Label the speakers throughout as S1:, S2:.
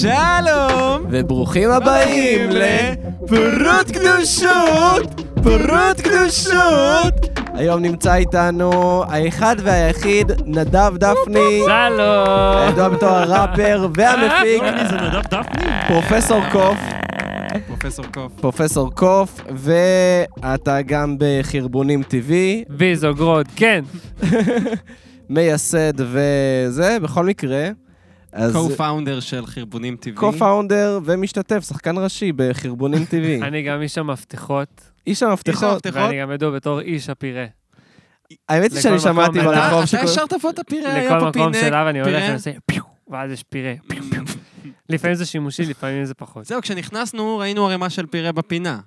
S1: שלום!
S2: וברוכים הבאים ל...
S1: לפרות קדושות! פרות קדושות!
S2: היום נמצא איתנו האחד והיחיד, נדב דפני,
S3: שלום! אה,
S2: הידוע בתור הראפר והמפיק,
S4: זה נדב דפני?
S2: פרופסור קוף,
S1: פרופסור קוף.
S2: פרופסור קוף, ואתה גם בחרבונים TV,
S3: ויזוגרוד, כן.
S2: מייסד וזה, בכל מקרה. אז
S1: co-founder של חרבונים טבעי.
S2: co-founder ומשתתף, שחקן ראשי בחרבונים
S1: כן.
S2: TV.
S3: אני גם איש המפתחות,
S2: איש המפתחות.
S1: המפתחות.
S3: ואני גם ידוע בתור איש הפירה.
S2: האמת היא שאני
S3: לכל מקום,
S2: שמעתי
S3: אתה-
S2: ברחוב
S1: אתה
S2: שכל...
S1: ישר תבוא את הפירה, היה
S3: לכל
S1: פה
S3: מקום
S1: פינק.
S3: שלה, ואני הולך
S1: אה, פירה.
S3: ועושה פיו, ואז יש פירה. לפעמים זה שימושי, לפעמים זה פחות.
S1: זהו, כשנכנסנו ראינו ערימה של פירה בפינה.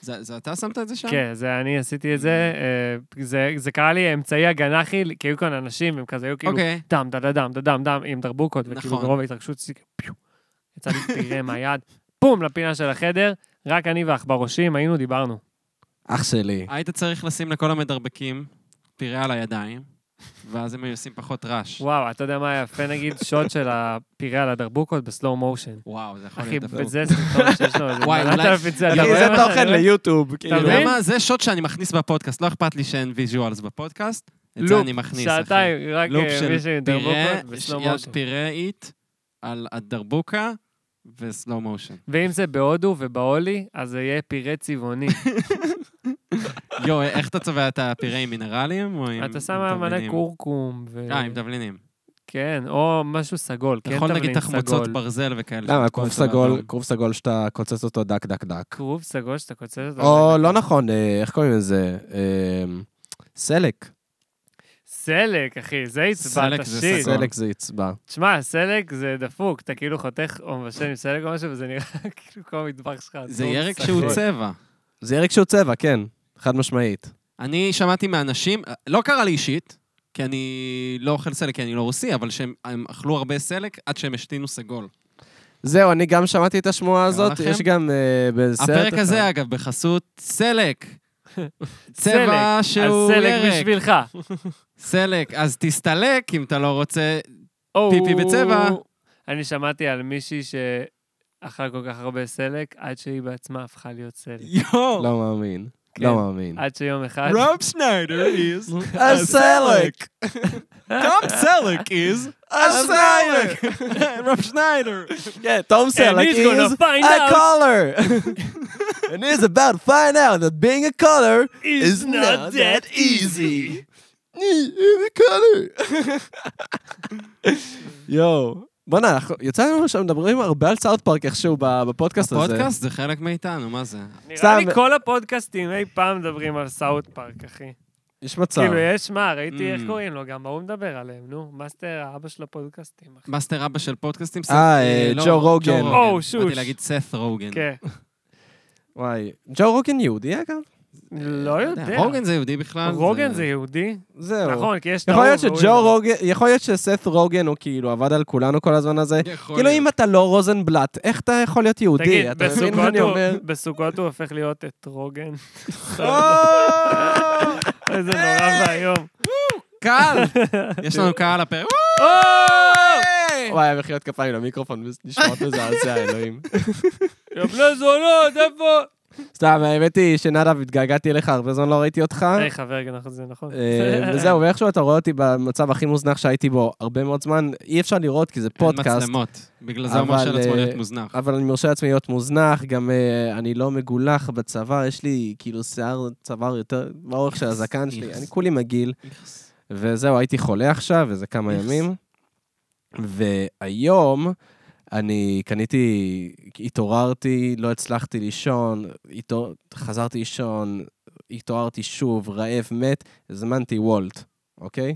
S1: זה זה אתה שמת את זה שם?
S3: כן, זה אני עשיתי את זה, אה, זה- זה קרה לי אמצעי הגנה חיל, כי היו כאן אנשים, והם כזה היו כאילו
S1: אוקיי.
S3: דם, דם, דם, דם, דם, דם, עם דרבוקות, וכאילו
S1: נכון.
S3: ברוב ההתרגשות שלי, פיו, יצא לי פירה מהיד, בום, לפינה של החדר, רק אני והעכברושים היינו, דיברנו.
S2: אח שלי.
S1: היית צריך לשים לכל המדרבקים פירה על הידיים, ואז הם היו עושים פחות רעש.
S3: וואו, אתה יודע מה היה יפה נגיד? שוט של הפירה על הדרבוקות בסלואו מושן.
S1: וואו, זה יכול
S3: אחי,
S1: להיות דווקא.
S3: בזה סרטון שיש לו, זה
S1: וואי, אולי-
S3: מלאת
S1: אוקיי,
S3: אלף את זה, אתה
S2: אחי,
S3: רואה
S2: זה
S3: מה שאני
S2: תוכן
S3: רואה?
S2: ליוטיוב, כאילו.
S1: אתה יודע
S3: מבין?
S1: מה? זה שוט שאני מכניס בפודקאסט, לא אכפת לי שאין ויז'ואלס בפודקאסט. את זה
S3: לופ,
S1: אני מכניס, אחי.
S3: שעתיים, רק
S1: לופ
S3: אה,
S1: של
S3: מישהו עם
S1: פירה,
S3: דרבוקות בסלואו
S1: יש
S3: מושן.
S1: פיראית על הדרבוקה וסלואו מושן.
S3: ואם זה בהודו ובהולי, אז זה יהיה פירה צבעוני.
S1: יואו, איך אתה צובע את הפירה עם מינרלים או עם
S3: אתה שם
S1: עם
S3: מלא
S1: תבלינים?
S3: כורכום, ו-
S1: אה, עם תבלינים.
S3: כן, או משהו סגול,
S1: אתה
S3: כן
S1: יכול
S3: תבלין
S1: נגיד תחמוצות
S3: סגול.
S1: ברזל וכאלה.
S2: למה,
S1: שאתה
S2: כרוב
S1: צובע
S2: סגול,
S1: אדום.
S2: כרוב סגול שאתה קוצץ אותו דק דק דק.
S3: כרוב סגול שאתה קוצץ אותו.
S2: או לא נכון, אה, איך קוראים לזה? אה, סלק.
S3: סלק, אחי, זה עצבן,
S1: סלק זה
S3: תשאיר.
S1: סגול.
S2: סלק זה יצבע.
S3: תשמע, סלק זה דפוק, אתה כאילו חותך או מבשל עם סלק או משהו, וזה נראה כאילו כל המטבח שלך.
S1: זה
S3: עצוב,
S1: ירק
S3: סגול.
S1: שהוא צבע.
S2: זה ירק שהוא צבע, כן. חד משמעית.
S1: אני שמעתי מאנשים, לא קרה לי אישית, כי אני לא אוכל סלק, כי אני לא רוסי, אבל שהם הם אכלו הרבה סלק עד שהם השתינו סגול.
S2: זהו, אני גם שמעתי את השמועה הזאת,
S1: לכם?
S2: יש גם אה, בסרט...
S1: הפרק
S2: אחד.
S1: הזה, אגב, בחסות סלק.
S3: סלק,
S1: צבע
S3: אז
S1: שהוא
S3: סלק
S1: ירק.
S3: בשבילך.
S1: סלק, אז תסתלק אם אתה לא רוצה.
S3: או,
S1: פיפי בצבע.
S3: אני שמעתי על מישהי שאכלה כל כך הרבה סלק, עד שהיא בעצמה הפכה להיות סלק.
S1: יואו.
S2: לא מאמין.
S3: כן.
S2: לא מאמין.
S3: עד שיום אחד...
S1: רוב שניידר is
S2: הסלק!
S1: תום סלק is
S2: הסלק!
S1: רוב שניידר.
S2: כן, תום סלק
S3: he's gonna
S2: is
S3: find
S2: a
S3: out.
S2: color! And he's about to find out that being a color
S3: It's
S2: is
S3: not that easy.
S2: איזה קלר. יואו. בואנה, אנחנו- יצא לנו שאנחנו מדברים הרבה על סאוט פארק איכשהו ב- בפודקאסט הזה.
S1: פודקאסט זה חלק מאיתנו, מה זה?
S3: נראה
S2: סתם.
S3: לי כל הפודקאסטים אי פעם מדברים על סאוט פארק, אחי.
S2: יש מצב.
S3: כאילו, יש מה, ראיתי איך
S1: Mm.
S3: קוראים לו, גם ההוא מדבר עליהם, נו. מאסטר, האבא של הפודקאסטים, אחי.
S1: מאסטר אבא של פודקאסטים?
S2: אה, אה,
S1: לא,
S2: ג'ו רוגן.
S3: או,
S1: באתי
S3: שוש.
S1: להגיד סת' רוגן.
S3: Oh,
S2: Mm.
S3: כן.
S2: וואי. ג'ו רוגן יהודי אגב? אה,
S3: לא יודע.
S1: רוגן זה יהודי בכלל?
S3: רוגן זה יהודי?
S2: זהו.
S3: נכון, כי יש את
S2: יכול להיות
S1: לא,
S3: והוא
S2: שג'ו
S3: יהודי.
S2: רוגן, יכול להיות שסת' רוגן הוא כאילו עבד על כולנו כל הזמן הזה.
S1: יכול
S2: כאילו
S1: להיות.
S2: אם אתה לא רוזנבלט, איך אתה יכול להיות יהודי?
S3: תגיד,
S2: אתה מבין מה
S3: בסוכות
S2: אני
S3: הוא-
S2: אומר?
S3: בסוכות הוא הופך להיות את רוגן.
S2: אה!
S3: איזה נורא ואיום.
S1: קהל! יש לנו קהל הפרק.
S2: וואי, היה מחיאות כפיים למיקרופון, נשמעות מזעזע, אלוהים.
S3: יא בני לא זונות, איפה?
S2: סתם, האמת היא שנדב, התגעגעתי אליך, הרבה זמן לא ראיתי אותך.
S1: אה.
S3: היי, חבר, נכון, זה נכון.
S2: אה, וזהו, ואיכשהו אתה רואה אותי במצב הכי מוזנח שהייתי בו הרבה מאוד זמן. אי אפשר לראות, כי זה
S1: אין
S2: פודקאסט.
S1: מצלמות. בגלל זה הוא מרשה
S2: אבל,
S1: לעצמו
S2: אה,
S1: להיות מוזנח.
S2: אבל אני מרשה לעצמי להיות מוזנח, גם אה, אני לא מגולח בצוואר, יש לי כאילו שיער צוואר יותר באורך של
S1: יחס,
S2: הזקן שלי,
S1: יחס.
S2: אני כולי מגעיל. וזהו, הייתי חולה עכשיו, וזה כמה
S1: יחס.
S2: ימים. והיום אני קניתי, התעוררתי, לא הצלחתי לישון, התעור... חזרתי לישון, התעוררתי שוב, רעב, מת, הזמנתי וולט, אוקיי?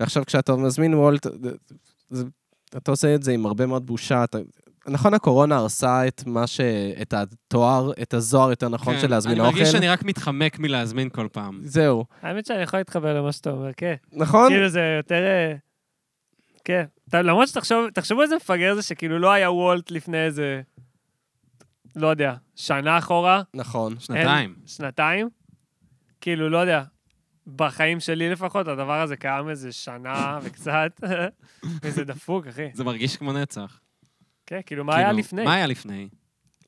S2: ועכשיו כשאתה מזמין וולט, זה, אתה עושה את זה עם הרבה מאוד בושה. אתה... נכון, הקורונה הרסה את מה ש... את התואר, את הזוהר, יותר נכון,
S1: כן,
S2: של להזמין
S1: אני
S2: אוכל.
S1: מרגיש שאני רק מתחמק מלהזמין כל פעם.
S2: זהו,
S3: האמת שאני יכול להתחבר למה שאתה אומר, כן.
S2: נכון?
S3: כאילו זה יותר... אה, כן. טוב, למרות שתחשוב, תחשבו איזה מפגר זה שכאילו לא היה וולט לפני איזה... לא יודע, שנה אחורה,
S2: נכון.
S1: שנתיים.
S3: שנתיים? כאילו, לא יודע. בחיים שלי לפחות, הדבר הזה קיים איזה שנה וקצת, וזה דפוק, אחי.
S1: זה מרגיש כמו נצח.
S3: כן, כאילו, מה היה
S1: כאילו,
S3: לפני?
S1: מה היה לפני?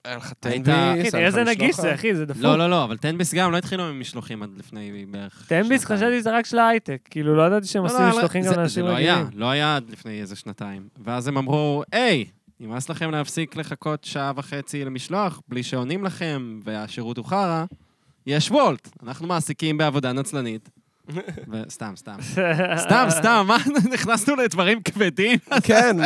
S2: היה לך
S1: היית-
S2: תן
S3: אחי, תראה איזה נגיש זה, אחי, זה דפוק.
S1: לא, לא, לא, אבל תנביס גם לא התחילו עם משלוחים עד לפני בערך...
S3: תמביס
S1: שנתיים.
S3: חשבתי שזה רק של ההייטק, כאילו לא ידעתי שהם
S1: לא,
S3: עושים
S1: לא, לא,
S3: משלוחים
S1: זה-
S3: גם לאנשים
S1: זה לא
S3: רגילים.
S1: היה, לא היה עד לפני איזה שנתיים. ואז הם אמרו, היי, נמאס לכם להפסיק לחכות שעה וחצי למשלוח, בלי שעונים לכם, והשירות הוא חרא, יש וולט, אנחנו מעסיקים בעבודה נצלנית. וסתם, סתם. סתם, סתם, מה, נכנסנו לדברים כבדים?
S2: כן,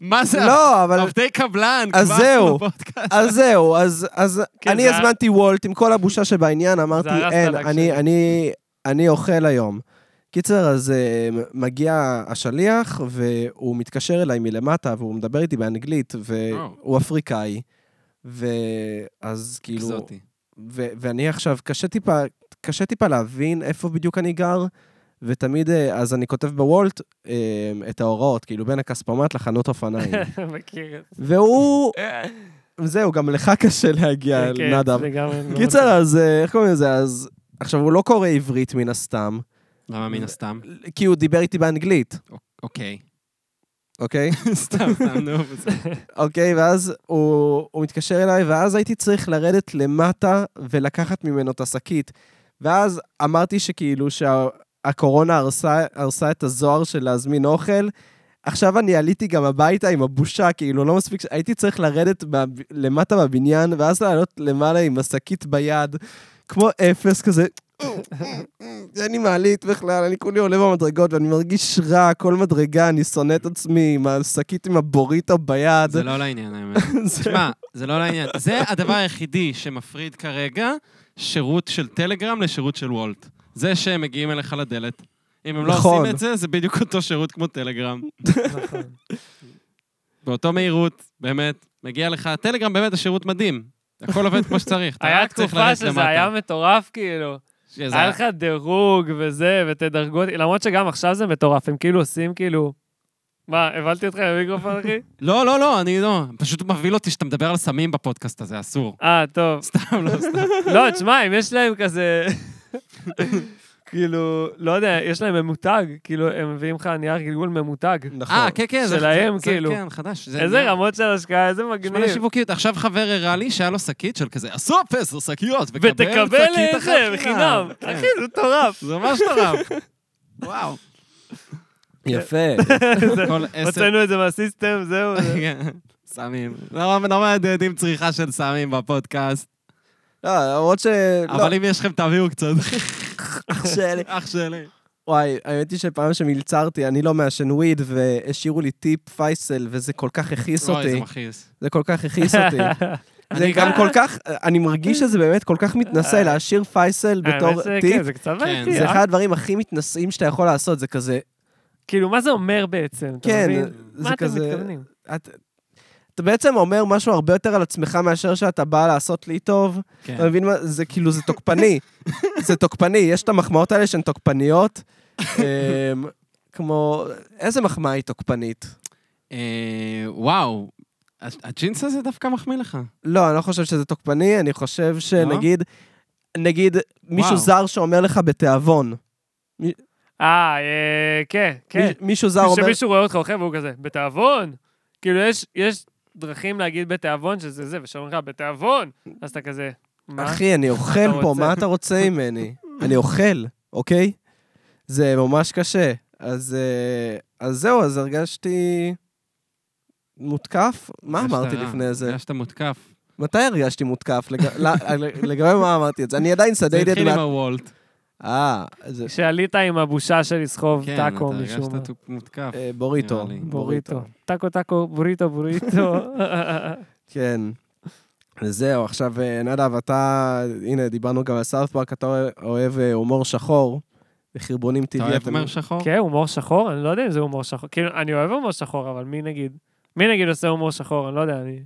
S1: מה זה?
S2: לא, אבל...
S1: עובדי קבלן,
S2: אז
S1: כבר
S2: זהו.
S1: כאילו בפודקאסט.
S2: אז זהו, אז- אז
S3: כן,
S2: אני
S3: זה-
S2: הזמנתי וולט עם כל הבושה שבעניין, אמרתי,
S3: הרס את
S2: אין,
S3: הלק
S2: אני-
S3: שלי."
S2: אני- אני אוכל היום. קיצר, אז אה, מ- מגיע השליח, והוא מתקשר אליי מלמטה, והוא מדבר איתי באנגלית, והוא אפריקאי. ואז כאילו,
S1: אקזוטי.
S2: ו- ואני עכשיו, קשה טיפה, קשה טיפה להבין איפה בדיוק אני גר, ותמיד, אה, אז אני כותב בוולט אה, את ההוראות, כאילו בין הכספומט לחנות אופניים.
S3: מכיר את זה.
S2: והוא, זהו, גם לך קשה להגיע,
S3: כן,
S2: נדב.
S3: זה גם- לא
S2: קיצר, אז אה, איך קוראים לזה? אז עכשיו, הוא לא קורא עברית מן הסתם,
S1: למה מן הסתם?
S2: כי הוא דיבר איתי באנגלית,
S1: אוקיי.
S2: אוקיי?
S1: סתם, סתם, נו. בסדר.
S2: אוקיי, ואז הוא, הוא מתקשר אליי, ואז הייתי צריך לרדת למטה ולקחת ממנו את השקית. ואז אמרתי שכאילו שהקורונה הרסה, הרסה את הזוהר של להזמין אוכל. עכשיו אני עליתי גם הביתה עם הבושה, כאילו, לא מספיק, ש- הייתי צריך לרדת ב, למטה בבניין, ואז לעלות למעלה עם השקית ביד, כמו אפס כזה. אין לי מעלית בכלל, אני כולי עולה במדרגות ואני מרגיש רע, כל מדרגה, אני שונא את עצמי עם השקית עם הבוריטו ביד.
S1: זה לא לעניין, האמת.
S2: זה-
S1: תשמע, זה לא לעניין. זה הדבר היחידי שמפריד כרגע שירות של טלגרם לשירות של וולט. זה שהם מגיעים אליך לדלת. אם הם לא
S2: נכון.
S1: עושים את זה, זה בדיוק אותו שירות כמו טלגרם.
S3: נכון.
S1: באותו מהירות, באמת, מגיע לך, טלגרם באמת השירות מדהים. הכל עובד כמו שצריך. אתה
S3: היה
S1: רק צריך
S3: תקופה
S1: לרדת
S3: שזה
S1: למטה.
S3: היה מטורף, כאילו.
S1: שזה
S3: היה לך דירוג וזה, ותדרגו אותי, למרות שגם עכשיו זה מטורף, הם כאילו עושים כאילו... מה, הבלתי אותך עם המיקרופון, אחי?
S1: לא, לא, לא, אני לא. פשוט מבהיל אותי שאתה מדבר על סמים בפודקאסט הזה, אסור.
S3: אה, טוב.
S1: סתם, לא, סתם.
S3: לא, תשמע, אם יש להם כזה... כאילו, לא יודע, יש להם ממותג, כאילו, הם מביאים לך נייר גלגול ממותג.
S2: נכון.
S1: אה, כן, כן. זה-
S3: שלהם,
S1: זה-
S3: כאילו.
S1: כן, חדש. זה
S3: איזה
S1: נהיה-
S3: רמות של השקעה, איזה
S1: שמונה
S3: מגניב.
S1: שיווקיות. עכשיו חבר הראה לי שהיה לו שקית של כזה, עשו עשר שקיות,
S3: ותקבל את זה
S1: אחת
S3: בחינם.
S1: כן.
S3: אחי, זה מטורף.
S1: זה ממש טורף. וואו.
S2: כן. יפה.
S1: כל עשר...
S3: הוצאנו את אה, זה אה, מהסיסטם, זהו. זה-
S1: כן, סמים. נורא נורא מעודדים צריכה של סמים בפודקאסט,
S2: לא, למרות ש...
S1: אבל אם יש לכם תביאו קצת,
S2: אח שלי.
S1: אח שלי.
S2: וואי, האמת היא שפעם שמלצרתי, אני לא מעשן וויד, והשאירו לי טיפ פייסל, וזה כל כך הכעיס
S1: אוי, זה
S2: אותי.
S1: מכעיס.
S2: זה כל כך הכעיס אותי. זה
S1: אני
S2: גם
S1: גם-
S2: כל כך, אני מרגיש שזה באמת כל כך מתנשא, להשאיר פייסל בתור
S3: אה. האמת זה- כן,
S2: טיפ.
S3: זה קצת
S1: כן,
S3: בעייתי.
S2: זה
S3: אה?
S2: אחד הדברים הכי מתנשאים שאתה יכול לעשות, זה כזה,
S3: כאילו, מה זה אומר בעצם? אתה
S2: כן,
S3: מבין?
S2: זה
S3: מה אתם
S2: כזה...
S3: מתכוונים?
S2: את- אתה בעצם אומר משהו הרבה יותר על עצמך מאשר שאתה בא לעשות לי טוב.
S1: כן.
S2: אתה מבין מה? זה כאילו, זה תוקפני. זה תוקפני, יש את המחמאות האלה שהן תוקפניות. אמ, כמו, איזה מחמאה היא תוקפנית?
S1: אה, וואו, הג- הג'ינס הזה דווקא מחמיא לך.
S2: לא, אני לא חושב שזה תוקפני, אני חושב שנגיד, נגיד, מישהו
S1: וואו.
S2: זר שאומר לך בתיאבון.
S3: אה, אה, כן, כן.
S2: מי- מישהו זר אומר...
S3: כשמישהו רואה אותך אוכל והוא כזה, בתיאבון. כאילו, יש- יש דרכים להגיד בתיאבון שזה זה, ושאומרים לך, בתיאבון. אז אתה כזה, אה? מה?
S2: אחי, אני אוכל פה,
S3: רוצה?
S2: מה אתה רוצה ממני? אני אוכל, אוקיי? זה ממש קשה. אז, אה, אז זהו, אז הרגשתי מותקף? מה
S1: הרגשת
S2: אמרתי
S1: רע,
S2: לפני זה?
S1: הרגשת מותקף.
S2: מתי הרגשתי מותקף? לג- לא, לגבי מה אמרתי את זה? אני עדיין
S1: זה
S2: סדדד
S1: התחיל עם
S2: מה...
S1: הוולט.
S2: אה, זה
S3: כשעלית עם הבושה של לסחוב
S1: כן, אתה
S3: טאקו משום מה.
S1: הרגשת מותקף.
S2: אה, בוריטו.
S1: נראה לי.
S3: בוריטו. טאקו, טאקו, בוריטו, בוריטו.
S2: כן. זהו, עכשיו, אה, נדב, אתה... הנה, דיברנו גם על סארט פארק, אתה אוהב- אוהב אה, הומור שחור וחרבונים
S1: אתה
S2: טבעי.
S1: אוהב אומר שחור?
S3: כן, הומור שחור? אני לא יודע אם זה הומור שחור. כאילו, אני אוהב הומור שחור, אבל מי נגיד? מי נגיד עושה הומור שחור? אני לא יודע, אני...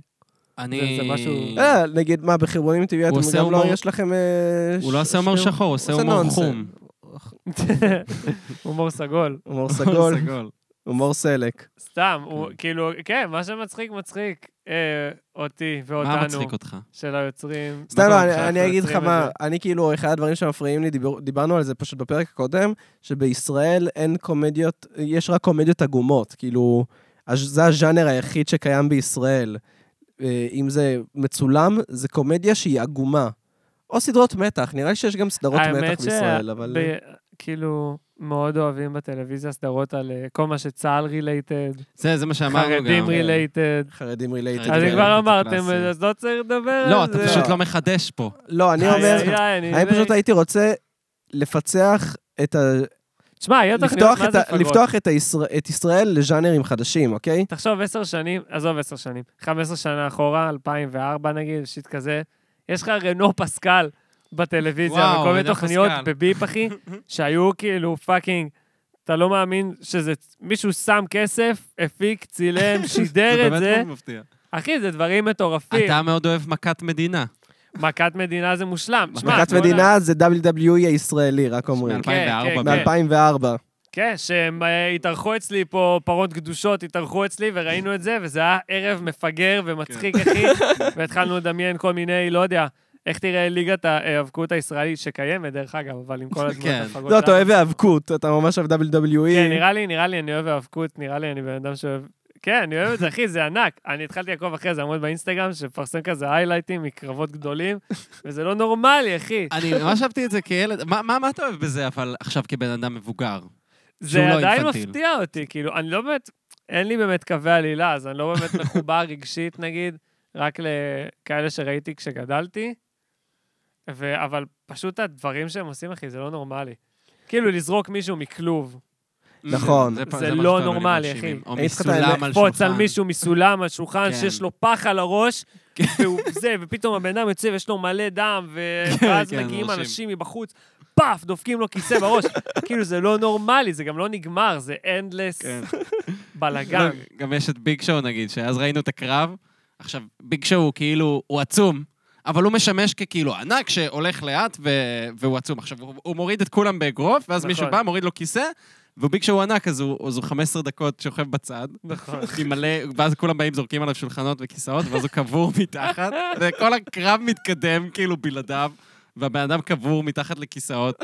S1: אני...
S3: זה- זה משהו-
S2: אה, נגיד, מה, בחרבונים טבעי אתם
S1: הוא עושה
S2: גם לא,
S1: הומור-
S2: יש לכם... אה,
S1: הוא
S2: ש-
S1: לא עושה הומור
S2: שני-
S1: שחור, הוא עושה
S2: עושה
S1: הומור
S2: נונסנס.
S1: חום.
S3: הומור סגול.
S2: הומור סגול,
S1: סגול.
S2: הומור סלק.
S3: סתם, הוא
S1: כן.
S3: כאילו, כן, מה שמצחיק מצחיק אה, אותי
S1: מה
S3: ואותנו,
S1: מצחיק אותך?
S3: של היוצרים.
S2: סתם,
S1: בטוח
S2: לא, אני-
S1: שאנחנו
S2: אני אגיד לך
S3: יוצרים
S2: מה,
S3: את
S2: אני כאילו, אחד הדברים שמפריעים לי, דיבור- דיברנו על זה פשוט בפרק הקודם, שבישראל אין קומדיות, יש רק קומדיות עגומות, כאילו... אז זה הז'אנר היחיד שקיים בישראל. אה, אם זה מצולם, זה קומדיה שהיא עגומה. או סדרות מתח, נראה לי שיש גם סדרות
S3: האמת
S2: מתח
S3: ש-
S2: בישראל, אבל...
S3: ב- כאילו, מאוד אוהבים בטלוויזיה סדרות על אה, כל מה שצה"ל רילייטד,
S1: זה, זה מה שאמרנו גם.
S3: חרדים
S2: אה,
S3: רילייטד.
S2: חרדים רילייטד.
S1: חרדים
S3: אז אם
S1: כן,
S3: כבר
S1: זה
S3: אמרתם,
S1: קלאסי.
S3: אז לא צריך לדבר
S1: לא,
S3: על
S1: אתה
S3: זה.
S1: פשוט לא מחדש פה.
S2: לא, אני
S1: איי,
S2: אומר,
S1: איי,
S2: אני פשוט הייתי רוצה לפצח את ה...
S3: תשמע, היו תוכניות,
S2: לפתוח,
S3: מה
S2: את,
S3: זה
S2: ה...
S3: פגרות?
S2: לפתוח את, הישראל, את ישראל לז'אנרים חדשים, אוקיי?
S3: תחשוב, עשר שנים, עזוב עשר שנים, 15 שנה אחורה, 2004 נגיד, שיט כזה, יש לך רנו פסקל בטלוויזיה,
S1: וואו,
S3: וכל מיני
S1: רנו
S3: תוכניות
S1: פסקל.
S3: בביפ, אחי, שהיו כאילו פאקינג, אתה לא מאמין שזה, מישהו שם כסף, הפיק, צילם, שידר את זה.
S2: לא-
S3: לא
S1: מאוד מפתיע.
S3: אחי, זה דברים מטורפים.
S1: אתה מאוד אוהב מכת מדינה.
S3: מכת מדינה זה מושלם. שמע, לא
S2: מכת
S3: כל ה-
S2: מדינה זה WWE הישראלי, רק אומרים.
S3: כן, כן,
S1: מ-2004.
S3: כן.
S2: מ-2004.
S3: כן, שהם אה, התארחו אצלי פה, פרות קדושות התארחו אצלי, וראינו את זה, וזה היה ערב מפגר ומצחיק, אחי, והתחלנו לדמיין כל מיני, לא יודע, איך תראה ליגת ההיאבקות הישראלית, שקיימת, דרך אגב, אבל עם כל הזמן
S1: כן.
S3: הפגות.
S2: לא, אתה אוהב היאבקות, אתה ממש אוהב E.
S3: כן,
S2: WWE.
S3: נראה לי, נראה לי, אני אוהב האבקות, נראה לי, אני בן אדם שאוהב... כן, אני אוהב את זה, אחי, זה ענק. אני התחלתי לעקוב אחרי זה עמוד באינסטגרם, שפרסם כזה היילייטים מקרבות גדולים, וזה לא נורמלי, אחי.
S1: אני ממש אהבתי את זה כילד. מה- מה מה אתה אוהב בזה, אבל עכשיו כבן אדם מבוגר? שהוא
S3: זה
S1: לא
S3: עדיין
S1: אינפנטיל.
S3: מפתיע אותי, כאילו, אני לא באמת, אין לי באמת קווי עלילה, אז אני לא באמת מחובר רגשית, נגיד, רק לכאלה שראיתי כשגדלתי, ו- אבל פשוט הדברים שהם עושים, אחי, זה לא נורמלי. כאילו, לזרוק מישהו מכלוב,
S2: נכון.
S1: פ-
S3: זה
S1: מה
S3: לא
S1: שאתה אוהב
S3: נורמלי,
S1: מנשים,
S3: אחי.
S1: או
S2: אני צריך את
S1: מסולם
S2: האמת.
S1: על
S3: לקפוץ על
S1: שולחן.
S3: מישהו מסולם, על שולחן,
S1: כן.
S3: שיש לו פח על הראש, והוא זה, ופתאום הבן אדם יוצא ויש לו מלא דם, ו-
S1: כן,
S3: ואז
S1: כן,
S3: מגיעים
S1: אנשים.
S3: אנשים מבחוץ, פאף, דופקים לו כיסא בראש. כאילו, זה לא נורמלי, זה גם לא נגמר, זה אנדלס
S1: כן.
S3: בלאגן.
S1: לא, גם יש את ביג שואו נגיד, שאז ראינו את הקרב. עכשיו, ביג שואו הוא כאילו, הוא עצום, אבל הוא משמש ככאילו ענק שהולך לאט ו... והוא עצום. עכשיו, הוא, הוא מוריד את כולם באגרוף, ואז
S3: נכון.
S1: מישהו בא, מוריד לו כיסא, וביג שואו ענק, אז הוא, אז הוא 15 דקות שוכב בצד.
S3: נכון.
S1: עם מלא, ואז כולם באים, זורקים עליו שולחנות וכיסאות, ואז הוא קבור מתחת, וכל הקרב מתקדם כאילו בלעדיו, והבן אדם קבור מתחת לכיסאות.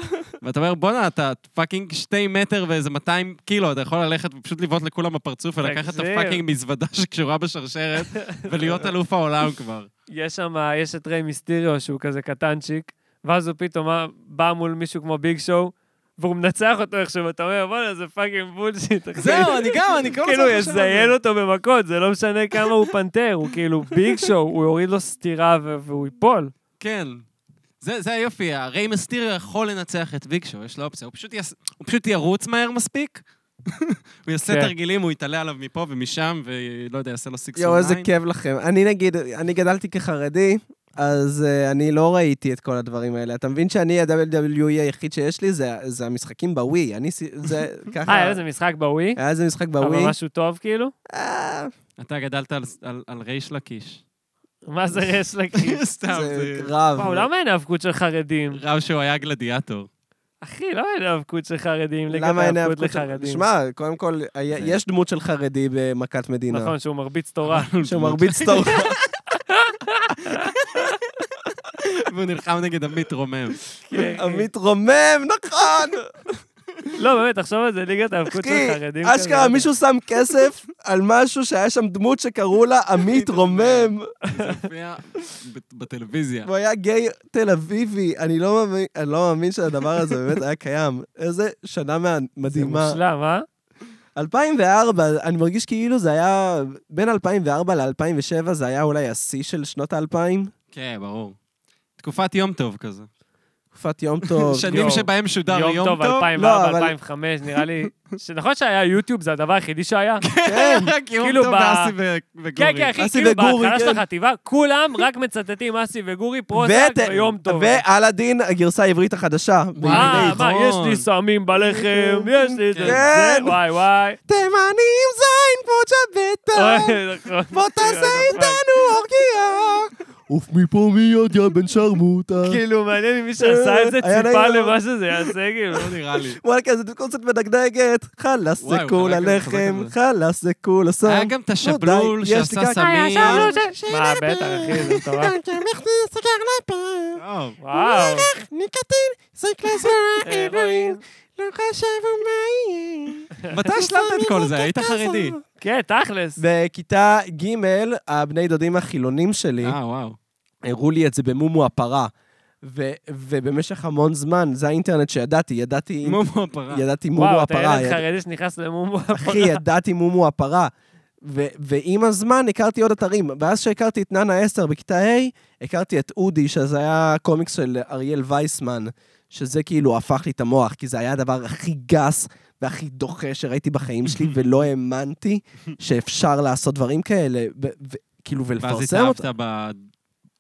S1: ואתה אומר, בואנה, אתה פאקינג שתי מטר ואיזה 200 קילו, אתה יכול ללכת ופשוט לבעוט לכולם בפרצוף ולקחת את
S3: תגזים.
S1: הפאקינג מזוודה שקשורה בשרשרת, ולהיות אלוף העולם כבר.
S3: יש שם, יש את ריי מיסטיריו שהוא כזה קטנצ'יק, ואז הוא פתאום אה, בא מול מישהו כמו ביג שואו, והוא מנצח אותו איכשהו, ואתה אומר, בואנה, זה פאקינג בולשיט. אחי."
S1: זהו, אני גם, אני
S2: לא
S1: כל הזמן
S3: כאילו,
S1: חושב על זה.
S3: יזיין אותו במכות, זה לא משנה כמה הוא פנתר, הוא כאילו ביג שואו, הוא יוריד לו סטירה ו- והוא ייפול.
S1: כן. זה, זה היופי, הרי מסטיריו יכול לנצח את ויקשו, יש לו אופציה. הוא פשוט, יס... הוא פשוט ירוץ מהר מספיק, הוא יעשה
S3: כן.
S1: תרגילים, הוא יתעלה עליו מפה ומשם, ולא יודע, יעשה לו סיקסור
S2: יואו, איזה
S1: ניין.
S2: כיף לכם. אני נגיד, אני גדלתי כחרדי, אז אה, אני לא ראיתי את כל הדברים האלה. אתה מבין שאני, ה-WWE היחיד שיש לי, זה- זה המשחקים בווי. אני, סי- זה ככה...
S3: אה, היה איזה משחק בווי,
S2: היה איזה משחק אה, בווי.
S3: אבל משהו טוב כאילו?
S2: אה,
S1: אתה גדלת על, על, על ריש לקיש.
S3: מה זה רש לקיס?
S1: סתם,
S2: זה
S1: זה...
S2: רב.
S3: וואו, למה אין האבקות של חרדים?
S1: רב שהוא היה גלדיאטור.
S3: אחי, למה אין האבקות של חרדים?
S2: למה אין האבקות
S3: לחרדים?
S2: שמע, קודם כל, היה-
S1: זה-
S2: יש דמות של חרדי במכת מדינה.
S3: נכון, שהוא מרביץ תורה.
S2: שהוא מרביץ טוב.
S1: והוא נלחם נגד עמית רומם.
S3: כן, כן.
S2: עמית רומם, נכון!
S3: לא, באמת, תחשוב על זה, ליגת האבקות של חרדים.
S2: אחי, אשכרה
S3: כזה.
S2: מישהו שם כסף על משהו שהיה שם דמות שקראו לה עמית רומם,
S1: זה הופיע ב- בטלוויזיה.
S2: והוא היה גיי תל אביבי. אני לא מאמין- אני לא מאמין שהדבר הזה באמת היה קיים. איזה שנה מה-
S3: זה
S2: מדהימה.
S3: מושלם, אה?
S2: 2004, אני מרגיש כאילו זה היה... בין 2004 ל-2007 זה היה אולי השיא של שנות האלפיים.
S1: כן, ברור. תקופת יום טוב כזה.
S2: תקופת יום טוב.
S1: שנים
S3: יום-
S1: שבהם שודר יום טוב.
S3: יום טוב,
S2: לא, אבל-
S3: 2004-2005, נראה לי. שנכון שהיה יוטיוב, זה הדבר היחידי שהיה.
S2: כן.
S1: רק יום
S3: כאילו
S1: טוב
S3: ב-
S1: ואסי ו- וגורי.
S3: כן, כן, אחי,
S2: אסי
S3: כאילו
S2: וגורי,
S3: בהתחלה של
S2: כן.
S3: החטיבה, כולם רק מצטטים אסי וגורי, פרוסק
S2: ות-
S3: ויום טוב. אה.
S2: ואלאדין, הגרסה העברית החדשה.
S3: מה, מה,
S1: נכון.
S3: יש לי סמים בלחם, יש לי את זה.
S2: כן.
S3: זה, וואי, וואי.
S2: תימנים זין פוצ'ה בטח,
S3: אוי, נכון.
S2: אה, בוא תעשה איתנו אורגיה. כן. עוף מפה מיד יא בן שרמוטה.
S3: כאילו, מעניין אם מי שעשה את זה
S2: אה, היה
S3: ציפה
S2: נעים לו.
S3: למה שזה יעשה, כאילו.
S1: לא נראה לי.
S2: וואלה כזה קונספט מדגדגת, חלאס זה
S1: וואי, הוא חזק
S2: כולה
S1: על זה, חזק
S2: לחם,
S1: על זה.
S2: חלאס זה כולה סם.
S1: היה גם את השבלול
S2: די, יש לי
S1: שעשה
S2: גם-
S1: סמים.
S3: מה, בטח, אחי, זה מטורף.
S1: טוב.
S3: וואו.
S4: ניקוטין, זה כלזר, הרואין,
S2: לא חשבו מה יהיה.
S1: מתי השלמת את כל זה? היית חרדי.
S3: כן, תכלס.
S2: בכיתה ג', הבני דודים החילונים שלי
S1: אה, וואו.
S2: הראו לי את זה במומו הפרה. ו- ובמשך המון זמן, זה האינטרנט שידעתי, ידעתי,
S1: מומו הפרה.
S2: ידעתי מומו
S3: וואו, אתה
S2: הפרה.
S3: ילד
S2: יד-
S3: חרדי שנכנס למומו.
S2: אחי, ידעתי מומו הפרה. ו- ועם הזמן הכרתי עוד אתרים. ואז שהכרתי את ננה 10 בכיתה ה', הכרתי את אודי, שזה היה קומיקס של אריאל וייסמן, שזה כאילו הפך לי את המוח, כי זה היה הדבר הכי גס והכי דוחה שראיתי בחיים שלי, ולא האמנתי שאפשר לעשות דברים כאלה, ו- ו- כאילו,
S1: ואז
S2: ולפרסם אותם.
S1: התאהבת ב-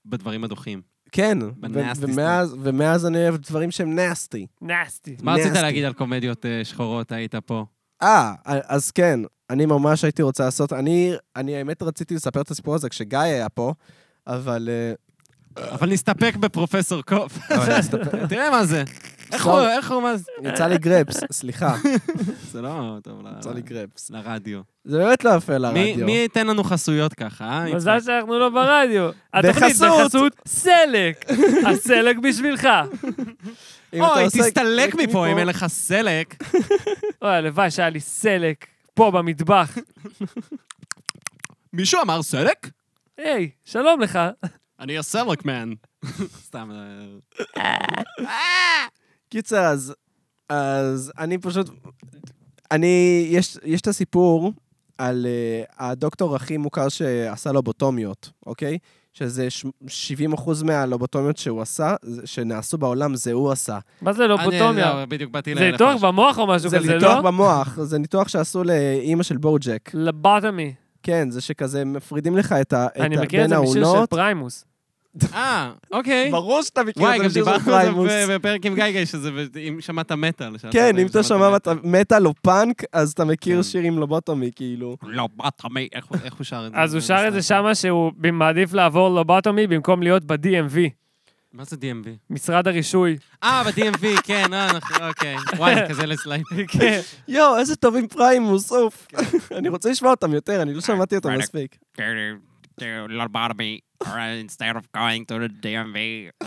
S1: בדברים הדוחים.
S2: כן, ו-
S1: בנאסטי
S2: ומאז, ומאז אני אוהב דברים שהם נסטי.
S3: נסטי.
S1: מה רצית
S2: nasty.
S1: להגיד על קומדיות אה, שחורות, היית פה?
S2: אה, אז כן, אני ממש הייתי רוצה לעשות, אני, אני האמת רציתי לספר את הסיפור הזה כשגיא היה פה, אבל... אה,
S1: אבל נסתפק בפרופסור קוף.
S2: אבל נסתפק.
S1: תראה מה זה. איך
S2: סלאם.
S1: הוא, איך הוא, מה זה?
S2: יצא לי גרפס, סליחה,
S1: זה לא טוב ל-
S2: יצא לי גרפס.
S1: לרדיו.
S2: זה באמת לא יפה
S1: מי-
S2: לרדיו.
S1: מי ייתן לנו חסויות ככה, אה? יצחק?
S3: מזל שאנחנו לא ברדיו. התוכנית
S2: בחסות.
S3: בחסות סלק. הסלק בשבילך.
S2: אם אתה
S1: אוי,
S2: עושה-
S1: תסתלק
S2: קליק
S1: מפה אם אין לך סלק.
S3: אוי, הלוואי שהיה לי סלק פה במטבח.
S1: מישהו אמר סלק?
S3: היי, שלום לך.
S1: אני הסלקמן. סתם. אה,
S2: קיצר, אז, אז אני פשוט... אני, יש, יש את הסיפור על uh, הדוקטור הכי מוכר שעשה לובוטומיות, אוקיי? שזה ש- 70 אחוז מהלובוטומיות שהוא עשה, זה- שנעשו בעולם, זה הוא עשה.
S3: מה זה לובוטומיה?
S1: אני- לא, בדיוק באתי
S3: זה ניתוח במוח או משהו
S2: זה
S3: כזה,
S2: ניתוח
S3: לא?
S2: במוח, זה ניתוח שעשו לאימא של בוג'ק.
S3: לבוטומי.
S2: כן, זה שכזה מפרידים לך את ה...
S3: אני
S2: ה-
S3: מכיר
S2: בין
S3: את זה בשיר של
S2: העונות.
S3: פריימוס.
S1: אה, אוקיי.
S2: ברור שאתה מכיר
S1: וואי,
S2: את
S1: גם
S2: זה בשיר של
S1: דיברנו על
S2: פריימוס.
S1: זה ב- בפרק עם גיא גיא, שזה, ב- אם שמעת מטאל. שאלת
S2: כן, אם אתה
S1: שמעת
S2: שמע מטאל או פאנק, אז אתה מכיר
S1: כן.
S2: שיר עם לובוטומי, כאילו.
S1: לא, בטומי, איך הוא- איך הוא שר את זה?
S2: אה,
S3: אז הוא שר את זה שמה שהוא ב- מעדיף לעבור לובוטומי במקום להיות ב-DMV,
S1: מה זה DMV?
S3: משרד הרישוי.
S1: אה, ב-DMV, כן, אה, אנחנו, אוקיי. וואי, זה כזה לסלייד.
S3: כן.
S2: יואו, איזה טובים פריימוס, סוף.
S1: כן.
S2: אני רוצה לשמוע אותם יותר,
S1: אה,
S2: אני לא שמעתי אותם מספיק.
S4: to, to lobotomy or instead of going to the DMV.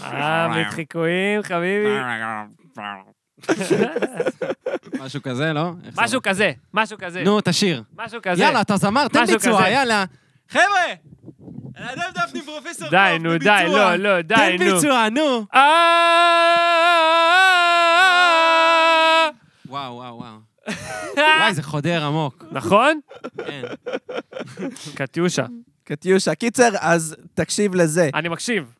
S3: אה, מחיקויים, חביבי.
S2: אה,
S1: משהו כזה, לא? איך זה
S3: משהו כזה, משהו כזה,
S1: עבר? נו, תשיר.
S3: משהו כזה.
S1: יאללה, אתה זמר, תן
S3: משהו
S1: ביצוע,
S3: כזה.
S1: יאללה. חבר'ה! אדם דפני פרופסור
S3: די,
S1: קוף,
S3: נו,
S1: תן
S3: די,
S1: ביצוע.
S3: לא, לא, די,
S1: תן
S3: נו.
S1: ביצוע, נו.
S3: אה,
S1: וואו, וואו, וואו. וואי, זה חודר עמוק.
S3: נכון?
S1: כן.
S3: קטיושה.
S2: קטיושה. קיצר, אז תקשיב לזה.
S3: אני מקשיב.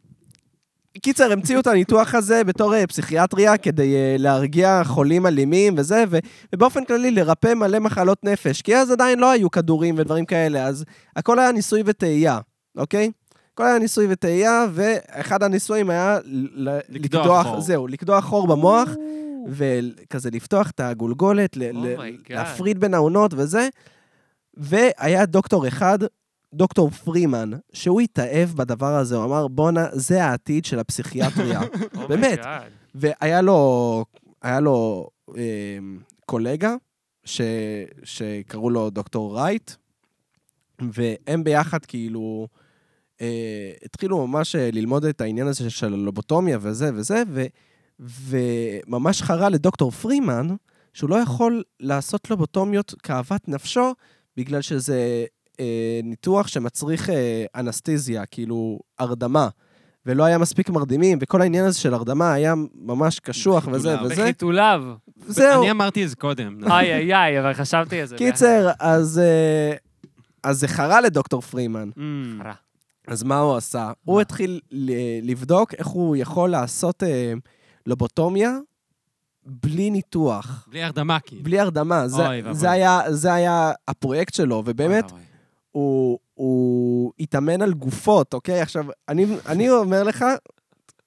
S2: קיצר, המציאו את הניתוח הזה בתור אה, פסיכיאטריה כדי אה, להרגיע חולים אלימים וזה, ו- ובאופן כללי לרפא מלא מחלות נפש, כי אז עדיין לא היו כדורים ודברים כאלה, אז הכל היה ניסוי וטעייה, אוקיי? הכל היה ניסוי וטעייה, ואחד הניסויים היה ל- ל-
S1: לקדוח חור.
S2: זהו, לקדוח חור במוח, וכזה לפתוח את הגולגולת, ל- ל-
S3: אומייגאד.
S2: להפריד בין העונות וזה. והיה דוקטור אחד, דוקטור פרימן, שהוא התאהב בדבר הזה, הוא אמר, בואנה, זה העתיד של הפסיכיאטריה. באמת.
S3: Oh my God.
S2: והיה לו, היה לו אה, קולגה ש, שקראו לו דוקטור רייט, והם ביחד כאילו אה, התחילו ממש אה, ללמוד את העניין הזה של הלובוטומיה וזה וזה, ו, וממש חרה לדוקטור פרימן שהוא לא יכול לעשות לובוטומיות כאוות נפשו, בגלל שזה אה, ניתוח שמצריך אה, אנסתזיה, כאילו הרדמה. ולא היה מספיק מרדימים, וכל העניין הזה של הרדמה היה ממש קשוח וזה
S1: בחיתוליו.
S2: וזה.
S3: בחיתוליו.
S2: זהו.
S1: אני אמרתי את זה קודם. נכון?
S3: איי איי איי, אבל חשבתי על זה.
S2: קיצר, אז, אה, אז זה חרה לדוקטור פרימן.
S1: אמ,
S3: חרה.
S2: אז מה הוא עשה? הוא התחיל ל- לבדוק איך הוא יכול לעשות אה, לובוטומיה בלי ניתוח,
S1: בלי הרדמה, כאילו.
S2: בלי הרדמה. זה,
S1: אוי ואבוי.
S2: זה, היה, זה היה הפרויקט שלו, ובאמת,
S1: אוי, אוי.
S2: הוא, הוא התאמן על גופות, אוקיי? עכשיו, אני, אני אומר לך,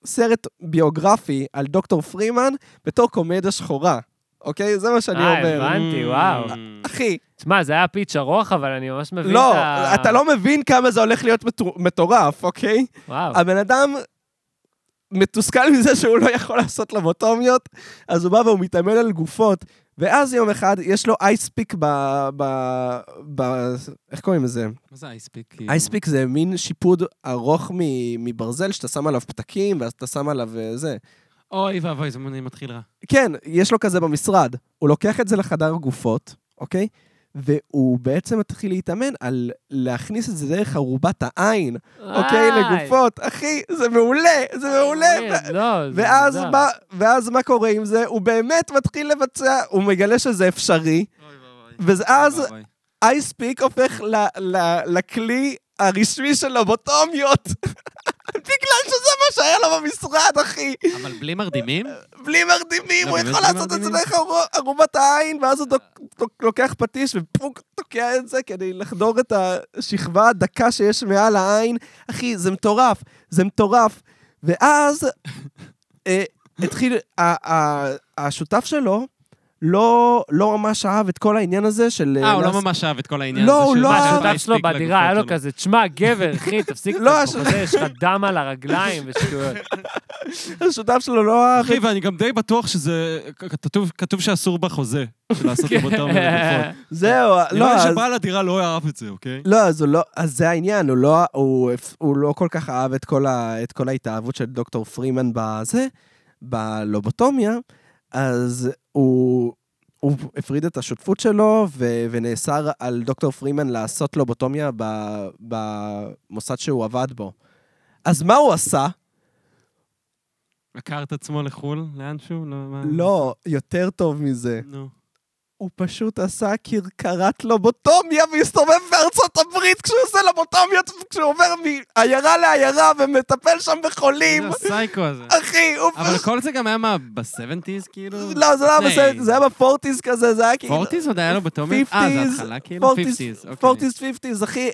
S2: סרט ביוגרפי על דוקטור פרימן בתור קומדיה שחורה, אוקיי? זה מה שאני
S3: אה,
S2: אומר.
S3: הבנתי, וואו.
S1: אמ,
S2: אחי,
S3: תשמע, זה היה פיץ' ארוך, אבל אני ממש מבין את
S2: לא,
S3: ה...
S2: אתה לא מבין כמה זה הולך להיות מטור- מטורף, אוקיי?
S3: וואו.
S2: הבן אדם מתוסכל מזה שהוא לא יכול לעשות לבוטומיות, אז הוא בא והוא מתאמן על גופות, ואז יום אחד יש לו אייספיק ב... ב... ב... איך קוראים לזה?
S1: מה זה אייספיק? כאילו?
S2: אייספיק זה מין שיפוד ארוך מ- מברזל שאתה שם עליו פתקים, ואז אתה שם עליו אה, זה.
S1: אוי ואבוי, זה אני מתחיל רע.
S2: כן, יש לו כזה במשרד. הוא לוקח את זה לחדר גופות, אוקיי? והוא בעצם מתחיל להתאמן על להכניס את זה דרך ארובת העין, אוקיי? לגופות. אחי, זה מעולה, זה מעולה. ו- ואז מה, ואז מה קורה עם זה? הוא באמת מתחיל לבצע, הוא מגלה שזה אפשרי, ואז
S1: אוי,
S2: אייספיק הופך ל- ל- לכלי הרשמי של לובוטומיות. בגלל שזה מה שהיה לו במשרד, אחי.
S1: אבל בלי מרדימים? אה,
S2: בלי מרדימים,
S1: לא,
S2: הוא
S1: באמת
S2: יכול
S1: בלי
S2: לעשות את זה
S1: מרדימים?
S2: דרך ארו- ארומת העין, ואז הוא דוק- דוק- לוקח פטיש ופוק תוקע את זה כדי לחדור את השכבה הדקה שיש מעל העין. אחי, זה מטורף, זה מטורף. ואז אה, התחיל, ה- ה- השותף שלו לא לא ממש אהב את כל העניין הזה של...
S1: אה, הוא
S2: לעשות-
S1: לא ממש אהב את כל העניין
S2: לא,
S1: הזה.
S2: הוא
S1: של-
S2: לא
S1: של
S2: אהב.
S3: השותף
S1: פלייסטיק
S3: שלו
S1: לגופות
S3: בדירה, היה לו
S1: שלו.
S3: כזה, תשמע, גבר, אחי, תפסיק
S2: לא,
S3: את
S2: הש-
S3: זה, יש לך דם על הרגליים ושטויות.
S2: השותף שלו לא אהב
S1: אחי, ואני גם די בטוח שזה... כתוב- כתוב שאסור בחוזה, של לעשות לבוטום ולגופות.
S2: זהו, לא,
S1: נראה לי
S2: אז...
S1: שבעל הדירה לא אהב את זה, אוקיי?
S2: לא, אז הוא לא, אז זה העניין, הוא לא, הוא, הוא לא כל כך אהב את כל, ה, את כל ההתאהבות של דוקטור פרימן בזה, בלובוטומיה, אז הוא, הוא הפריד את השותפות שלו, ו, ונאסר על דוקטור פרימן לעשות לובוטומיה ב, במוסד שהוא עבד בו. אז מה הוא עשה?
S1: עקר את עצמו לחו"ל, לאנשהו? לא, מה?
S2: לא, יותר טוב מזה.
S1: נו.
S2: הוא פשוט עשה כרכרת לובוטומיה והסתובב בארצות הברית כשהוא עושה לובוטומיות, כשהוא עובר מעיירה לעיירה ומטפל שם בחולים.
S1: זה הסייקו הזה.
S2: אחי, הוא
S1: אבל
S2: פשוט...
S1: כל זה גם היה מה, ב-70's כאילו?
S2: לא, זה לא היה
S1: לפני.
S2: בסדר, זה היה בפורטיז כזה, זה היה כאילו...
S1: 40's עוד היה לו בטומי? אה, זה
S2: 50s,
S1: התחלה כאילו? 50's, אוקיי.
S2: פורטיז פיפטיז, אחי.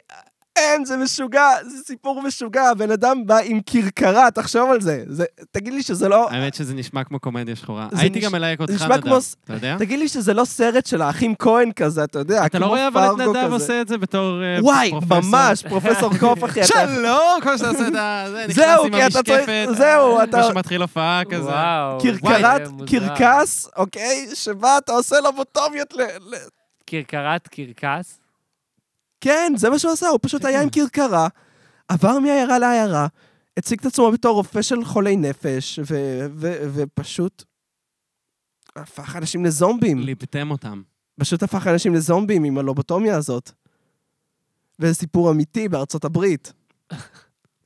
S2: אין, זה משוגע, זה סיפור משוגע. הבן אדם בא עם כרכרה, תחשוב על זה. זה- תגיד לי שזה לא...
S1: האמת שזה נשמע כמו קומדיה שחורה.
S2: זה
S1: הייתי
S2: נש-
S1: גם מלהק אותך,
S2: נשמע
S1: נדב.
S2: כמו ס-
S1: אתה יודע?
S2: תגיד לי שזה לא סרט של האחים כהן כזה, אתה יודע,
S1: אתה לא
S2: כמו
S1: רואה אבל את
S2: פרגו
S1: נדב
S2: כזה.
S1: עושה את זה בתור אה,
S2: וואי,
S1: פרופסור?
S2: ממש, פרופסור קוף, אחי. אתה-
S1: שלום! כמו שאתה עושה את ה... זה, נכנס
S2: זהו,
S1: עם
S2: כי אתה צריך-
S1: המשקפת,
S2: זהו,
S1: אה,
S2: אתה-
S1: כמו שמתחיל הופעה כזה.
S3: וואו.
S2: כרכרת,
S3: זה מוזר.
S2: קרקס, אוקיי? שבה אתה עושה לובוטומיות ל... ל-
S3: כרכרת קרקס?
S2: כן, זה מה שהוא עשה, הוא פשוט היה עם
S3: כן.
S2: כרכרה, עבר מעיירה לעיירה, הציג את עצמו בתור רופא של חולי נפש, ו- ו- ופשוט הפך אנשים לזומבים.
S1: ליבתם אותם.
S2: פשוט הפך אנשים לזומבים עם הלובוטומיה הזאת. וזה סיפור אמיתי בארצות הברית.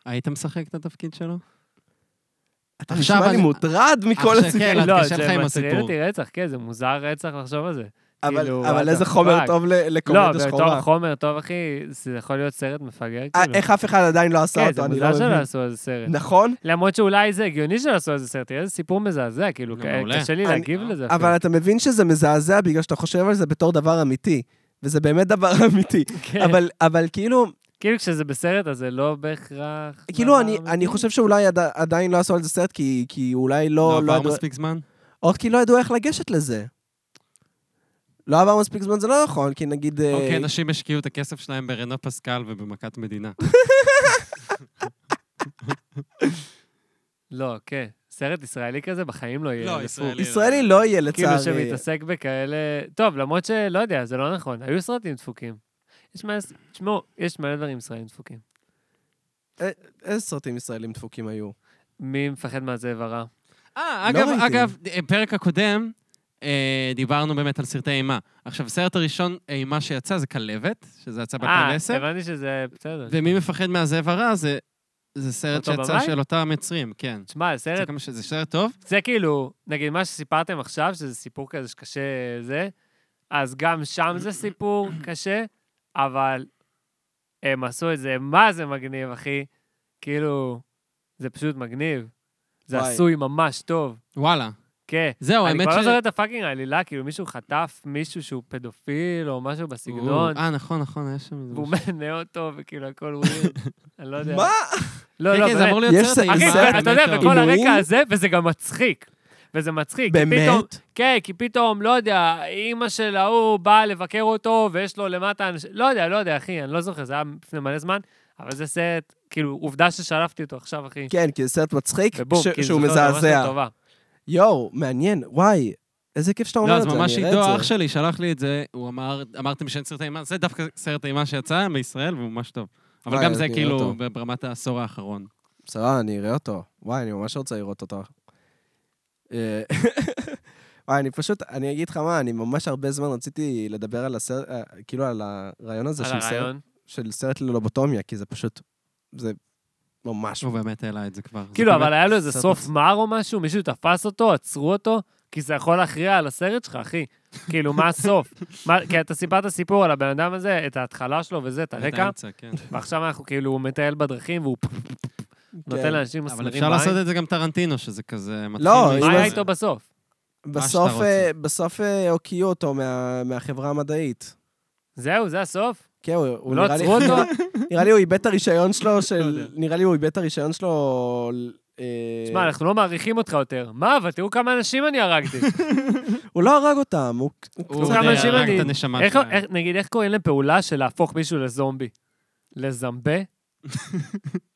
S1: היית משחק את התפקיד שלו?
S2: אתה
S1: עכשיו
S2: נשמע לי
S1: אני-
S2: מוטרד מכל
S1: עכשיו,
S2: הסיפור.
S1: כן,
S3: לא,
S1: להתקשר לך
S3: זה
S1: עם
S3: מטריד
S1: הסיפור.
S3: אותי רצח, כן, זה מוזר רצח לחשוב על זה.
S2: אבל-
S3: כאילו,
S2: אבל
S3: what
S2: איזה
S3: the
S2: חומר
S3: fuck?
S2: טוב ל-
S3: לא,
S2: לקומדיה
S3: בתור
S2: שחורה.
S3: חומר טוב, אחי, זה יכול להיות סרט מפגר.
S2: אה,
S3: כאילו.
S2: איך אף אחד עדיין לא עשה
S3: כן, זה
S2: אותו, אני לא
S3: מוזר שלא
S2: מבין.
S3: עשו על זה סרט.
S2: נכון,
S3: למרות שאולי זה הגיוני שלא עשו על זה סרט, תראה איזה סיפור מזעזע, כאילו,
S1: לא,
S3: כ-
S1: מעולה.
S3: קשה לי
S2: אני-
S3: להגיב לזה. אפילו.
S2: אבל אתה מבין שזה מזעזע בגלל שאתה חושב על זה בתור דבר אמיתי. וזה באמת דבר אמיתי.
S3: כן.
S2: אבל, אבל כאילו,
S3: כאילו כשזה בסרט, אז זה לא בהכרח...
S2: כאילו
S3: דבר
S2: אני,
S3: אמיתי.
S2: אני חושב שאולי עד, עדיין לא עשו על זה סרט, כי, כי אולי
S1: לא
S2: לא... לא
S1: עבר
S2: ידעו-
S1: מספיק זמן?
S2: או כי לא ידעו איך לגשת לזה. לא עבר מספיק זמן, זה לא נכון, כי נגיד... אה,
S1: אוקיי, אנשים השקיעו את הכסף שלהם ברנו פסקל ובמכת מדינה.
S3: לא, כן. סרט ישראלי כזה בחיים לא יהיה.
S1: לא,
S3: זה
S1: ישראלי.
S2: ישראלי לא יהיה
S3: פור. כאילו
S2: לצערי.
S3: שמתעסק בכאלה... טוב, למרות שלא יודע, זה לא נכון. היו סרטים דפוקים. יש מלא... תשמעו, יש מלא דברים ישראלים דפוקים.
S2: אה, איזה סרטים ישראלים דפוקים
S3: אה,
S2: היו?
S3: מי מפחד מהזאב הרע?
S1: אה,
S2: לא
S1: אגב,
S2: ראיתי.
S1: אגב, פרק הקודם, אה, דיברנו באמת על סרטי אימה. עכשיו, הסרט הראשון אימה שיצא זה כלבת, שזה יצא
S3: אה,
S1: בכנסת,
S3: הבנתי שזה בסדר.
S1: ומי מפחד מהזאב הרע זה זה סרט
S3: אותו
S1: שיצא
S3: במאי?
S1: של אותם יוצרים, כן.
S3: תשמע, סרט
S1: זה כמה ש- זה סרט טוב?
S3: זה כאילו, נגיד מה שסיפרתם עכשיו, שזה סיפור כזה שקשה זה, אז גם שם זה סיפור קשה, אבל הם עשו את זה, מה זה מגניב, אחי? כאילו, זה פשוט מגניב. זה
S2: וואי.
S3: עשוי ממש טוב.
S1: וואלה.
S3: כן.
S1: זהו,
S3: אני
S1: האמת
S3: כבר לא
S1: ש...
S3: זוכר את הפאקינג העלילה, כאילו מישהו חטף מישהו שהוא פדופיל או משהו בסגנון,
S1: אה, נכון, נכון, היה שם... איזה
S3: והוא
S1: משהו.
S3: מנה אותו, וכאילו הכל ווירד. אני לא יודע.
S2: מה?
S3: לא, לא,
S1: כן, כן, זה
S3: באמת.
S1: אמור להיות
S2: יש
S1: סרט כן.
S2: ס-
S1: אימה.
S3: אחי,
S2: סרט
S3: אתה
S1: באמת
S3: יודע,
S1: טוב.
S3: וכל הרקע
S2: עינויים?
S3: הזה, וזה גם מצחיק. וזה מצחיק. כי פתאום-
S2: באמת?
S3: כן, כי פתאום, לא יודע, אימא של ההוא באה לבקר אותו, ויש לו למטה אנשים... לא יודע, לא יודע, אחי, אני לא זוכר, זה היה לפני מלא זמן, אבל זה סרט, כאילו, עובדה ששלפתי אותו עכשיו, אחי.
S2: כן, כי זה סרט מצחיק,
S3: ובום,
S2: ש-
S3: כאילו,
S2: שהוא
S3: זוכר, זה ממש
S2: מזעזע.
S3: טובה.
S2: יואו, מעניין, וואי, איזה כיף שאתה אומר
S1: לא,
S2: את
S1: אז
S2: זה, אני אראה את
S1: ממש
S2: זה.
S1: עידו, אח שלי, שלח לי את זה, הוא אמר, אמרתם שאין סרט אימה, זה דווקא סרט אימה שיצא בישראל, והוא ממש טוב. אבל
S2: וואי,
S1: גם
S2: אז
S1: זה
S2: נראה
S1: כאילו
S2: אותו.
S1: ברמת העשור האחרון.
S2: בסדר, אני אראה אותו. וואי, אני ממש רוצה לראות אותו. אה, וואי, אני פשוט, אני אגיד לך מה, אני ממש הרבה זמן רציתי לדבר על הסרט, אה, כאילו על הרעיון הזה
S3: על
S2: של סרט,
S3: הרעיון.
S2: של סרט ללובוטומיה, כי זה פשוט, זה ממש...
S1: הוא באמת העלה את זה כבר. זה
S3: כאילו,
S1: באמת-
S3: אבל היה לו איזה
S2: סרט
S3: סוף
S2: מצ-
S3: מר או משהו, מישהו תפס אותו, עצרו אותו, כי זה יכול להכריע על הסרט שלך, אחי. כאילו, מה הסוף? מה- כי אתה סיפרת סיפור על הבן אדם הזה, את ההתחלה שלו וזה, את
S1: את
S3: הרקע,
S1: האמצע, כן.
S3: ועכשיו אנחנו כאילו, הוא מטייל בדרכים והוא נותן לאנשים
S1: אבל
S3: מסמרים
S1: אפשר לעשות את זה גם טרנטינו, שזה כזה מתחיל...
S2: לא,
S1: מ-
S2: אם
S3: מה היה
S2: אז-
S3: איתו בסוף?
S2: בסוף,
S1: שאתה
S2: אה, בסוף אה, הוקיעו אותו מה- מהחברה המדעית.
S3: זהו, זה הסוף?
S2: כן, הוא- הוא
S3: לא
S2: נראה לי...
S3: עצרו אותו? לא
S2: נראה לי הוא איבד את הרישיון שלו של...
S1: יודע.
S2: נראה לי הוא איבד את הרישיון שלו... אה,
S3: שמע, אנחנו לא מעריכים אותך יותר. מה, אבל תראו כמה אנשים אני הרגתי.
S2: הוא לא הרג אותם, הוא...
S1: הוא
S3: כמה
S1: הרג
S3: אנשים אני-
S1: את הנשמה
S3: איך-
S1: שלהם.
S3: איך- נגיד, איך קוראים לפעולה של להפוך מישהו לזומבי? לזמבה?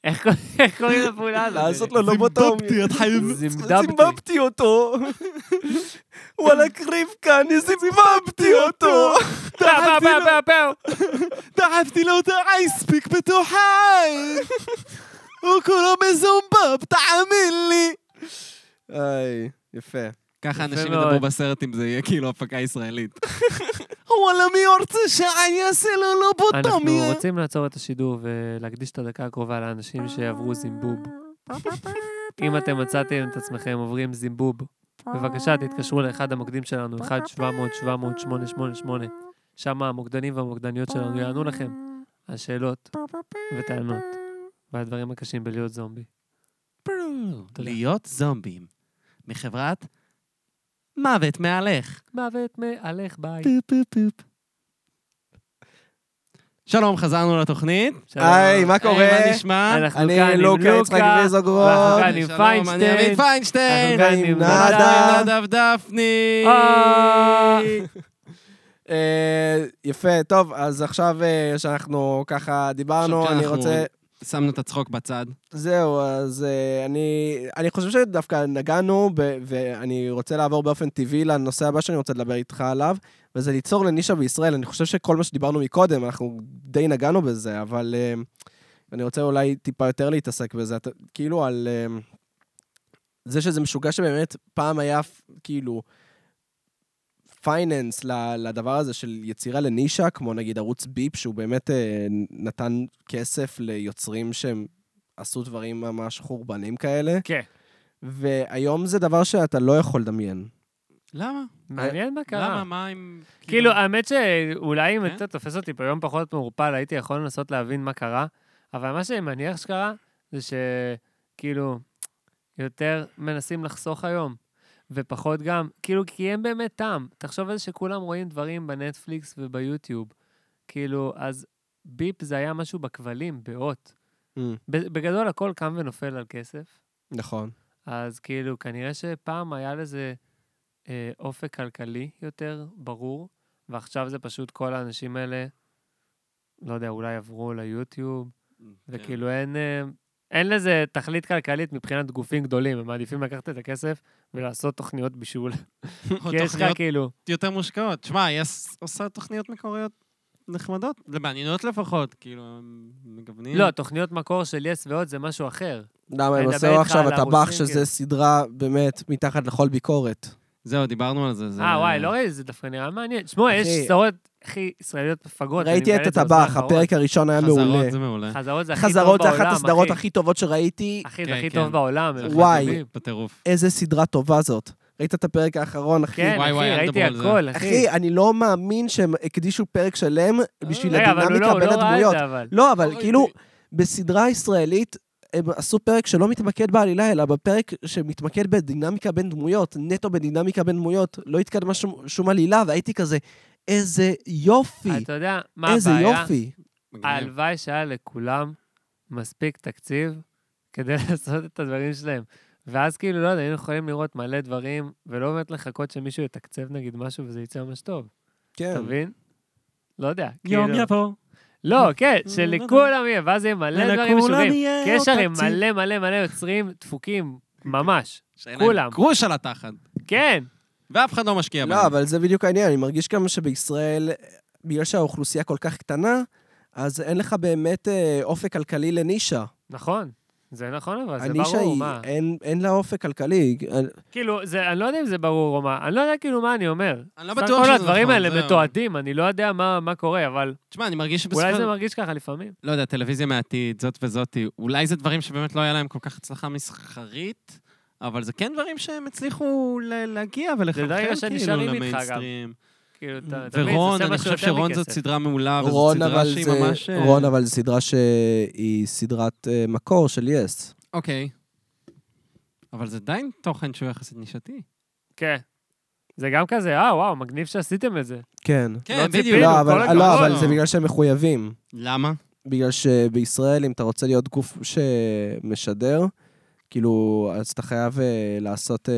S3: איך קוראים- איך קוראים לפעולה הזאת?
S2: לעשות לו לובוטומיה.
S1: את חייב...
S3: זימדבתי.
S2: זימבבתי אותו. הוא על הקרבקה, אני זימבבתי אותו.
S1: לא,
S3: פאו, פאו, פאו, פאו, פאו.
S1: דחפתי לו את האייספיק בתוחיי! הוא כולו מזומבב, תעמין לי!
S2: איי, יפה.
S1: ככה
S3: יפה
S1: אנשים
S3: מאוד.
S1: ידברו בסרט אם זה יהיה כאילו הפקה ישראלית.
S2: וואלה, מי רוצה שאני אעשה לו
S1: לא
S3: אנחנו רוצים לעצור את השידור ולהקדיש את הדקה הקרובה לאנשים שעברו זימבוב. אם אתם מצאתם את עצמכם עוברים זימבוב, בבקשה תתקשרו לאחד המוקדים שלנו, 1-700-700-888. שם המוקדנים והמוקדניות שלנו יענו לכם על שאלות וטענות והדברים הקשים בלהיות זומבי. תודה.
S1: להיות זומבים. מחברת מוות מהלך.
S3: מוות מהלך ביי.
S1: פופ, פופ, פופ. שלום, חזרנו לתוכנית.
S3: שלום.
S2: היי, מה
S1: היי,
S2: קורה?
S1: מה נשמע?
S3: אנחנו
S2: אני
S3: כאן עם
S2: לוקה, יצחק
S3: לוקה,
S2: ויזוגרוד.
S3: כאן עם
S1: שלום,
S3: פיינשטיין.
S1: אני עמית
S3: אנחנו
S1: פיינשטיין.
S3: כאן עם
S2: ועם
S1: אנחנו
S2: נדב.
S1: עם נדב דפני.
S3: אה.
S2: אה, יפה, טוב, אז עכשיו אה, שאנחנו ככה דיברנו,
S1: עכשיו
S2: אני
S1: שאנחנו-
S2: רוצה...
S1: שמנו את הצחוק בצד.
S2: זהו, אז אה, אני, אני חושב שדווקא נגענו, ב, ואני רוצה לעבור באופן טבעי לנושא הבא שאני רוצה לדבר איתך עליו, וזה ליצור לנישה בישראל. אני חושב שכל מה שדיברנו מקודם, אנחנו די נגענו בזה, אבל אה, אני רוצה אולי טיפה יותר להתעסק בזה. אתה, כאילו על אה, זה שזה משוגע שבאמת פעם היה כאילו פייננס ל- לדבר הזה של יצירה לנישה, כמו נגיד ערוץ ביפ, שהוא באמת אה, נתן כסף ליוצרים שהם עשו דברים ממש חורבנים כאלה,
S3: כן.
S2: והיום זה דבר שאתה לא יכול לדמיין.
S1: למה?
S3: מעניין מה קרה.
S1: למה? מה עם...
S3: כאילו, האמת שאולי אם
S1: כן?
S3: אתה תופס אותי ביום פחות מעורפל, הייתי יכול לנסות להבין מה קרה, אבל מה שאני מניח שקרה, זה שכאילו, יותר מנסים לחסוך היום, ופחות גם, כאילו, כי אין באמת טעם. תחשוב על זה שכולם רואים דברים בנטפליקס וביוטיוב. כאילו, אז ביפ זה היה משהו בכבלים, באות. ב- בגדול, הכל קם ונופל על כסף.
S2: נכון.
S3: אז כאילו, כנראה שפעם היה לזה אה, אופק כלכלי יותר ברור, ועכשיו זה פשוט כל האנשים האלה, לא יודע, אולי עברו ליוטיוב,
S1: כן.
S3: וכאילו אין, אה, אין לזה תכלית כלכלית מבחינת גופים גדולים, הם מעדיפים לקחת את הכסף ולעשות תוכניות בישול. כי יש לך
S1: תוכניות
S3: כאילו,
S1: יותר מושקעות. שמע, היא עש- עושה תוכניות מקוריות נחמדות, מעניינות לפחות, כאילו, הם מגוונים.
S3: לא, תוכניות מקור של יס ועוד זה משהו אחר.
S2: למה, הם
S3: אני
S2: עשו
S3: מדבר איתך
S2: עכשיו
S3: על
S2: הטבח,
S3: הרוסים,
S2: שזה
S3: כן.
S2: סדרה באמת מתחת לכל ביקורת.
S1: זהו, דיברנו על זה. זה-
S3: אה, וואי, לא ראיתי, זה דווקא נראה מעניין. תשמעו, יש
S2: אחי,
S3: סדרות, הכי ישראליות מפגרות. אני
S2: ראיתי
S3: מגלה
S2: את
S3: זה בזמן
S2: הטבח,
S3: האחרון.
S2: הפרק הראשון היה מעולה.
S1: חזרות זה מעולה.
S3: חזרות זה הכי טוב בעולם,
S2: חזרות זה
S3: אחי.
S2: אחת הסדרות הכי טובות שראיתי.
S3: אחי,
S1: כן,
S3: זה הכי
S1: כן.
S3: טוב בעולם.
S1: זה
S3: הם
S1: אחת
S2: וואי.
S1: הטובים.
S3: מדהימים.
S1: בטירוף.
S2: איזה סדרה טובה זאת. ראית את הפרק האחרון, אחי?
S3: כן,
S1: וואי, וואי,
S3: אחי,
S1: אל
S3: ראיתי
S1: תדברו על זה.
S3: הכל, אחי.
S2: אחי, אני לא מאמין שהם הקדישו פרק שלם בשביל
S3: רגע, אבל הוא לא-
S2: הדינמיקה
S3: הוא
S2: בין
S3: לא ראה את
S2: הדמויות.
S3: זה, אבל.
S2: לא, אבל
S1: לא
S2: כאילו,
S1: ראיתי.
S2: בסדרה ישראלית, הם עשו פרק שלא מתמקד בעלילה, אלא בפרק שמתמקד בדינמיקה בין דמויות, נטו בדינמיקה בין דמויות. לא התקדמה שום- שום עלילה, והייתי כזה, איזה יופי,
S3: אתה יודע מה הבעיה?
S2: איזה יופי.
S1: מגניב.
S3: הלוואי שהיה לכולם מספיק תקציב כדי לעשות את הדברים שלהם. ואז כאילו, לא יודע, היינו יכולים לראות מלא דברים, ולא באמת לחכות שמישהו יתקצב נגיד משהו וזה יצא ממש טוב.
S2: כן.
S3: אתה מבין? לא יודע.
S1: יום
S3: כאילו-
S1: יבוא.
S3: לא, כן, שלכולם יהיה, ואז יהיה מלא דברים משוגעים. כי יש הרי מלא מלא מלא יוצרים דפוקים, ממש.
S1: שאין להם
S3: כולם.
S1: גרוש על התחת.
S3: כן.
S1: ואף אחד לא משקיע בהם.
S2: לא, אבל זה בדיוק העניין, אני מרגיש גם שבישראל, בגלל שהאוכלוסייה כל כך קטנה, אז אין לך באמת אה, אופק כלכלי לנישה.
S3: נכון. זה נכון, אבל זה
S2: הנישה
S3: ברור,
S2: היא,
S3: מה?
S2: אין- אין לה אופק כלכלי.
S3: כאילו, זה- אני לא יודע אם זה ברור או מה, אני לא יודע כאילו מה אני אומר.
S1: אני לא
S3: סך
S1: בטוח שזה
S3: הכל
S1: נכון.
S3: הדברים האלה
S1: זהו.
S3: מתועדים, אני לא יודע מה מה קורה, אבל
S1: תשמע, אני מרגיש
S3: אולי זה
S1: שבסופו...
S3: מרגיש ככה לפעמים.
S1: לא יודע, טלוויזיה מהעתיד, זאת וזאתי, אולי זה דברים שבאמת לא היה להם כל כך הצלחה מסחרית, אבל זה כן דברים שהם הצליחו ל- להגיע ולחלחל
S3: דרגה
S1: כאילו
S3: שנשארים איתך גם.
S1: למיינסטרים.
S3: כאילו, אתה- אתה מבין, זה
S1: ורון,
S3: עושה
S1: אני
S3: משהו
S1: חושב
S3: יותר
S1: שרון זאת
S3: מכסף.
S1: סדרה מעולה, וזאת
S2: רון,
S1: אה, סדרה
S2: אבל
S1: שהיא
S2: זה-
S1: ממש... אה,
S2: רון, אבל סדרה שהיא סדרת אה, מקור של יס.
S1: אוקיי. אבל זה עדיין תוכן שהוא יחסית נישתי.
S3: כן. זה גם כזה, אה, וואו, מגניב שעשיתם את זה.
S2: כן.
S3: לא
S1: כן,
S3: ציפינו,
S1: בדיוק.
S2: לא,
S3: כל
S2: אבל,
S3: הכבוד.
S2: לא, אבל זה בגלל שהם מחויבים.
S1: למה?
S2: בגלל שבישראל, אם אתה רוצה להיות גוף שמשדר, כאילו, אז אתה חייב אה, לעשות, אה,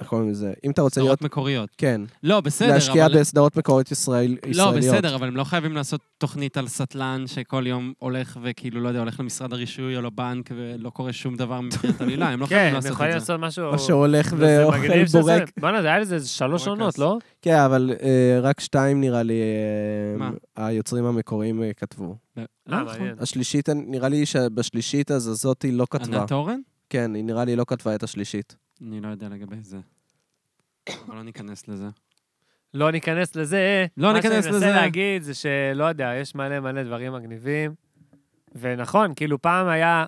S2: איך קוראים לזה? אם אתה רוצה להיות,
S1: סדרות מקוריות.
S2: כן,
S1: לא, בסדר,
S2: להשקיע
S1: אבל...
S2: בסדרות מקוריות ישראל,
S1: לא,
S2: ישראליות.
S1: בסדר, אבל הם לא חייבים לעשות תוכנית על סטלן שכל יום הולך וכאילו, לא יודע, הולך למשרד הרישוי או לבנק ולא קורה שום דבר מבחינת עלילה, הם לא
S3: כן,
S1: חייבים
S3: הם
S1: לעשות
S3: יכולים
S1: את זה.
S3: לעשות משהו...
S2: מה שהולך
S3: זה
S2: ואוכל
S3: מגניב שזה-
S2: בורק.
S3: בוא'נה, זה היה לזה איזה שלוש
S1: בורקס.
S3: עונות, לא?
S2: כן, אבל אה, רק שתיים נראה לי, אה,
S1: מה?
S2: היוצרים המקוריים אה, כתבו.
S1: לא
S3: אה,
S1: נכון.
S3: מעניין.
S2: השלישית, נראה לי שבשלישית אז הזאתי לא כתבה.
S1: ענת אורן?
S2: כן, היא נראה לי לא כתבה את השלישית.
S1: אני לא יודע לגבי זה. אבל לא ניכנס לזה.
S3: לא ניכנס לזה.
S1: לא ניכנס
S3: מה שאני
S1: לזה.
S3: מנסה להגיד זה שלא יודע, יש מלא מלא דברים מגניבים. ונכון, כאילו פעם היה...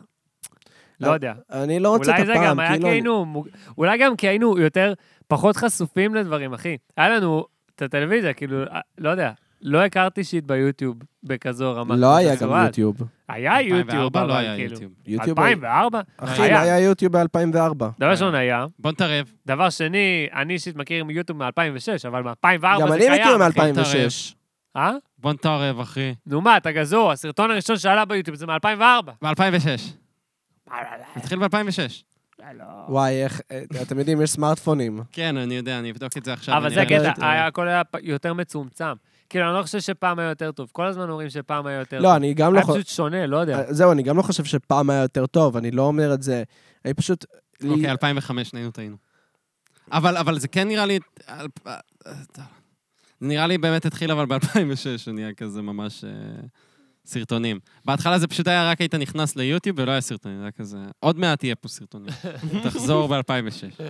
S3: לא
S2: לא,
S3: יודע.
S2: אני לא רוצה את
S3: אולי זה
S2: הפעם,
S3: גם היה כי
S2: כאילו... אני-
S3: היינו... מוג- אולי גם כי היינו יותר, פחות חשופים לדברים, אחי. היה לנו את הטלוויזיה, כאילו, אה, לא יודע. לא הכרתי שיט ביוטיוב בכזו רמה.
S2: לא היה גם
S3: בצורה.
S2: יוטיוב.
S3: היה אה, יוטיוב,
S1: 2004
S3: אבל
S1: לא היה
S3: כאילו.
S1: יוטיוב.
S2: יוטיוב...
S3: 2004?
S2: אחי, לא היה אה. יוטיוב ב-2004.
S3: דבר ראשון היה.
S1: בוא נתערב.
S3: דבר שני, אני אישית מכיר יוטיוב מ-2006, אבל מ-2004
S2: גם
S3: זה
S2: אני
S3: קיים.
S2: מכיר
S3: אחי.
S2: מ-2006.
S3: אה?
S1: בוא נתערב, אחי.
S3: נו מה, אתה גזור, הסרטון הראשון שעלה ביוטיוב זה מ-2004.
S1: ב-2006. התחיל ב-2006.
S2: וואי, איך... אה, אתם יודעים, יש סמארטפונים.
S1: כן, אני יודע, אני אבדוק את זה עכשיו.
S3: אבל
S1: אני
S3: זה
S1: אראה.
S2: לא
S3: הקטע,
S2: הייתי-
S3: היה- הכל היה פ- יותר מצומצם. כאילו, אני לא חושב שפעם היה יותר טוב. כל הזמן אומרים שפעם היה יותר טוב.
S2: לא, אני גם לא
S3: היה
S2: חושב...
S3: פשוט שונה, לא יודע.
S1: אה,
S2: זהו, אני גם לא חושב שפעם היה יותר טוב, אני לא אומר את זה. אני פשוט...
S1: אוקיי, 2005, שנינו טעינו. אבל, אבל זה כן נראה לי... אל- אה, אה, טוב. זה נראה לי באמת התחיל אבל ב-2006, שנהיה כזה ממש אה, סרטונים. בהתחלה זה פשוט היה רק היית נכנס ליוטיוב ולא היה סרטונים, זה היה כזה... עוד מעט יהיה פה סרטונים. תחזור ב-2006.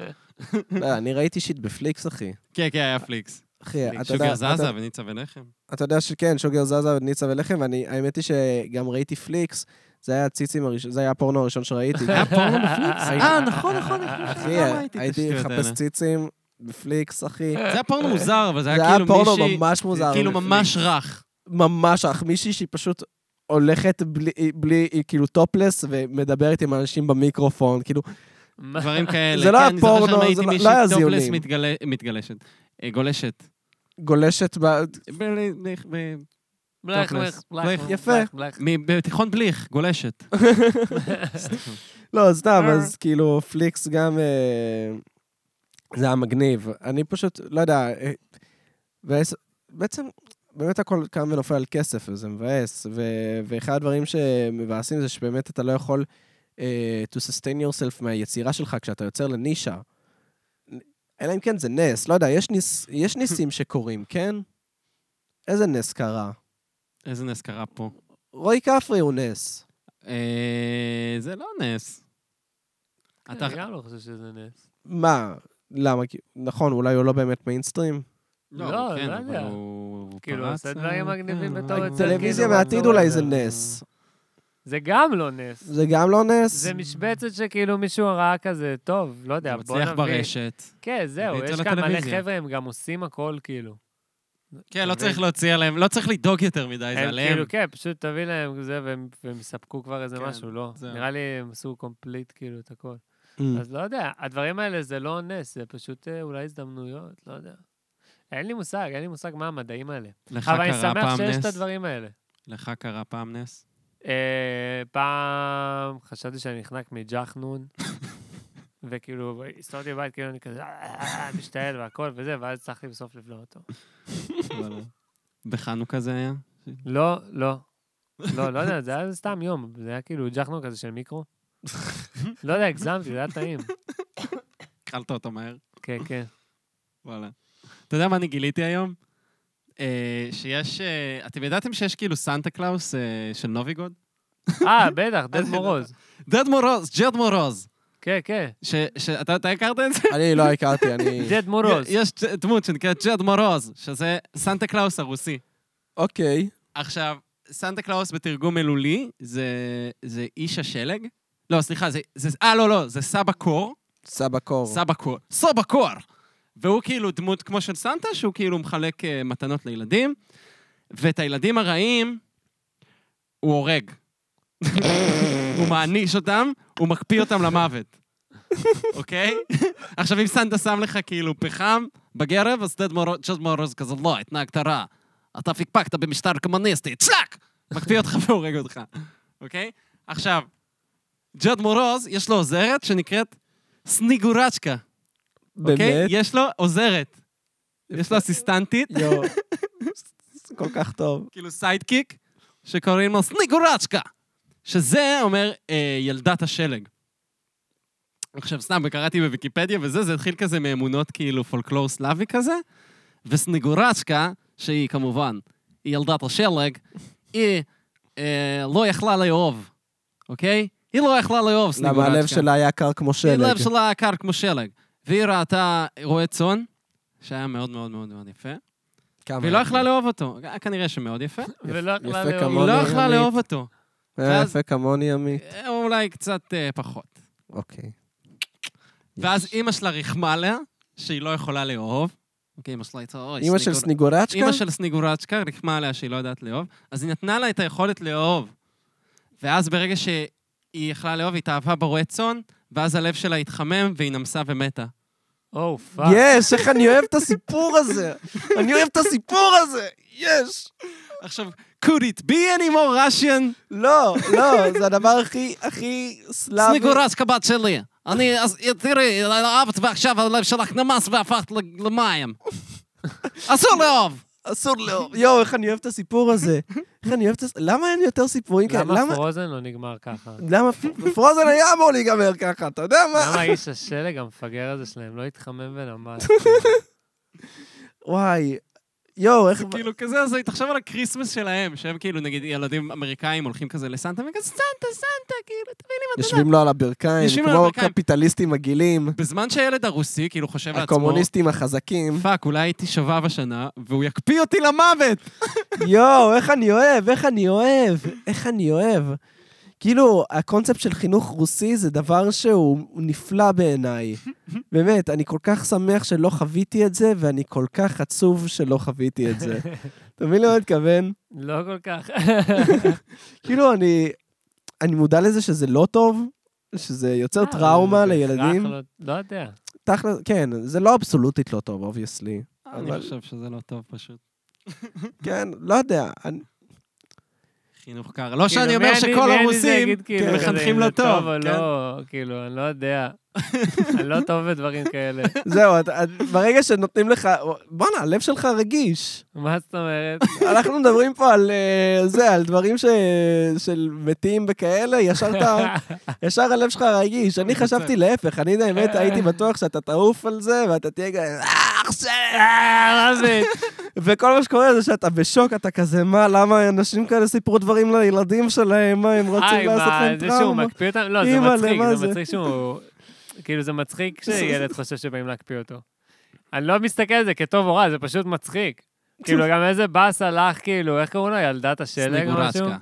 S2: לא, אני ראיתי שיט בפליקס, אחי.
S1: כן, כן, היה פליקס.
S2: אחי, אתה יודע...
S1: שוגר
S2: אתה-
S1: זזה וניצה ולחם.
S2: אתה יודע שכן, שוגר זזה וניצה ולחם, ואני... האמת היא שגם ראיתי פליקס, זה היה הציצים הראשון, זה היה הפורנו הראשון שראיתי.
S1: היה פורנו בפליקס?
S2: הייתי-
S1: אה, נכון, נכון,
S2: אחי, אה,
S1: אחי.
S2: הייתי מחפש ציצים בפליקס, אחי.
S1: זה היה פורנו מוזר, אבל זה
S2: זה
S1: היה
S2: היה
S1: כאילו
S2: פורנו
S1: מישהי...
S2: ממש מוזר.
S1: כאילו
S2: בפליקס.
S1: ממש רך.
S2: ממש אך, מישהי שהיא פשוט הולכת בלי, בלי, היא כאילו טופלס ומדברת עם אנשים במיקרופון, כאילו,
S3: מה?
S1: דברים כאלה.
S2: זה
S1: כן,
S2: לא היה
S1: אני
S2: פורנו,
S1: זוכר
S2: זה
S1: שם הייתי
S2: לא-
S1: מישהי
S2: לא היה
S1: טופלס
S2: זיונים.
S1: מתגלה- מתגלשת. אה, גולשת.
S2: גולשת ב...
S1: ב- ב- ב- טופלס.
S3: בלייך, בלייך,
S1: בלייך,
S3: בלייך,
S2: יפה.
S3: בלייך, בלייך.
S1: מ- בתיכון בליך, גולשת.
S2: לא, סתם,
S3: אה.
S2: אז כאילו, פליקס גם... אה, זה היה מגניב. אני פשוט, לא יודע, אה, מבאס- בעצם, באמת הכל קם ונופל על כסף, וזה מבאס. ו- ואחד הדברים שמבאסים זה שבאמת אתה לא יכול אה, to sustain yourself מהיצירה שלך כשאתה יוצר לנישה. אלא אם כן זה נס, לא יודע, יש, ניס, יש ניסים שקורים, כן? איזה נס קרה?
S1: איזה נס קרה פה.
S2: רועי כפרי הוא נס.
S1: אה, זה לא נס. אתה-
S3: אני גם לא חושב שזה נס.
S2: מה? למה? כי- נכון, אולי הוא לא באמת מיינסטרים?
S3: לא,
S1: הוא
S3: לא
S1: כן,
S3: יודע.
S1: אבל הוא הוא
S3: כאילו,
S1: פרץ,
S3: עושה דברים
S1: אה,
S3: מגניבים
S1: כן,
S3: בתור
S1: אבל-
S3: יוצר,
S2: טלוויזיה
S3: כאילו,
S2: מהעתיד
S3: לא
S2: אולי
S3: יודע.
S2: זה נס.
S3: זה גם לא נס.
S2: זה גם לא נס?
S3: זה משבצת שכאילו מישהו ראה כזה, טוב, לא יודע,
S1: זה
S3: בוא נביא.
S1: מצליח ברשת.
S3: כן, זהו,
S1: הביא את זה
S3: יש כאן מלא
S1: לטלוויזיה.
S3: חבר'ה, הם גם עושים הכל, כאילו.
S1: כן, לא
S3: מבין?
S1: צריך להוציא עליהם, לא צריך לדאוג יותר מדי, זה
S3: הם
S1: עליהם.
S3: כאילו, כן, פשוט תביא להם זה, והם והם יספקו כבר איזה
S1: כן,
S3: משהו, לא.
S1: זהו.
S3: נראה לי הם עשו קומפליט, כאילו, את הכל.
S2: Mm.
S3: אז לא יודע, הדברים האלה זה לא נס, זה פשוט אה, אולי הזדמנויות, לא יודע. אין לי מושג, אין לי מושג מה המדעים האלה.
S1: לך
S3: אבל אני
S1: קרה
S3: שמח
S1: פעם
S3: שיש
S1: נס?
S3: את הדברים האלה.
S1: לך קרה פעם נס?
S3: אה, פעם חשבתי שאני נחנק מג'חנון, וכאילו, הסתובבתי בבית, כאילו, אני כזה, "אה, משתעל והכל וזה, ואז הצלחתי בסוף לבלוע אותו.
S1: אבל- אה, בחנוכה זה היה?
S3: לא, לא. לא, לא יודע, זה היה סתם יום, זה היה כאילו ג'חנון כזה של מיקרו. לא יודע, הגזמתי, זה היה טעים.
S1: אכלת אותו מהר?
S3: כן, כן.
S1: וואלה. אתה יודע מה אני גיליתי היום? אה, שיש... אה, אתם ידעתם שיש כאילו סנטה קלאוס אה, של נוביגוד?
S3: אה, בטח, דוד מורוז.
S1: דד מורוז, ג'ד מורוז.
S3: כן, כן,
S1: ש- ש- אתה אתה הכרת את זה?
S2: אני לא הכרתי, אני...
S3: דוד מורוז.
S1: יש דמות שנקראת ג'ד מורוז, שזה סנטה קלאוס הרוסי.
S2: אוקיי.
S1: עכשיו, סנטה קלאוס בתרגום מילולי זה, זה איש השלג? לא, סליחה, זה... זה- אה, לא, לא, זה סבא קור.
S2: סבא קור.
S1: סבא קור. סבא קור! והוא כאילו דמות כמו של סנטה, שהוא כאילו מחלק אה, מתנות לילדים, ואת הילדים הרעים הוא הורג. הוא מעניש אותם, הוא מקפיא אותם למוות, אוקיי? עכשיו, אם סנטה שם לך כאילו פחם בגרב, אז דד מורוז, ג'ד מורוז כזה, לא, התנהגת רע. אתה פיקפקת במשטר קומוניסטי, צ'לק! מקפיא אותך והורג אותך, אוקיי? עכשיו, ג'ד מורוז, יש לו עוזרת שנקראת סניגורצ'קה. אוקיי?
S2: באמת?
S1: יש לו עוזרת. יש לו אסיסטנטית,
S2: יואו. זה כל כך טוב.
S1: כאילו סיידקיק, שקוראים לו סניגורצ'קה. שזה אומר אה, ילדת השלג. עכשיו, סתם, קראתי בוויקיפדיה וזה, זה התחיל כזה מאמונות כאילו פולקלור סלאבי כזה, וסניגורצ'קה, שהיא כמובן ילדת השלג, היא אה, לא יכלה לאהוב, אוקיי? היא לא יכלה לאהוב סניגורצ'קה.
S2: למה הלב שלה היה קר כמו שלג.
S1: הלב שלה קר כמו שלג. והיא ראתה רועה צאן, שהיה מאוד מאוד מאוד מאוד יפה,
S2: כמה?
S1: והיא לא יכלה לאהוב אותו. כנראה שמאוד יפה.
S3: ולא יכלה
S2: יפה
S1: היא
S2: כמוני.
S3: לאהוב.
S1: לא יכלה
S2: עמית.
S1: לאהוב אותו.
S2: אה, יפה כמוני עמית.
S1: אה, אולי קצת אה, פחות.
S2: אוקיי.
S1: ואז אימא שלה ריחמה לה, שהיא לא יכולה לאהוב. אוקיי, אימא שלה הייתה... אוי,
S2: אימא של
S1: סניגור-
S2: סניגורצ'קה?
S1: אימא של סניגורצ'קה ריחמה עליה שהיא לא יודעת לאהוב, אז היא נתנה לה את היכולת לאהוב. ואז ברגע שהיא יכלה לאהוב, היא התאהבה ברועה צאן, ואז הלב שלה התחמם והיא נמסה ומתה.
S3: או, פאק.
S2: יש, איך אני אוהב את הסיפור הזה. אני אוהב את הסיפור הזה. יש.
S1: עכשיו, could it be any more Russian?
S2: לא, לא, זה הדבר הכי, הכי סלאבי.
S1: סניגורצ'קה בת שלי. אני, אז תראי, אהבת ועכשיו הלב שלך נמס והפכת ל- למים. אסור לאהוב!
S2: אסור לא. יואו, איך אני אוהב את הסיפור הזה. איך אני אוהב את הס... למה אין יותר סיפורים כאלה?
S3: למה
S2: למה...
S3: פרוזן לא נגמר ככה?
S2: למה פ- פרוזן היה אמור להיגמר ככה, אתה יודע
S3: למה
S2: מה?
S3: איש השלג המפגר הזה שלהם לא התחמם ונמס?
S2: וואי. יואו, איך...
S1: כאילו כזה, אז תחשוב על הקריסמס שלהם, שהם כאילו, נגיד, ילדים אמריקאים הולכים כזה לסנטה, וכזה סנטה, סנטה, כאילו, תביא לי מתנה.
S2: יושבים לו על הברכיים,
S1: יושבים לו על
S2: כמו
S1: הברכיים.
S2: קפיטליסטים מגעילים,
S1: בזמן שהילד הרוסי כאילו חושב לעצמו,
S2: הקומוניסטים החזקים.
S1: פאק, אולי הייתי שובב השנה, והוא יקפיא אותי למוות!
S2: יואו, איך אני אוהב, איך אני אוהב, איך אני אוהב. כאילו, הקונספט של חינוך רוסי זה דבר שהוא הוא נפלא בעיניי. באמת, אני כל כך שמח שלא חוויתי את זה, ואני כל כך עצוב שלא חוויתי את זה. אתה מבין למה אני מתכוון?
S3: לא כל כך.
S2: כאילו, אני, אני מודע לזה שזה לא טוב, שזה יוצר
S1: אה,
S2: טראומה
S3: זה בהכרח
S2: לילדים.
S3: לא- לא יודע.
S2: תכל'ס, כן, זה לא אבסולוטית לא טוב, אובייסלי.
S1: אני חושב שזה לא טוב פשוט.
S2: כן, לא יודע. אני,
S1: חינוך קר. לא
S3: כאילו,
S1: שאני
S3: מי
S1: אומר
S3: אני-
S1: שכל
S3: מי אני זה
S1: הרוסים
S3: יגיד, כאילו,
S1: כן,
S3: כזה,
S1: מחנכים
S3: אם זה
S1: לא טוב,
S3: או
S1: כן?
S3: לא, כאילו, אני לא יודע. אני לא טוב בדברים כאלה.
S2: זהו, את, את, ברגע שנותנים לך... בואנה, הלב שלך רגיש.
S3: מה זאת אומרת?
S2: אנחנו מדברים פה על אה, זה, על דברים ש... של מתים וכאלה, ישר אתה... ישר הלב שלך רגיש. אני חשבתי להפך, אני באמת הייתי בטוח שאתה תעוף על זה, ואתה תהיה כזה... "אה, אח שלי!"
S3: אה, רזי.
S2: וכל מה שקורה זה שאתה בשוק, אתה כזה, מה, למה אנשים כאלה סיפרו דברים לילדים שלהם, מה, הם
S3: היי,
S2: רוצים לעשות
S3: מה,
S2: להם
S3: זה שהוא
S2: טראומה?
S3: מקפיא אותם? לא, זה
S2: אימא'לה,
S3: מצחיק,
S2: מה
S3: זה
S2: זה?
S3: מצחיק שהוא... כאילו, זה מצחיק שילד חושב שבאים להקפיא אותו. אני לא מסתכל על זה כטוב או רע, זה פשוט מצחיק. כאילו, גם איזה באסה לך, כאילו, איך קראו לו? ילדת השלג או משהו?
S1: סניגורצ'קה.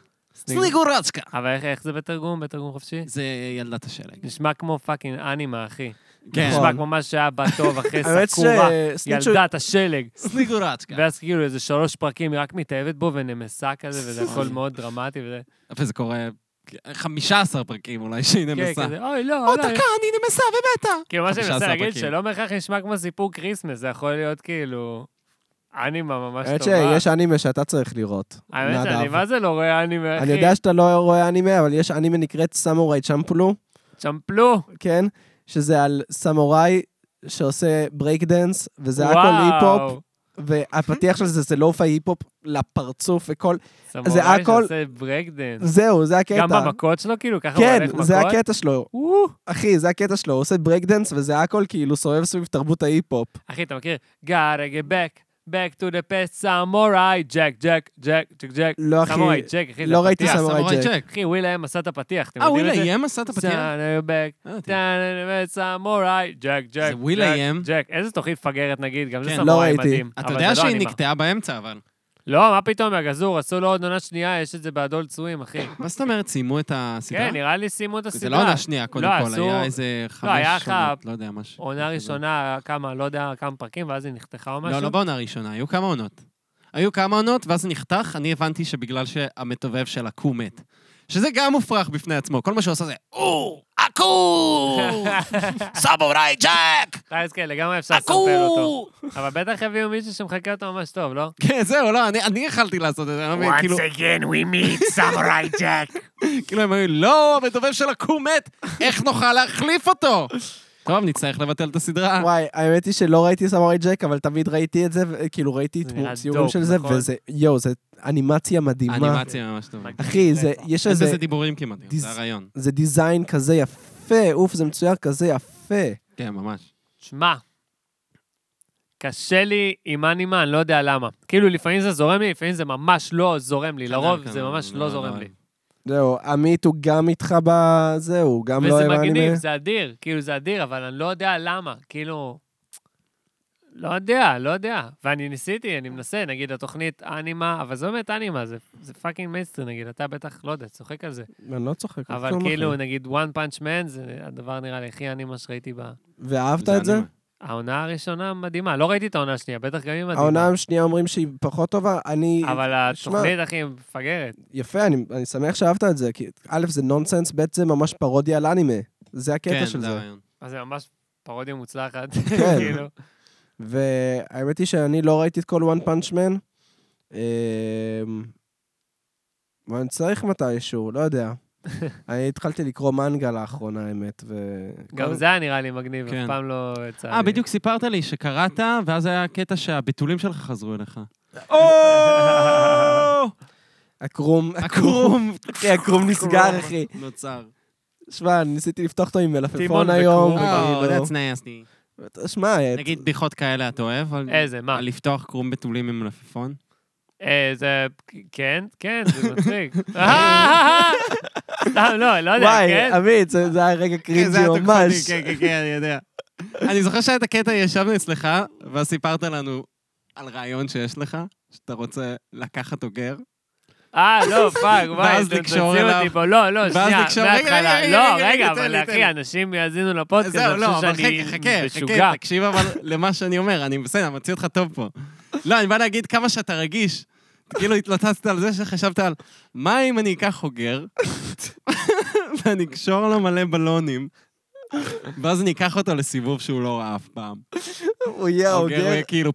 S1: סניגורצ'קה!
S3: אבל איך- איך זה בתרגום? בתרגום חופשי?
S1: זה ילדת השלג.
S3: נשמע כמו פאקינג אנימה, אחי.
S1: כן.
S3: נשמע כמו מה שהיה בטוב אחרי
S2: האמת
S3: סקובה,
S2: שסניצ'ו-
S3: ילדת השלג.
S1: סניגורצ'קה.
S3: ואז כאילו איזה שלוש פרקים, היא רק מתאהבת בו ונמסה כזה, וזה הכל מאוד דרמטי וזה.
S1: וזה קורה 15 פרקים אולי שהיא
S3: כן,
S1: נמסה.
S3: כזה, אוי, לא,
S1: עוד
S3: אולי...
S1: דקה, אני נמסה ומתה.
S3: כאילו, מה שאני
S1: 15
S3: מנסה להגיד,
S1: פרקים.
S3: שלא בהכרח נשמע כמו סיפור כריסמס, זה יכול להיות כאילו... אנימה ממש
S2: האמת
S3: טובה.
S2: שיש אנימה שאתה צריך לראות.
S3: האמת
S2: נדב.
S3: שאני, מה זה לא רואה אנימה, אחי?
S2: אני יודע שאתה לא רואה אנימה, אבל יש אנימה נקראת סמוראי צ'מפלו,
S3: צ'מפלו!
S2: כן? שזה על סמוראי שעושה ברייק דנס, וזה הכל
S3: וואו.
S2: היפ-הופ, והפתיח של זה זה לופה היפ-הופ לפרצוף וכל...
S3: סמוראי
S2: הכל-
S3: שעושה ברקדנס.
S2: זהו, זה הקטע.
S3: גם במכות שלו, כאילו, ככה הוא
S2: כן,
S3: הולך מכות?
S2: זה הקטע שלו.
S3: וואו.
S2: אחי, זה הקטע שלו, הוא עושה ברייק דנס, וזה הכל כאילו סובב סביב תרבות ההיפ-הופ.
S3: אחי, אתה מכיר? gotta get back, Back to the past, סמוראי, ג'ק, ג'ק, ג'ק, ג'ק, ג'ק.
S2: לא, אחי,
S3: סמוראי, ג'ק, אחי, זה
S2: לא ראיתי
S3: פתיח.
S2: סמוראי
S1: סמוראי
S2: ג'ק.
S1: ג'ק.
S3: אחי, וויל האם עשה את הפתיח, אתם
S1: אה,
S3: יודעים
S1: וויל
S3: את זה?
S1: איים עשה את הפתיח?
S3: סמוראי, back
S1: לא ידעתי.
S3: טאננה, סמוראי, ג'ק, ג'ק,
S1: זה וויל
S3: ג'ק,
S1: איים.
S3: ג'ק, איזה תוכנית מפגרת נגיד, גם זה
S1: כן,
S3: סמוראי
S2: לא ראיתי.
S3: מדהים.
S1: אתה
S3: אבל
S1: יודע
S3: זה לא
S1: שהיא
S3: אנימה.
S1: נקטעה באמצע, אבל.
S3: לא, מה פתאום, יא גזור, עשו לו עוד עונה שנייה, יש את זה בהדול צויים, אחי.
S1: מה זאת אומרת, סיימו את הסדרה?
S3: כן, נראה לי סיימו את הסדרה.
S1: זה לא עונה שנייה, קודם
S3: לא,
S1: כל,
S3: עשו-
S1: היה איזה חמש
S3: היה לך-
S1: עונות, לא יודע, משהו.
S3: עונה
S1: משהו
S3: ראשונה, כמה, לא יודע כמה פרקים, ואז היא נחתכה או
S1: כזה. לא,
S3: משהו.
S1: לא בעונה הראשונה, היו כמה עונות. היו כמה עונות, ואז זה נחתך, אני הבנתי שבגלל שהמתובב של הקו מת. שזה גם מופרך בפני עצמו, כל מה שהוא עשה זה, או, הקו! סמוראי ג'ק!
S3: חייז כאלה, גם כן, אפשר לספר אותו.
S1: הקו!
S3: אבל בטח הביאו מישהו שמחקה אותו ממש טוב, לא?
S1: כן, זהו, לא, אני- אני יכלתי לעשות את זה, אני לא מבין, כאילו...
S4: again, we meet Samurai Jack.
S1: כאילו הם היו, לא, המדובב של הקו מת, איך נוכל להחליף אותו? טוב, נצטרך לבטל את
S3: אה.
S1: הסדרה.
S2: וואי, האמת היא שלא ראיתי סמוראי ג'ק, אבל תמיד ראיתי את זה, ו- כאילו ראיתי
S3: זה נראה
S2: תמו- ציורים
S3: דופ,
S2: של זה,
S3: נכון?
S2: וזה, יואו, זה אנימציה מדהימה.
S1: אנימציה ממש טובה.
S2: אחי, זה, יש
S1: אין
S2: איזה,
S1: בזה דיבורים כמעט,
S2: דיס-
S1: זה הרעיון.
S2: זה דיזיין כזה יפה, אוף, זה מצויר כזה יפה.
S1: כן, ממש.
S3: שמע, קשה לי עם אנימה, אני לא יודע למה. כאילו, לפעמים זה זורם לי, לפעמים זה ממש לא זורם לי. לרוב
S1: כן,
S3: זה ממש לא זורם לי.
S2: זהו, עמית הוא גם איתך בזה, הוא גם לא
S3: וזה
S2: עם
S3: מגניב,
S2: האנימה.
S3: זה אדיר, כאילו, זה אדיר, אבל אני לא יודע למה. כאילו... לא יודע, לא יודע. ואני ניסיתי, אני מנסה, נגיד, התוכנית אנימה, אבל זה באמת אנימה, זה- זה פאקינג מיינסטרים, נגיד, אתה בטח, לא יודע, צוחק על זה.
S2: אני לא צוחק.
S3: אבל
S2: כלום
S3: כאילו,
S2: אחי.
S3: נגיד, one punch man זה הדבר נראה לי הכי אנימה שראיתי ב...
S2: ואהבת את זה?
S1: אנימה.
S3: העונה הראשונה מדהימה, לא ראיתי את העונה השנייה, בטח גם היא מדהימה.
S2: העונה השנייה אומרים שהיא פחות טובה, אני...
S3: אבל
S2: שמע,
S3: התוכנית, אחי, מפגרת.
S2: יפה, אני אני שמח שאהבת את זה, כי א', זה נונסנס, ב', זה ממש פרודיה על אנימה. זה הקטע
S1: כן,
S2: של
S1: זה
S2: זה.
S1: הרעיון.
S3: אז זה ממש פרודיה מוצלחת,
S2: כן.
S3: כאילו.
S2: והאמת היא שאני לא ראיתי את כל One Punch Man. אמ, אבל אני צריך מתישהו, לא יודע. אני התחלתי לקרוא מנגה לאחרונה, האמת, ו...
S3: גם זה היה נראה לי מגניב,
S1: כן.
S3: אף פעם לא יצא לי.
S1: אה, בדיוק סיפרת לי שקראת, ואז היה קטע שהביטולים שלך חזרו אליך.
S2: הקרום,
S1: הקרום
S2: אחי, הקרום נסגר, אחי.
S1: נוצר.
S2: שמע, אני ניסיתי לפתוח אותו עם מלפפון
S3: טימון
S2: היום.
S3: וקרום. לא
S1: אה,
S2: כאילו.
S1: that's nasty.
S2: שמע,
S1: נגיד בדיחות כאלה אתה אוהב? על-
S3: איזה, מה?
S1: על לפתוח קרום בתולים עם מלפפון?
S3: אה, זה... כן, כן, זה מצחיק. אה, סתם, לא, לא יודע,
S2: וואי,
S1: אה,
S3: כן?
S2: עמית, זה זה היה רגע קרינג'י ממש.
S1: כן, כן, כן, אני יודע. אני זוכר שהיה את הקטע, ישבנו אצלך, ואז סיפרת לנו על רעיון שיש לך, שאתה רוצה לקחת אוגר.
S3: אה, לא, פאק, וואי,
S1: ואז
S3: אתם
S1: לקשור
S3: תוציאו
S1: אליו.
S3: אותי פה. לא, לא,
S1: ואז
S3: שנייה,
S1: לקשור, רגע, רגע,
S3: מההתחלה.
S1: רגע,
S3: לא,
S1: רגע,
S3: רגע,
S1: תן
S3: אבל
S1: לי, תן לי.
S3: אחי, אנשים יאזינו לפודקאסט,
S1: זהו,
S3: אני
S1: לא, אבל
S3: חושב
S1: חכה,
S3: שאני
S1: חכה,
S3: משוגע.
S1: חכה, תקשיב אבל למה שאני אומר, אני בסדר, מוציא אותך טוב פה. לא, אני בא להגיד כמה שאתה רגיש. כאילו התלוצצת על זה שחשבת על, מה אם אני אקח אוגר, ואני אקשור לו מלא בלונים, ואז אני אקח אותו לסיבוב שהוא לא ראה אף פעם.
S2: הוא יהיה
S1: האוגר הוא
S2: אוגר.
S1: יהיה כאילו,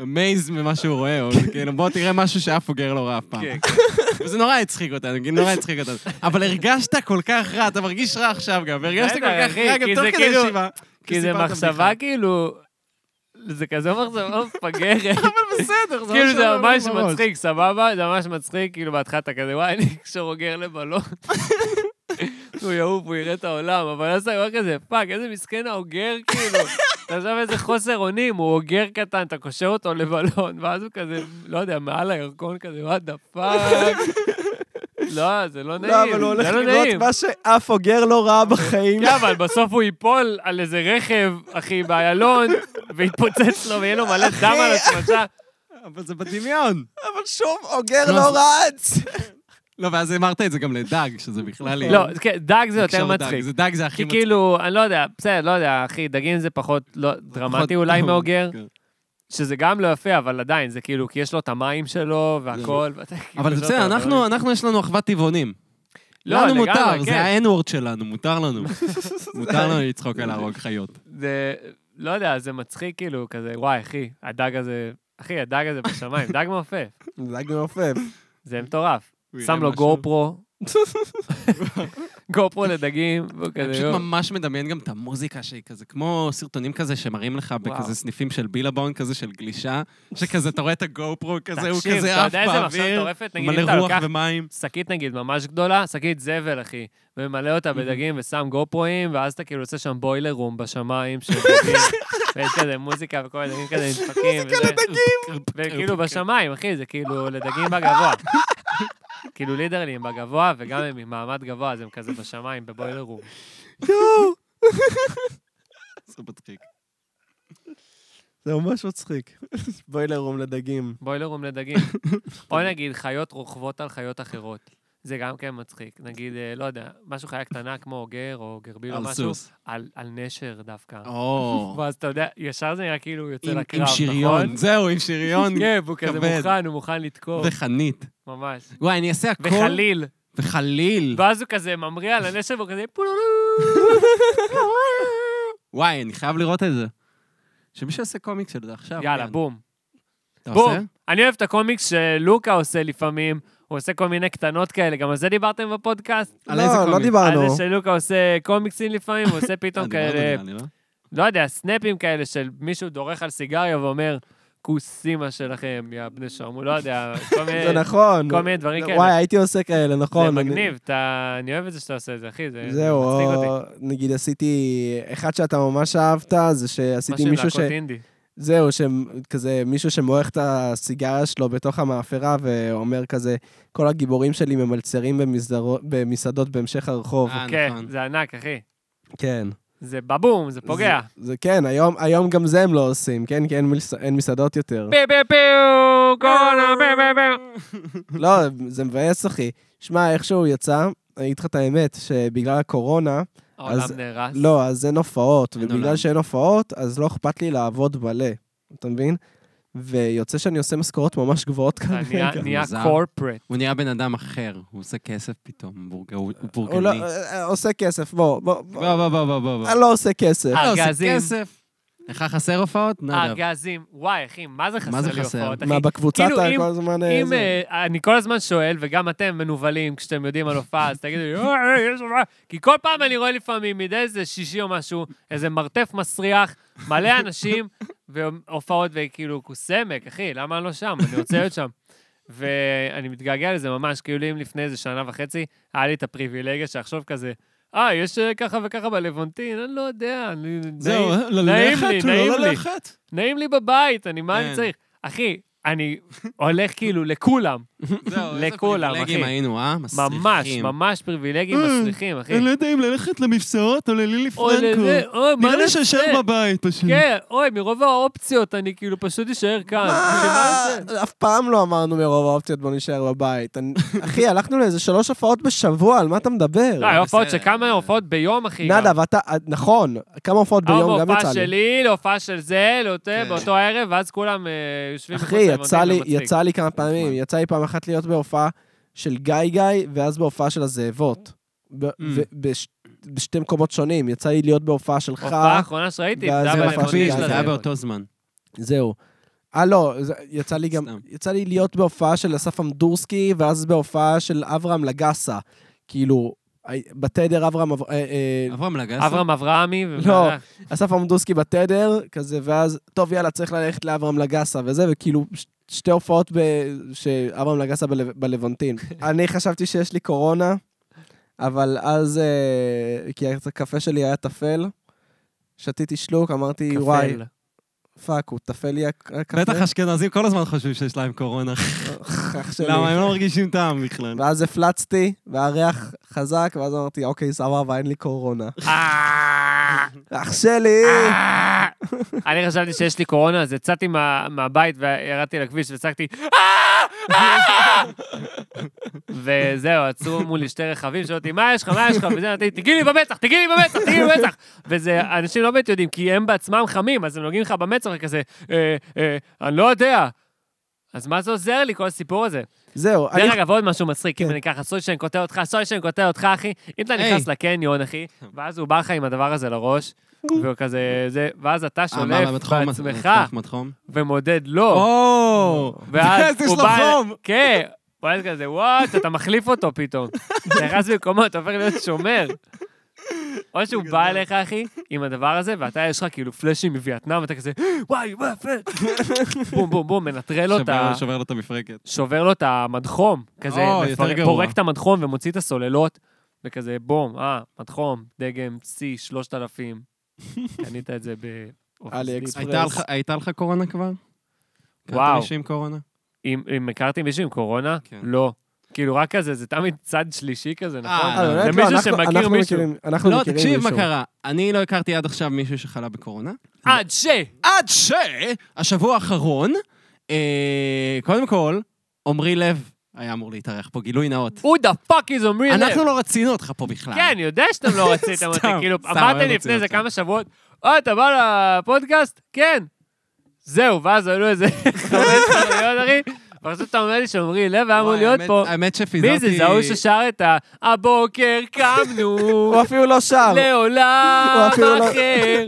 S1: מייז ממה שהוא רואה, או זה כאילו, בוא תראה משהו שאף אוגר לא ראה אף
S3: כן.
S1: פעם. וזה נורא הצחיק אותנו, כאילו, נורא הצחיק אותנו. אבל הרגשת כל כך רע, אתה מרגיש רע עכשיו גם, והרגשת כל
S3: בטח,
S1: כך
S3: אחי,
S1: רע גם
S3: כי
S1: תוך
S3: זה
S1: כדי
S3: כאילו-
S1: ישיבה.
S3: כי זה
S1: כשסיפרת
S3: מחשבה
S1: בדיחה.
S3: כאילו... זה כזה מחשבה מפגרת.
S1: אבל בסדר, זה
S3: כאילו זה
S1: שעולה
S3: ממש
S1: לנו בראש.
S3: מצחיק, סבבה? זה ממש מצחיק, כאילו בהתחלה אתה כזה, וואי, אני קשור אוגר לבלון. הוא יעוף, הוא יראה את העולם, אבל אז אתה אומר כזה, פאק, איזה מסכן האוגר, כאילו. אתה חושב איזה חוסר אונים, הוא אוגר קטן, אתה קושר אותו לבלון, ואז הוא כזה, לא יודע, מעל הירקון כזה, וואט דה פאק. לא, זה לא נעים,
S2: לא, אבל הוא הולך
S3: זה לא
S2: לראות
S3: נעים.
S2: מה שאף אוגר לא ראה בחיים.
S3: כן, אבל בסוף הוא ייפול על איזה רכב, אחי, באיילון, ויתפוצץ לו, ויהיה לו מלא דם על השמשה.
S1: אבל זה בדמיון.
S2: אבל שוב, אוגר
S1: לא
S2: לא רץ.
S1: לא, ואז אמרת את זה גם לדג, שזה בכלל...
S3: לא, כן, דג זה יותר
S1: לקשור דג.
S3: מצחיק.
S1: זה דג, זה הכי
S3: כי
S1: מצחיק.
S3: כאילו, אני לא יודע, בסדר, לא יודע, אחי, דגים זה פחות לא- דרמטי אולי מאוגר,
S1: כן.
S3: שזה גם לא יפה, אבל עדיין, זה כאילו, כי יש לו את המים שלו והכל. ואתה כאילו
S1: אבל זה
S3: לא
S1: בסדר,
S3: יודע,
S1: אנחנו, אנחנו יש לנו אחוות טבעונים.
S3: לא,
S1: לנו
S3: לגמרי,
S1: מותר,
S3: כן.
S1: זה ה-N-word שלנו, מותר לנו. מותר לנו לצחוק על להרוג חיות.
S3: זה, לא יודע, זה מצחיק כאילו, כזה, וואי, אחי, הדג הזה, אחי, הדג הזה בשמיים, דג מעופף,
S2: דג מעופף.
S3: זה מטורף.
S1: הוא יראה
S3: שם לו
S1: משהו.
S3: גו פרו, גו פרו לדגים, והוא
S1: אני
S3: כזה,
S1: פשוט
S3: יו.
S1: ממש מדמיין גם את המוזיקה שהיא כזה, כמו סרטונים כזה שמראים לך
S3: וואו.
S1: בכזה סניפים של בילבון, כזה של גלישה, שכזה אתה רואה את הגו-פרו כזה, הוא
S3: תקשיב,
S1: כזה עף
S3: אתה יודע איזה מחשבה
S1: באוויר,
S3: מטורפת? נגיד, אם
S1: מלא
S3: אתה
S1: רוח
S3: לוקח
S1: ומים.
S3: שקית נגיד ממש גדולה, שקית זבל, אחי, וממלא אותה בדגים ושם גופרואים, ואז אתה כאילו עושה שם בוילר רום בשמיים של דגים. ויש כזה מוזיקה וכל הדגים כזה נדפקים. מוזיקה לדגים! כן. וכאילו
S1: אוקיי.
S3: בשמיים, אחי, זה כאילו לדגים בגבוה. כאילו לידרלי הם בגבוה, וגם הם ממעמד גבוה, אז הם כזה בשמיים, בבוילר רום.
S1: זה מצחיק.
S2: זה ממש מצחיק. בוילר רום לדגים.
S3: בוילר רום לדגים. או נגיד חיות רוכבות על חיות אחרות. זה גם כן מצחיק. נגיד, אה, לא יודע, משהו חיה קטנה כמו גר או גרביל או
S1: על
S3: כאילו משהו,
S1: סוס.
S3: על על נשר דווקא.
S1: או,
S3: ואז אתה יודע, ישר זה נראה כאילו הוא יוצא
S1: עם-
S3: לקרב,
S1: עם
S3: נכון?
S1: שריון. זהו, עם שריון
S3: כן, והוא כזה
S1: כבד.
S3: מוכן, הוא מוכן לתקוף,
S1: וחנית.
S3: ממש.
S1: וואי, אני אעשה הכל.
S3: וחליל.
S1: וחליל.
S3: ואז הוא כזה ממריע על הנשב, והוא כזה פולולו.
S1: וואי, אני חייב לראות את זה. שמישהו יעשה קומיקס של זה עכשיו.
S3: יאללה,
S1: כן.
S3: בום.
S1: אתה
S3: בום.
S1: עושה? אה,
S3: אני אוהב את הקומיקס שלוקה עושה לפעמים, הוא עושה כל מיני קטנות כאלה, גם על זה דיברתם בפודקאסט?
S1: על איזה
S2: לא, לא
S1: קומיקס?
S3: על
S2: דיברנו.
S3: זה שלוקה עושה קומיקסים לפעמים, הוא עושה
S1: אה,
S3: פתאום
S1: דיברנו,
S3: כאלה,
S1: נראה לי, לא?
S3: לא יודע, סנאפים כאלה של מישהו דורך על סיגריה ואומר, כוס אימא שלכם, יא בני שרמו, לא יודע, כל מיני-
S2: זה נכון.
S3: כל מיני אה, דברים כאלה.
S2: וואי, הייתי עושה כאלה, נכון.
S3: זה
S2: אני-
S3: מגניב, אתה- אני אוהב את זה שאתה עושה את זה, אחי, זה זה
S2: זהו,
S3: מצחיק
S2: או-
S3: אותי.
S2: נגיד עשיתי, אחד שאתה ממש אהבת, זה שעשיתי
S3: משהו
S2: מישהו ש...
S3: להקות אינדי.
S2: זהו, שכזה מישהו שמועך את הסיגריה שלו בתוך המאפרה ואומר כזה, כל הגיבורים שלי ממלצרים במסדרו- במסעדות בהמשך הרחוב.
S1: אה, נכון.
S3: כן, זה ענק, אחי.
S2: כן.
S3: זה בבום, זה פוגע.
S2: זה, זה כן, היום, היום גם זה הם לא עושים, כן? כי אין, מלס, אין מסעדות יותר.
S3: פיו פיו פיו, קורונה, פיו פיו פיו.
S2: לא, זה מבאס, אחי. שמע, איכשהו יצא, אני אגיד לך את האמת, שבגלל הקורונה,
S3: העולם נהרס.
S2: לא, אז אין הופעות,
S1: אין
S2: ובגלל
S1: עולם.
S2: שאין הופעות, אז לא אכפת לי לעבוד מלא, אתה מבין? ויוצא שאני עושה משכורות ממש גבוהות
S3: אתה
S2: כרגע.
S3: נהיה- נהיה
S1: מוזר.
S3: קורפרט.
S1: הוא נהיה בן אדם אחר, הוא עושה כסף פתאום, הוא בורגני. הוא
S2: הוא לא,
S1: בורגני.
S3: אוקיי,
S2: אה, אה, עושה כסף, בוא, בוא, בוא.
S1: בוא, בוא, בוא, בוא, בוא.
S2: אני לא עושה כסף.
S3: אה,
S1: לא, עושה
S3: ארגזים.
S1: כסף. לך חסר הופעות? לא נדב.
S3: ארגזים. וואי, אחי, מה זה
S1: מה זה
S3: חסר לי
S1: חסר?
S3: הופעות, אחי?
S2: מה, בקבוצה
S3: כאילו,
S2: אתה
S3: אם-
S2: כל הזמן... אה,
S3: אם
S2: זה?
S3: אה, אני כל הזמן שואל, וגם אתם מנוולים כשאתם יודעים על הופעה, אז תגידו לי, "אה, אה, יש הופעה. כי כל פעם אני רואה לפעמים, מדי איזה שישי או משהו, איזה מרתף מסריח, מלא אנשים, והופעות, וכאילו, כוסמק, אחי, למה אני לא שם? אני רוצה להיות שם. ואני מתגעגע לזה ממש, כאילו אם לפני איזה שנה וחצי, היה לי את הפריבילגיה שעכשיו כזה, אה, יש אה, ככה וככה בלוונטין, אני לא יודע, אני...
S1: זהו, לא
S3: נעים- נעים לי,
S1: ללכת?
S3: נעים
S1: לא
S3: לי.
S1: ללכת?
S3: נעים לי בבית, אני, מה אני
S1: כן.
S3: צריך? אחי, אני הולך כאילו לכולם.
S1: זהו, איזה
S3: לכולם,
S1: פריבילגים
S3: אחי.
S1: היינו, אה?
S3: ממש,
S1: מסריחים.
S3: ממש פריבילגים
S1: אה,
S3: מצליחים, אחי.
S1: יודע אם ללכת למבצעות או ללילי
S3: אוי, לזה, אוי, מה נעשה?
S1: בבית פשוט.
S3: כן, אוי, מרוב האופציות אני כאילו פשוט אשאר כאן. שמה אה, זה?
S2: אף פעם לא אמרנו מרוב האופציות בוא נישאר בבית. אני- אחי, הלכנו לאיזה שלוש הופעות בשבוע, על מה אתה מדבר?
S3: לא, היו הופעות
S1: בסדר.
S3: שכמה הופעות ביום, אחי. אוקיי, גם.
S2: נדב, אתה, נכון, כמה הופעות
S3: היום
S2: ביום גם
S3: הופעה
S2: יצא לי.
S3: שלי, להופעה של זה, לאותו-
S1: כן.
S3: באותו הערב, ואז כולם אה, יושבים מחוץ
S2: אחי, יצא לי,
S3: ללמודים, זה מצחיק. לא
S2: יצא לי כמה פעמים,
S1: נחמד.
S2: יצא לי פעם אחת להיות בהופעה של גיא גיא, ואז בהופעה של הזאבות.
S3: Mm.
S2: ב- ו- בש- בשתי מקומות שונים, יצא לי להיות בהופעה שלך,
S3: ההופעה האחרונה שראיתי,
S2: ואז
S3: דאבל
S1: זה
S2: אבל
S3: למודי
S1: מקביל,
S3: של
S2: לזה.
S1: זה היה
S3: הזה.
S1: באותו זמן.
S2: זהו. אה, לא, זה- יצא לי גם,
S1: סתם.
S2: יצא לי להיות בהופעה של אסף אמדורסקי, ואז בהופעה של אברהם לגסה. כאילו, הי- בתדר אברהם, אב- אה, אה,
S1: אברהם לגסה?
S3: כן. אברהם אברהמי,
S2: לא.
S3: ובעלה.
S2: אסף עמדוסקי בתדר, כזה, ואז, טוב, יאללה, צריך ללכת לאברהם לגסה וזה, וכאילו, ש- שתי הופעות ב... שאברהם לגסה בלו... בלוונטין. אני חשבתי שיש לי קורונה, אבל אז, אה, כי הקפה שלי היה טפל, שתיתי שלוק, אמרתי, וואי,
S3: כפל.
S2: פאק, הוא טפל לי הק- הקפה.
S1: בטח אשכנזים כל הזמן חושבים שיש להם קורונה.
S2: אח שלי.
S1: למה? הם לא מרגישים טעם בכלל.
S3: אה,
S2: ואז הפלצתי, והריח חזק, ואז אמרתי, אוקיי, סבבה, אין לי קורונה.
S3: אה,
S2: אח שלי!
S3: אה. אני חשבתי שיש לי קורונה, אז יצאתי מה- מהבית וירדתי לכביש וצעקתי, "אה! אה!" וזהו, עצרו מולי שתי רכבים, שאלו אותי, מה יש לך, מה יש לך? וזה, אמרתי, תגיעי לי במצח, תגיעי לי במצח, תגיעי לי במצח. וזה, אנשים לא באמת יודעים, כי הם בעצמם חמים, אז הם נוגעים לך במצח וכזה, "אה, אה, אני לא יודע. אז מה זה עוזר לי, כל הסיפור הזה?
S2: זהו, אני
S3: דרך אגב, עוד משהו מצחיק, אם
S2: כן.
S3: אני ככה, סורי שאני קוטע אותך, סורי שאני קוטע אותך, אחי. אם אתה נכנס לקניון, אחי, ואז הוא בא לך עם הדבר הזה לראש, והוא כזה, זה, ואז אתה
S1: אה, מה,
S3: שולף
S1: מדחום?
S3: בעצמך
S1: מצליח מדחום?
S3: ומודד לו,
S1: או!
S3: ואז
S1: יש
S3: הוא
S1: לו
S3: בא...
S1: חום!
S3: כן, ואז כזה, וואט, אתה מחליף אותו פתאום. אתה נכנס במקומו, אתה הופך להיות שומר. או שהוא בא אליך, אחי, עם הדבר הזה, ואתה, יש לך כאילו פלאשים מווייטנאם, ואתה כזה, וואי, וואי, פלאש." בום, בום, בום, מנטרל לו את ה...
S1: שובר- שובר לו את המפרקת.
S3: שובר לו את המדחום, כזה,
S1: אוי,
S3: מפרק-
S1: אה, יותר גרוע.
S3: פורק את המדחום ומוציא את הסוללות, וכזה, בום, אה, מדחום, דגם C, 3000. קנית את זה ב...
S2: עלי אקספרס.
S1: הייתה לך- הייתה לך קורונה כבר?
S3: וואו.
S1: הכרת מישהו עם קורונה?
S3: אם אם הכרתי מישהו עם קורונה?
S1: כן.
S3: לא. כאילו, רק כזה, זה תמיד צד שלישי כזה,
S1: אה,
S3: נכון?
S1: לא,
S2: באמת,
S3: למישהו
S2: אנחנו-
S3: שמכיר
S2: אנחנו
S3: מישהו.
S2: מכירים- אנחנו מכירים
S1: לא,
S2: מישהו.
S1: תקשיב מה קרה. אני לא הכרתי עד עכשיו מישהו שחלה בקורונה.
S3: עד ש...
S1: עד ש... השבוע האחרון, אה, קודם כל, עמרי לב היה אמור להתארח פה, גילוי נאות.
S3: who the fuck is עמרי לב?
S1: אנחנו לא רצינו אותך פה בכלל.
S3: כן, אני יודע שאתם לא רציתם אותי,
S1: סתם,
S3: כאילו,
S1: סתם,
S3: אמרתם
S1: אוהב
S3: לי
S1: אותי,
S3: לפני
S1: אוהב
S3: איזה
S1: אותי.
S3: כמה שבועות, אוי, אתה בא לפודקאסט? כן. זהו, ואז עלו איזה חמש חנויות, אחי. פשוט אתה אומר לי שעמרי לב היה אמור
S1: וואי,
S3: להיות
S1: האמת-
S3: פה.
S1: האמת שפיזרתי...
S3: מי זה? זה ההוא ששר את ה... הבוקר קמנו,
S2: הוא אפילו לא שם.
S3: לעולם
S2: הוא אפילו לא-
S3: אחר.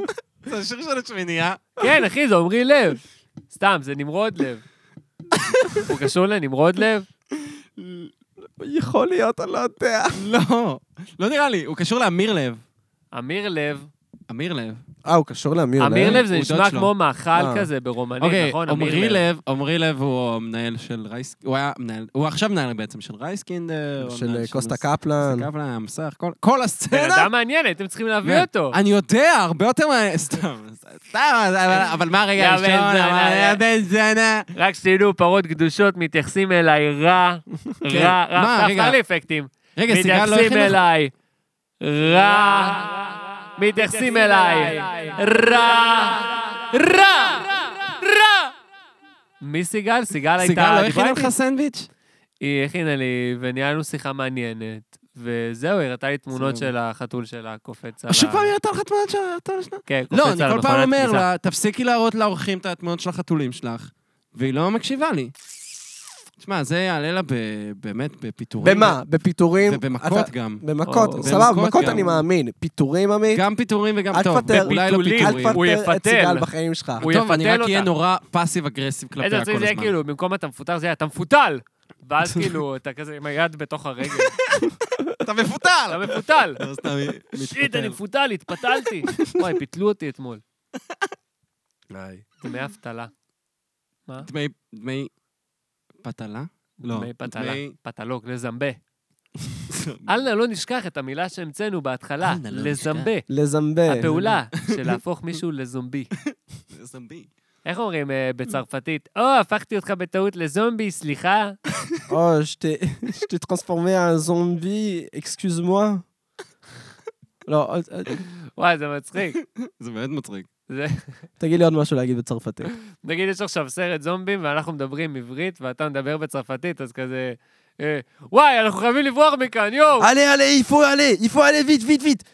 S1: זה השיר של השמינייה.
S3: כן, אחי, זה עמרי לב. סתם, זה נמרוד לב. הוא קשור לנמרוד לב?
S2: יכול להיות, אני לא יודע.
S1: לא, לא נראה לי, הוא קשור לאמיר לב.
S3: אמיר לב.
S1: אמיר לב.
S2: אה, הוא קשור לאמיר לב?
S3: אמיר לב זה
S1: הוא
S3: נשמע
S1: דוד שלו.
S3: כמו מאכל
S2: אה.
S3: כזה ברומנית,
S1: אוקיי,
S3: נכון?
S1: עמרי לב, עמרי לב הוא המנהל של רייס... הוא היה מנהל... הוא עכשיו מנהל בעצם של רייסקינדר. הוא המנהל
S2: של אה, קוסטה
S1: אה, קוסטה
S2: קפלן.
S1: קפלן, אה, המסך, כל- כל
S3: בן
S1: הסצנה.
S3: אדם מעניין, הייתם צריכים להביא אותו.
S1: כן. אני יודע, הרבה יותר מה... סתם, סתם, אבל- אבל מה הרגע
S3: יא
S1: הראשון?
S3: בן זונה,
S1: אבל-
S3: יא-
S1: יא בן זונה.
S3: רק שתדעו, פרות קדושות מתייחסים אליי רע,
S1: כן.
S3: רע, רע,
S1: מה,
S3: עכשיו
S1: רגע.
S3: תן לי אפקטים.
S1: רגע, סיגל לא
S3: מתייחסים
S1: הכינה לך...
S3: אליי רע, מתייחסים אליי רע, רע, רע. מי סיגל? סיגל הייתה...
S1: סיגל לא
S3: דיברה
S1: הכינה
S3: איתי?
S1: לך סנדוויץ'?
S3: היא הכינה לי, וניהלנו שיחה מעניינת. וזהו, היא הראתה לי תמונות
S1: סבבה.
S3: של החתול שלה קופץ על ה...
S1: עכשיו פעם היא נתנה לך תמונת של התמונת שלה?
S3: כן, קופץ
S1: לא,
S3: על
S1: אני כל פעם
S3: מכונת
S1: אומר
S3: כביסה.
S1: לה, תפסיקי להראות לאורחים את התמונות של החתולים שלך, והיא לא מקשיבה לי. תשמע, זה יעלה לה ב- באמת בפיטורים.
S2: במה? בפיטורים?
S1: ובמכות
S2: אתה-
S1: גם.
S3: או-
S2: במכות, סבבה,
S1: במכות
S2: במכות
S1: גם.
S2: אני מאמין. פיטורים, עמית?
S1: גם פיטורים וגם
S2: אל
S1: טוב.
S2: תפטר.
S1: אולי לא
S3: בפיטולים.
S1: פיטורים.
S2: אל
S3: הוא
S2: תפטר את
S3: יפטל.
S2: סיגל בחיים שלך.
S3: הוא
S1: טוב, אני
S3: יפטל
S1: רק אהיה
S3: אותה.
S1: נורא פאסיב אגרסיב כלפיה כל
S3: איזה
S1: הזמן.
S3: רציני זה יהיה כאילו, במקום אתה מפוטר, זה יהיה אתה מפוטל! ואז כאילו, אתה כזה עם היד בתוך הרגל.
S1: אתה מפוטר!
S3: אתה מפוטל!
S1: לא, סתם, היא
S3: שיט,
S1: מתפטר.
S3: אני מפוטל, התפתלתי. וואי, ביטלו אותי אתמול. דמי אבטלה.
S1: דמי... דמי... פתלה? לא.
S3: דמי פתלה.
S1: דמי-
S3: פתלוג, לזמבה. אל נא לא נשכח את המילה שהמצאנו בהתחלה,
S1: אל נא לא
S3: לזמבה.
S2: לזמבה.
S3: הפעולה של להפוך מישהו לזומבי.
S1: זמבי.
S3: איך אומרים אה, בצרפתית? או, הפכתי אותך בטעות לזומבי, סליחה.
S2: Oh, je t'ai je t'ai transformé en zombie, excuse-moi. לא, אל- אל-
S3: וואי, זה מצחיק.
S1: זה באמת מצחיק.
S3: זה-
S2: תגיד לי עוד משהו להגיד בצרפתית.
S3: נגיד יש עכשיו סרט זומבים ואנחנו מדברים עברית ואתה מדבר בצרפתית, אז כזה... אה, וואי, אנחנו חייבים לברוח מכאן, יואו!
S2: Allez, allez, il faut aller, il faut aller vite, vite, vite.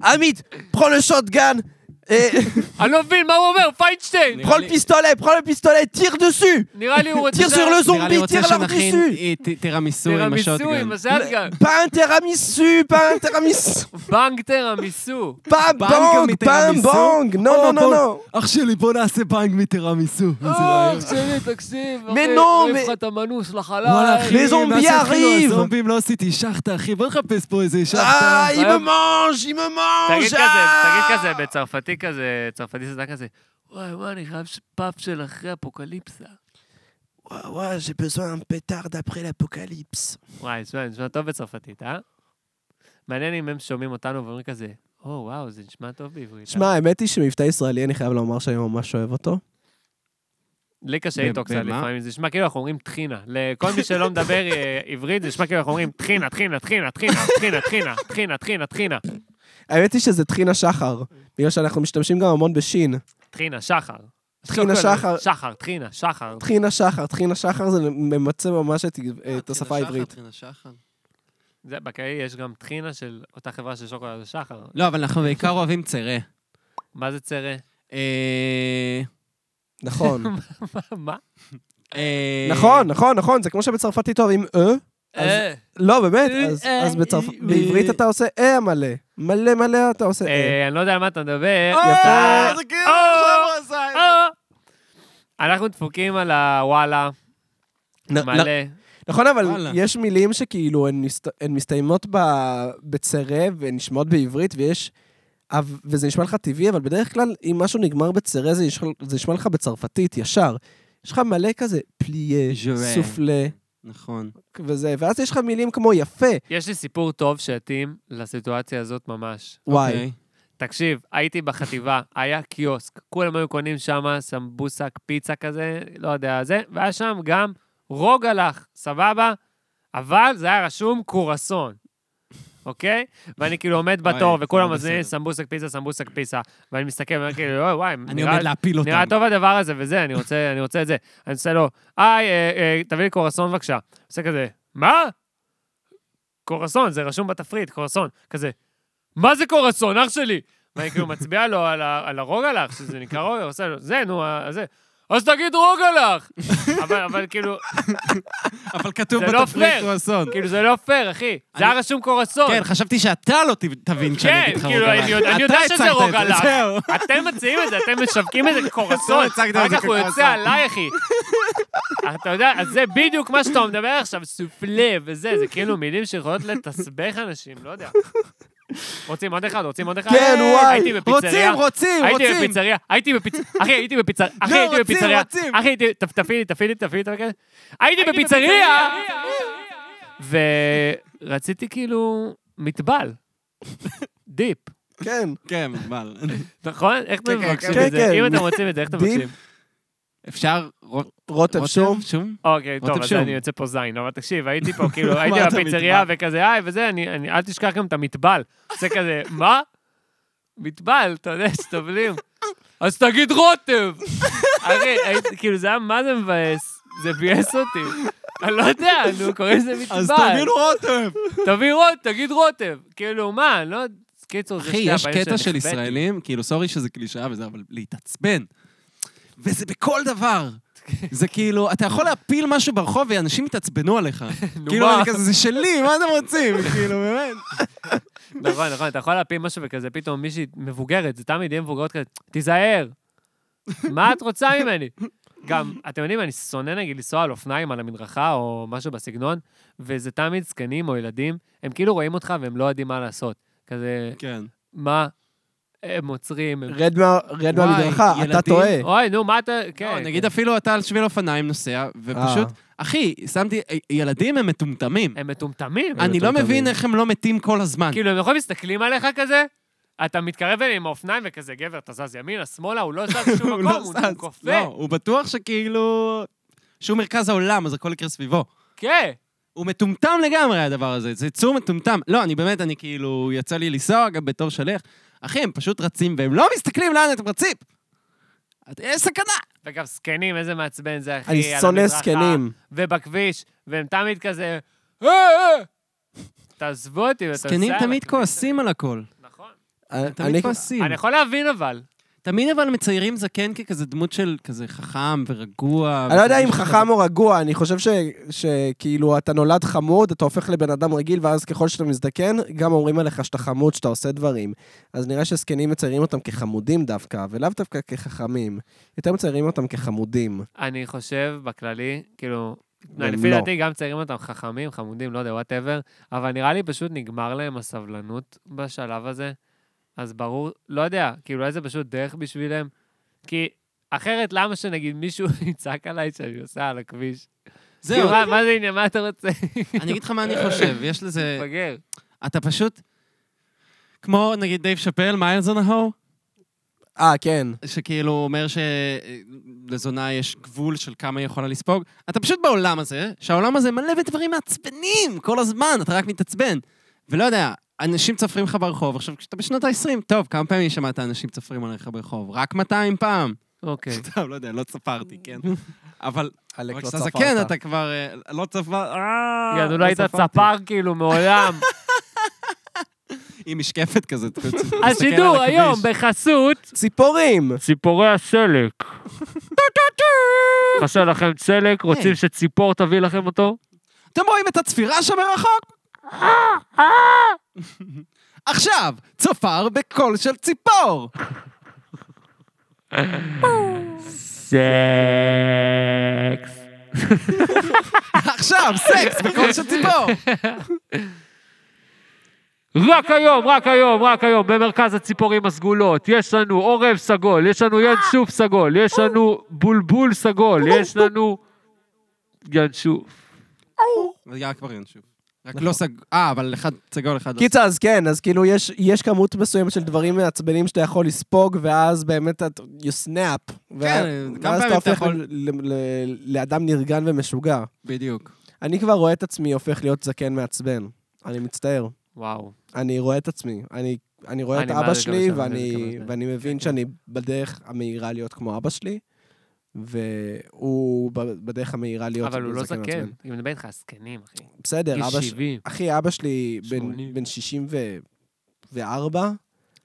S2: Amit, prends le shotgun et
S3: אני לא מבין מה הוא אומר, פיינשטיין!
S1: נראה
S2: prends
S1: לי-
S2: le pistolet, prends le pistolet, tire dessus.
S3: נראה לי הוא רוצה...
S2: Tire sur le
S1: נראה לי
S2: zombie,
S1: רוצה
S2: tire leur
S1: שנכין
S2: dessus.
S1: אה, ת- תירמיסו עם
S3: תירמיסו
S1: השוטגן.
S3: עם הזלגה.
S2: Pas un tiramisu, pas un tiramisu,
S3: בנג תירמיסו.
S2: pas un
S1: Bang
S2: bang, pas un
S1: tiramisu.
S2: bang. Non,
S1: Oh,
S2: non, non,
S1: bang.
S2: non.
S1: אח שלי, בוא נעשה בנג מטירמיסו.
S3: אה, אח שלי, תקשיב, אחי,
S2: נו,
S3: מעיף
S2: מ-
S3: לך את המנוס לחלל.
S1: וואלה,
S2: אחי, אה, זומבי
S1: מאז שהתחילו
S2: יריב.
S1: הזומבים לא עשיתי שחטה, אחי, בוא נחפש פה איזה
S2: Ah,
S1: שחטה.
S2: il me mange, il me
S3: תגיד
S2: mange.
S3: כזה,
S2: ah.
S3: תגיד כזה, בצרפתי כזה, צרפתי זה כזה, וואי, וואי, אני חייב ש- פאפ של אחרי אפוקליפסה.
S2: Ah. Ouais, ouais, j'ai besoin d'un pétard d'après l'apocalypse.
S3: וואי, תשמע, נשמע טוב בצרפתית, אה? מעניין אם הם שומעים אותנו ואומרים כזה, או וואו, זה נשמע טוב בעברית. אה?"
S2: שמע, האמת היא שמבטא ישראלי, אני חייב לומר שאני ממש אוהב אותו.
S3: לי קשה
S1: ב-
S3: איתו קצת
S1: במה?
S3: לפעמים, זה נשמע כאילו אנחנו אומרים טחינה. לכל מי שלא מדבר אה, עברית, זה נשמע כאילו אנחנו אומרים טחינה, טחינה, טחינה, טחינה, טחינה, טחינה, טחינה, טחינה, טחינה,
S2: האמת היא שזה טחינה שחר, בגלל שאנחנו משתמשים גם המון בשין.
S3: טחינה, שחר.
S2: טחינה שחר.
S3: שחר, טחינה, שחר.
S2: טחינה שחר, טחינה שחר זה ממצה ממש את,
S1: אה,
S2: את השפה העברית.
S3: זה, בקהיר יש גם טחינה של אותה חברה של שוקולד השחר.
S1: לא, אבל אנחנו בעיקר אוהבים צרה.
S3: מה זה צרה?
S1: אה,
S2: נכון.
S3: מה- מה?
S1: אה,
S2: נכון, נכון, נכון, זה כמו שבצרפתית אוהבים אה. אז-
S3: אה,
S2: לא, באמת, אז-
S3: אה,
S2: אז בצרפ-
S3: אה,
S2: בעברית אתה עושה אה מלא. מלא מלא אתה עושה אה.
S3: אה, אני לא יודע על מה אתה מדבר.
S2: יפה.
S1: אה, זה כאילו
S3: אה,
S1: עכשיו הוא עשה את זה.
S3: אה. אנחנו דפוקים על הוואלה,
S2: נ-
S3: מלא.
S2: נ- נכון, אבל
S1: וואלה.
S2: יש מילים שכאילו הן מסת- הן מסתיימות ב- בצרה והן נשמעות בעברית, ויש... אב- וזה נשמע לך טבעי, אבל בדרך כלל, אם משהו נגמר בצרה, זה נשמע- זה נשמע לך בצרפתית, ישר. יש לך מלא כזה פליה,
S1: ז'רה.
S2: סופלה,
S1: נכון.
S2: וזה, ואז יש לך מילים כמו יפה,
S3: יש לי סיפור טוב שהתאים לסיטואציה הזאת ממש.
S2: וואי.
S1: אוקיי.
S3: תקשיב, הייתי בחטיבה, היה קיוסק, כולם היו קונים שם סמבוסק, פיצה כזה, לא יודע, זה, והיה שם גם רוג הלך, סבבה? אבל זה היה רשום קורסון, אוקיי? ואני כאילו עומד
S1: וואי,
S3: בתור, וכולם
S1: לא
S3: מזמינים
S1: בסדר.
S3: סמבוסק פיצה, סמבוסק פיצה, ואני מסתכל ואומר כאילו, "אוי, וואי,
S1: אני
S3: נראה
S1: עומד להפיל אותם.
S3: נראה טוב הדבר הזה, וזה, אני רוצה, אני רוצה את זה. אני עושה לו, היי, אה, אה, תביא לי קורסון בבקשה. עושה כזה, מה? קורסון, זה רשום בתפריט, קורסון. כזה, מה זה קורסון, אח שלי? ואני כאילו מצביע לו על, ה- על הרוגלח, שזה נקרא רוגלח, עושה לו, זה, נו, ה- זה. אז תגיד רוגלח! אבל, אבל כאילו,
S1: אבל כתוב
S3: זה לא
S1: בתפריט
S3: פייר.
S1: קרואסון.
S3: כאילו זה לא פייר, אחי. זה
S1: נכון. אני-
S3: היה רשום קורסון.
S1: כן, חשבתי שאתה לא ת- תבין כשאני
S3: כן,
S1: אגיד לך
S3: כאילו,
S1: רוגלה.
S3: אני יודע-
S1: אתה
S3: אני יודע שזה
S1: הצגת את זה,
S3: רוגלה.
S1: זהו.
S3: אתם מציעים את זה, אתם משווקים את זה כקורסון,
S1: אתה הצגת את
S3: אחר
S1: זה
S3: כך הוא
S1: כקורסון.
S3: יוצא עליי, אחי. אתה יודע, אז זה בדיוק מה שאתה מדבר עכשיו, סופלה וזה, זה כאילו מילים שיכולות לתסבך אנשים, לא יודע. רוצים עוד אחד? רוצים עוד אחד?
S2: כן,
S3: אה,
S2: וואי,
S3: הייתי בפיצריה.
S2: רוצים, רוצים,
S3: הייתי
S2: רוצים.
S3: בפיצריה, הייתי בפיצריה, אחי, הייתי בפיצריה, אחי,
S2: לא,
S3: הייתי
S2: רוצים,
S3: בפיצריה,
S2: רוצים.
S3: אחי, הייתי, ת- תפעילי, תפעילי, תפעילי, תפעילי, הייתי בפיצריה, ורציתי כאילו מטבל, דיפ.
S2: כן.
S1: כן, אבל...
S3: נכון? איך אתם
S1: כן, כן,
S3: מבקשים
S2: כן,
S3: את זה?
S2: כן.
S3: אם אתם רוצים את זה, איך אתם
S2: דיפ.
S3: מבקשים?
S1: אפשר רו-
S2: רוטב
S1: רותם
S2: שום.
S1: שום?
S3: אוקיי, טוב,
S1: רותם
S3: אז
S1: שום.
S3: אני יוצא פה זין, אבל תקשיב, הייתי פה, כאילו,
S1: מה
S3: הייתי
S1: אתה
S3: בפיצריה
S1: מתבל?
S3: וכזה, היי, וזה, אני, אני- אל תשכח גם את המטבל. זה כזה, מה? מטבל, אתה יודע, שטובלים. אז תגיד רוטב! אחי, הייתי- כאילו, זה היה מה זה מבאס, זה ביאס אותי. אני לא יודע, נו, קוראים לזה מטבל.
S1: אז תבין רותם.
S3: תביא רוטב, תגיד רוטב. כאילו, מה, אני לא... קיצור, זה
S1: אחי,
S3: שתי
S1: יש
S3: הבעיות
S1: קטע של
S3: שנחבאתי.
S1: ישראלים, כאילו, סורי שזה קלישאה וזה, אבל להתעצבן. וזה בכל דבר. זה כאילו, אתה יכול להפיל משהו ברחוב ואנשים יתעצבנו עליך. כאילו,
S3: מה?
S1: אני כזה, זה שלי, מה אתם רוצים? כאילו, באמת.
S3: נכון, נכון, אתה יכול להפיל משהו וכזה, פתאום מישהי מבוגרת, זה תמיד יהיה מבוגרות כזה, תיזהר, מה את רוצה ממני? גם, אתם יודעים, אני שונא נגיד לנסוע על אופניים, על המדרכה או משהו בסגנון, וזה תמיד זקנים או ילדים, הם כאילו רואים אותך והם לא יודעים מה לעשות. כזה,
S1: כן.
S3: מה? הם עוצרים, הם...
S2: רד מה- רד
S1: וואי,
S2: מהמדרכה, אתה
S1: ילדים.
S2: טועה.
S3: אוי, נו, מה אתה...
S1: לא,
S3: כן,
S1: נגיד
S3: כן.
S1: אפילו אתה על שביל אופניים נוסע, ופשוט, אחי, שמתי, ילדים הם מטומטמים.
S3: הם מטומטמים.
S1: אני לא
S2: מטומטמים.
S1: מבין איך הם לא מתים כל הזמן.
S3: כאילו, הם יכולים מסתכלים עליך כזה, אתה מתקרב אליהם עם האופניים וכזה, גבר, אתה זז ימינה, שמאלה, הוא לא זז
S1: הוא
S3: שום
S1: לא
S3: מקום, הוא
S1: זז.
S3: הוא
S1: לא,
S3: קופא.
S1: הוא בטוח שכאילו... שהוא מרכז העולם, אז הכל יקרה סביבו.
S3: כן.
S1: הוא מטומטם לגמרי, הדבר הזה. זה יצור מטומטם. לא, אני באמת, אני כאילו... יצא לי לנסוע גם בתור שליח. אחי, הם פשוט רצים, והם לא מסתכלים לאן אתם רצים. את- יש סכנה.
S3: וגם זקנים, איזה מעצבן זה, אחי.
S2: אני
S3: על
S2: שונא
S3: המדרכה,
S2: זקנים.
S1: אה,
S3: ובכביש, והם תמיד כזה, "אה, אה." תעזבו אותי, ואתה
S1: זקנים
S3: עושה
S1: תמיד
S3: עליי.
S1: כועסים על הכל.
S3: נכון.
S2: אני-
S1: תמיד כועסים.
S3: אני יכול להבין אבל.
S1: תמיד אבל מציירים זקן ככזה דמות של כזה חכם ורגוע.
S2: אני לא יודע
S1: וכזה
S2: אם
S1: שכזה-
S2: חכם או רגוע, אני חושב ש- שכאילו אתה נולד חמוד, אתה הופך לבן אדם רגיל, ואז ככל שאתה מזדקן, גם אומרים עליך שאתה חמוד, שאתה עושה דברים. אז נראה שזקנים מציירים אותם כחמודים דווקא, ולאו דווקא כחכמים. יותר מציירים אותם כחמודים.
S3: אני חושב, בכללי, כאילו,
S2: הם
S3: לפי
S2: לא.
S3: דעתי גם ציירים אותם חכמים, חמודים, לא יודע, וואטאבר, אבל נראה לי פשוט נגמר להם הסבלנות בשלב הזה. אז ברור, לא יודע, כאילו, איזה פשוט דרך בשבילם. כי אחרת, למה שנגיד מישהו יצעק עליי שאני עושה על הכביש?
S1: זהו,
S3: כאילו, מה- מה זה עניין, מה אתה רוצה?
S1: אני אגיד לך מה אני חושב, יש לזה...
S3: מפגר.
S1: אתה פשוט... כמו נגיד דייב שאפל, מיילס און ההור,
S2: אה, כן.
S1: שכאילו אומר שלזונה יש גבול של כמה היא יכולה לספוג. אתה פשוט בעולם הזה, שהעולם הזה מלא בדברים מעצבנים כל הזמן, אתה רק מתעצבן. ולא יודע, אנשים צופרים לך ברחוב. עכשיו, כשאתה בשנות ה-20, טוב, כמה פעמים שמעת אנשים צופרים עליך ברחוב? רק 200 פעם.
S3: אוקיי.
S1: טוב, לא יודע, לא צפרתי, כן. אבל
S2: עלק
S1: אבל
S2: לא
S1: כשאתה
S2: צפרת.
S1: זקן, אתה כבר אה, לא צפר... אה,
S3: יענו, לא היית
S1: צפרתי.
S3: צפר כאילו מעולם.
S1: עם משקפת כזאת. אתה מסתכל על
S3: השידור
S1: הכביש.
S3: היום בחסות...
S2: ציפורים!
S3: ציפורי הסלק. חסר לכם צלק,
S1: רוצים
S3: שציפור תביא לכם אותו?
S1: אתם רואים את הצפירה שם מרחוק? עכשיו, צופר בקול של ציפור.
S3: סקס.
S1: עכשיו, סקס בקול של ציפור.
S3: רק היום, רק היום, רק היום, במרכז הציפורים הסגולות, יש לנו עורב סגול, יש לנו ינשוף סגול, יש לנו בולבול סגול, יש לנו ינשוף.
S1: זה היה כבר ינשוף. רק
S2: נכון.
S1: לא סג... אה, אבל אחד סגול, אחד... לא.
S2: קיצר, אז כן, אז כאילו יש, יש כמות מסוימת של דברים מעצבנים שאתה יכול לספוג, ואז באמת אתה, you snap.
S3: כן,
S1: כמה
S2: ואז
S1: פעמים אתה
S2: הופך
S1: יכול-
S2: ל, ל, ל, לאדם נרגן ומשוגע.
S1: בדיוק.
S2: אני כבר רואה את עצמי הופך להיות זקן מעצבן. אני מצטער.
S3: וואו.
S2: אני רואה את עצמי. אני, אני רואה
S3: אני
S2: את
S3: מה זה
S2: אבא
S3: גם
S2: שלי,
S3: שם, אני
S2: ואני,
S3: מקבל את זה. כן,
S2: ואני מבין שאני בדרך המהירה להיות כמו אבא שלי, והוא ב- בדרך המהירה להיות
S3: אבל הוא לא זקן.
S2: מעצבן.
S3: אני מדבר איתך על זקנים, אחי.
S2: בסדר, אבא
S3: גיל
S2: שלי...
S3: 70.
S2: אחי, אבא שלי בן,
S3: שמונים.
S2: בן 64,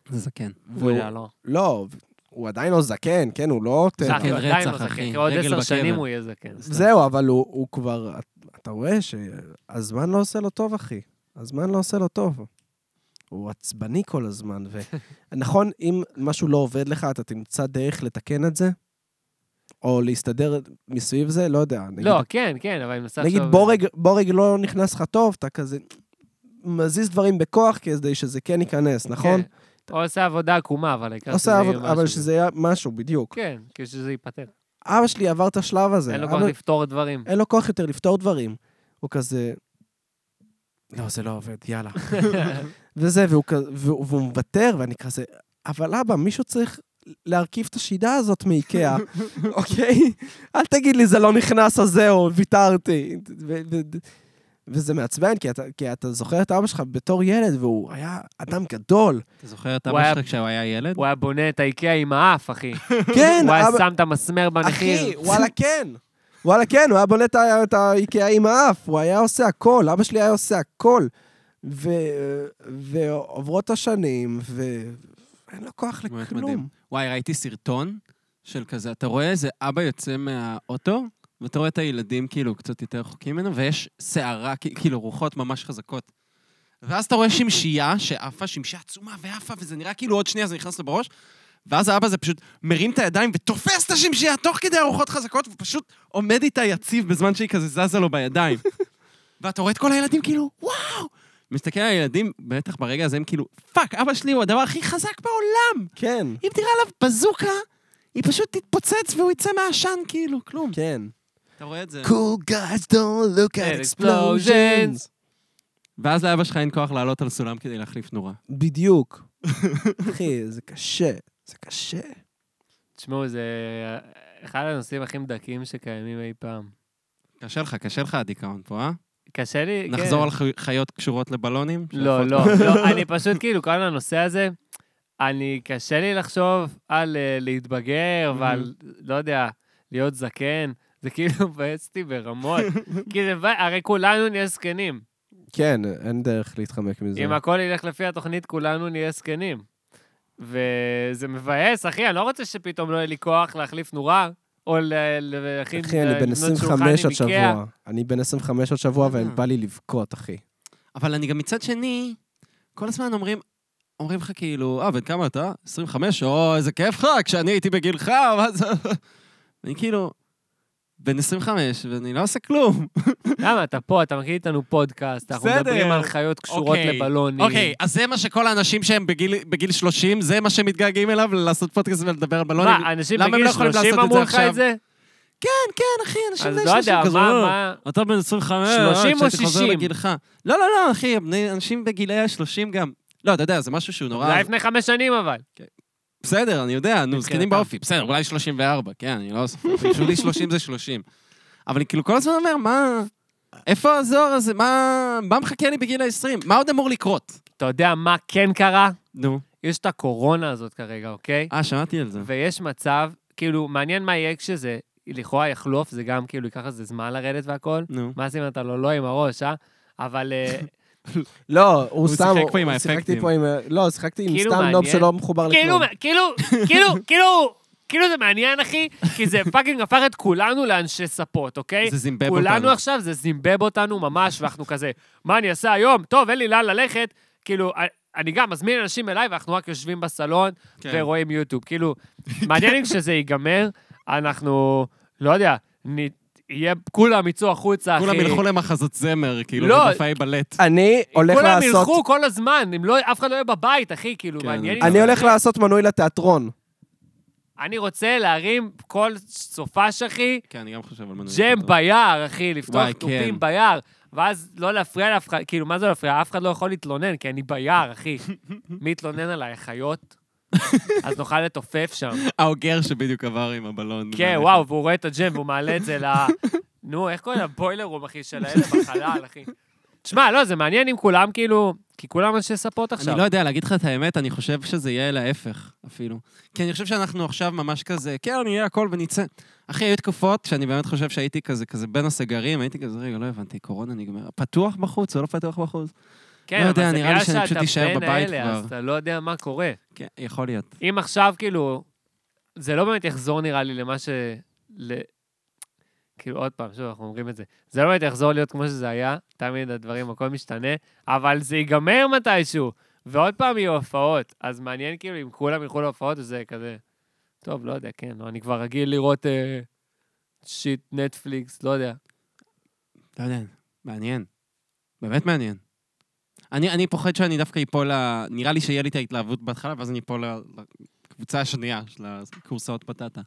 S1: זה זקן.
S3: הוא יודע, לא.
S2: לא, הוא עדיין לא זקן, כן, הוא לא...
S3: זה
S2: טבע.
S1: זקן
S3: הוא עדיין לא
S1: רצח,
S3: זקן,
S1: אחי.
S3: כי עוד
S1: רגל
S3: עשר
S1: בקבר.
S3: שנים הוא יהיה כן. זקן.
S2: זהו, אבל הוא, הוא כבר... אתה רואה שהזמן לא עושה לו טוב, אחי. הזמן לא עושה לו טוב. הוא עצבני כל הזמן, ונכון, אם משהו לא עובד לך, אתה תמצא דרך לתקן את זה, או להסתדר מסביב זה, לא יודע. נגיד,
S3: לא, כן, כן, אבל אני מנסה
S2: נגיד בורג, בורג לא נכנס לך טוב, אתה כזה מזיז דברים בכוח כדי שזה כן ייכנס, נכון?
S3: כן. או עושה עבודה עקומה, אבל העיקר
S2: עושה
S3: יהיה
S2: עבודה, אבל
S3: משהו.
S2: שזה יהיה משהו, בדיוק.
S3: כן, כאילו שזה ייפתר.
S2: אבא שלי עבר את השלב הזה.
S3: אין לו
S2: אבא-
S3: כבר לפתור דברים.
S2: אין לו כוח יותר לפתור דברים. הוא כזה... לא, זה לא עובד, יאללה. וזה, והוא, כ- והוא, והוא מוותר, ואני כזה, אבל אבא, מישהו צריך להרכיב את השידה הזאת מאיקאה, אוקיי? אל תגיד לי, זה לא נכנס, אז זהו, ויתרתי. ו- ו- וזה מעצבן, כי אתה, כי אתה זוכר את אבא שלך בתור ילד, והוא היה אדם גדול.
S1: אתה זוכר את
S3: הוא היה-
S1: אבא שלך כשהוא היה ילד?
S3: הוא היה בונה את האיקאה עם האף, אחי.
S2: כן,
S3: הוא היה
S2: אבא...
S3: שם את המסמר
S2: אחי,
S3: במחיר.
S2: וואלה, כן. וואלה, כן, הוא היה בולט את ה- את האיקאה עם האף, הוא היה עושה הכל, אבא שלי היה עושה הכל. ו... ועוברות השנים, ואין לו כוח
S1: באמת
S2: לכלום.
S1: מדהים. וואי, ראיתי סרטון של כזה, אתה רואה איזה אבא יוצא מהאוטו, ואתה רואה את הילדים כאילו קצת יותר רחוקים ממנו, ויש סערה, כ- כאילו רוחות ממש חזקות. ואז אתה רואה שמשייה שעפה, שמשייה עצומה ועפה, וזה נראה כאילו עוד שנייה זה נכנס לו בראש, ואז האבא זה פשוט מרים את הידיים ותופס את השמשייה תוך כדי הרוחות חזקות, ופשוט עומד איתה יציב בזמן שהיא כזה זזה לו בידיים. ואתה רואה את כל הילדים כאילו, וואו! מסתכל על הילדים, בטח ברגע הזה הם כאילו, פאק, אבא שלי הוא הדבר הכי חזק בעולם!
S2: כן,
S1: אם תראה עליו בזוקה, היא פשוט תתפוצץ והוא יצא מהעשן כאילו, כלום.
S2: כן.
S1: אתה רואה את זה?
S2: cool guys don't look
S3: at explosions.
S1: ואז לאבא שלך אין כוח לעלות על סולם כדי להחליף נורה.
S2: בדיוק. אחי, זה קשה, זה קשה.
S3: תשמעו, זה אחד הנושאים הכי מדכאים שקיימים אי פעם.
S1: קשה לך, קשה לך הדיכאון פה, אה?
S3: קשה לי, כן.
S1: נחזור על חי- חיות קשורות לבלונים?
S3: לא,
S1: שעפות-
S3: לא, לא, אני פשוט כאילו, כל הנושא הזה, אני, קשה לי לחשוב על אה, להתבגר
S2: Mm-hmm.
S3: ועל, לא יודע, להיות זקן. זה כאילו מבאס אותי ברמות. כי זה, מבא- הרי כולנו נהיה זקנים.
S2: כן, אין דרך להתחמק מזה.
S3: אם הכל ילך לפי התוכנית, כולנו נהיה זקנים. וזה מבאס, אחי, אני לא רוצה שפתאום לא יהיה לי כוח להחליף נורה, או ל- להכין... אה,
S2: אחי, אני בן
S3: לבנות שולחן
S2: 25
S3: עם
S2: עוד
S3: איקאה.
S2: שבוע. אני בן 25 עוד שבוע,
S1: אה.
S2: ובא לי לבכות, אחי.
S1: אבל אני גם מצד שני, כל הזמן אומרים... אומרים לך כאילו, אה, בן כמה אתה? 25? או, איזה כיף לך, כשאני הייתי בגילך, מה זה... אני כאילו, בן 25, ואני לא עושה כלום.
S3: למה, אתה פה, אתה מקריא איתנו פודקאסט, אנחנו
S1: בסדר.
S3: מדברים על חיות קשורות
S1: אוקיי.
S3: לבלונים.
S1: אוקיי, אז זה מה שכל האנשים שהם בגיל, בגיל 30, זה מה שהם מתגעגעים אליו, לעשות פודקאסט ולדבר על בלונים.
S3: מה, אנשים
S1: למה הם
S3: בגיל
S1: לא יכולים
S3: 30
S1: לעשות את זה
S3: אמרו לך
S1: עכשיו?
S3: את זה?
S1: כן, כן, אחי, אנשים
S3: אז
S1: בני
S3: לא
S1: 30
S3: יודע,
S1: כזה,
S3: מה,
S1: "אה,
S3: מה...
S1: אתה בן 25,
S3: 30
S1: 30
S3: או
S1: או 60. חוזר
S3: 60?
S1: לגילך. לא, לא, לא, אחי, בני- אנשים בגילי ה-30 גם. לא, אתה יודע, זה משהו שהוא
S3: זה
S1: נורא...
S3: היה לפני חמש שנים אבל.
S1: בסדר, אני יודע, נו, זקנים
S3: מבחינתם.
S1: באופי. בסדר, אולי 34, כן, אני לא... סופר. בשבילי 30 זה 30. אבל אני כאילו כל הזמן אומר, מה... איפה הזוהר הזה? מה... מה מחכה לי בגיל ה-20? מה עוד אמור לקרות?
S3: אתה יודע מה כן קרה?
S1: נו.
S3: יש את הקורונה הזאת כרגע, אוקיי?
S1: אה, שמעתי על זה.
S3: ויש מצב, כאילו, מעניין מה יהיה כשזה לכאורה יחלוף, זה גם כאילו ייקח איזה זמן לרדת והכל.
S1: נו.
S3: מה עושים אם אתה לא לא עם הראש, אה? אבל אה,
S2: לא, הוא
S1: הוא
S2: שם,
S1: שיחק פה עם
S2: הוא שיחקתי
S1: האפקטים.
S2: פה עם... ה- לא, שיחקתי עם
S3: כאילו
S2: סתם נוב
S3: מעניין.
S2: שלא מחובר
S3: כאילו,
S2: לכלום.
S3: כאילו, כאילו, כאילו, כאילו זה מעניין, אחי, כי זה פאקינג הפך את כולנו לאנשי ספות, אוקיי?
S1: זה זימבב
S3: כולנו
S1: אותנו.
S3: עכשיו, זה זימבב אותנו ממש, ואנחנו כזה, מה אני אעשה היום? טוב, אין לי לאן ללכת. כאילו, אני גם מזמין אנשים אליי, ואנחנו רק יושבים בסלון
S1: כן.
S3: ורואים יוטיוב. כאילו, מעניין אם כשזה ייגמר, אנחנו, לא יודע, נ... יהיה, כולם יצאו החוצה, אחי.
S1: כולם ילכו למחזות זמר, כאילו,
S3: לא.
S1: למופעי בלט.
S2: אני הולך
S3: כולם
S2: לעשות...
S3: ילכו כל הזמן, אם לא, אף אחד לא יהיה בבית, אחי, כאילו,
S1: כן,
S3: מעניין אם
S2: אני
S3: זה
S2: הולך
S3: יקרה.
S2: לעשות מנוי לתיאטרון.
S3: אני רוצה להרים כל סופש, אחי,
S1: כן, אני גם חושב על מנוי.
S3: ג'ם ביער, אחי, לפתוח
S1: וואי,
S3: תופים
S1: כן.
S3: ביער. ואז לא להפריע לאף אחד, כאילו, מה זה לא להפריע? אף אחד לא יכול להתלונן, כי אני ביער, אחי. מי יתלונן עליי? חיות? אז נוכל לתופף שם.
S1: האוגר שבדיוק עבר עם הבלון.
S3: כן, וואו, והוא רואה את הג'ם והוא מעלה את זה ל... נו, איך קוראים לבוילרום, אחי, של האלה בחלל, אחי. תשמע, לא, זה מעניין אם כולם כאילו... כי כולם אנשי ספורט עכשיו.
S1: אני לא יודע, להגיד לך את האמת, אני חושב שזה יהיה להפך אפילו. כי אני חושב שאנחנו עכשיו ממש כזה, כן, אני אהיה הכל ונצא. אחי, היו תקופות שאני באמת חושב שהייתי כזה, כזה בין הסגרים, הייתי כזה, רגע, לא הבנתי, קורונה נגמרה. פתוח בחוץ או לא פתוח בחוץ?
S3: כן,
S1: לא
S3: אבל
S1: יודע,
S3: זה
S1: נראה לי
S3: בגלל
S1: שאני פשוט
S3: שאתה
S1: אשאר
S3: בין
S1: בבית
S3: האלה,
S1: כבר.
S3: אז אתה לא יודע מה קורה.
S1: כן, יכול להיות.
S3: אם עכשיו, כאילו, זה לא באמת יחזור, נראה לי, למה ש... ל... כאילו, עוד פעם, שוב, אנחנו אומרים את זה. זה לא באמת יחזור להיות כמו שזה היה, תמיד הדברים, הכל משתנה, אבל זה ייגמר מתישהו, ועוד פעם יהיו הופעות. אז מעניין, כאילו, אם כולם ילכו להופעות, זה כזה... טוב, לא יודע, כן, לא, אני כבר רגיל לראות אה, שיט, נטפליקס, לא יודע.
S1: לא יודע, מעניין. באמת מעניין. אני, אני פוחד שאני דווקא איפול ל... נראה לי שיהיה לי את ההתלהבות בהתחלה, ואז אני איפול ל- לקבוצה השנייה של הכורסאות בטטה.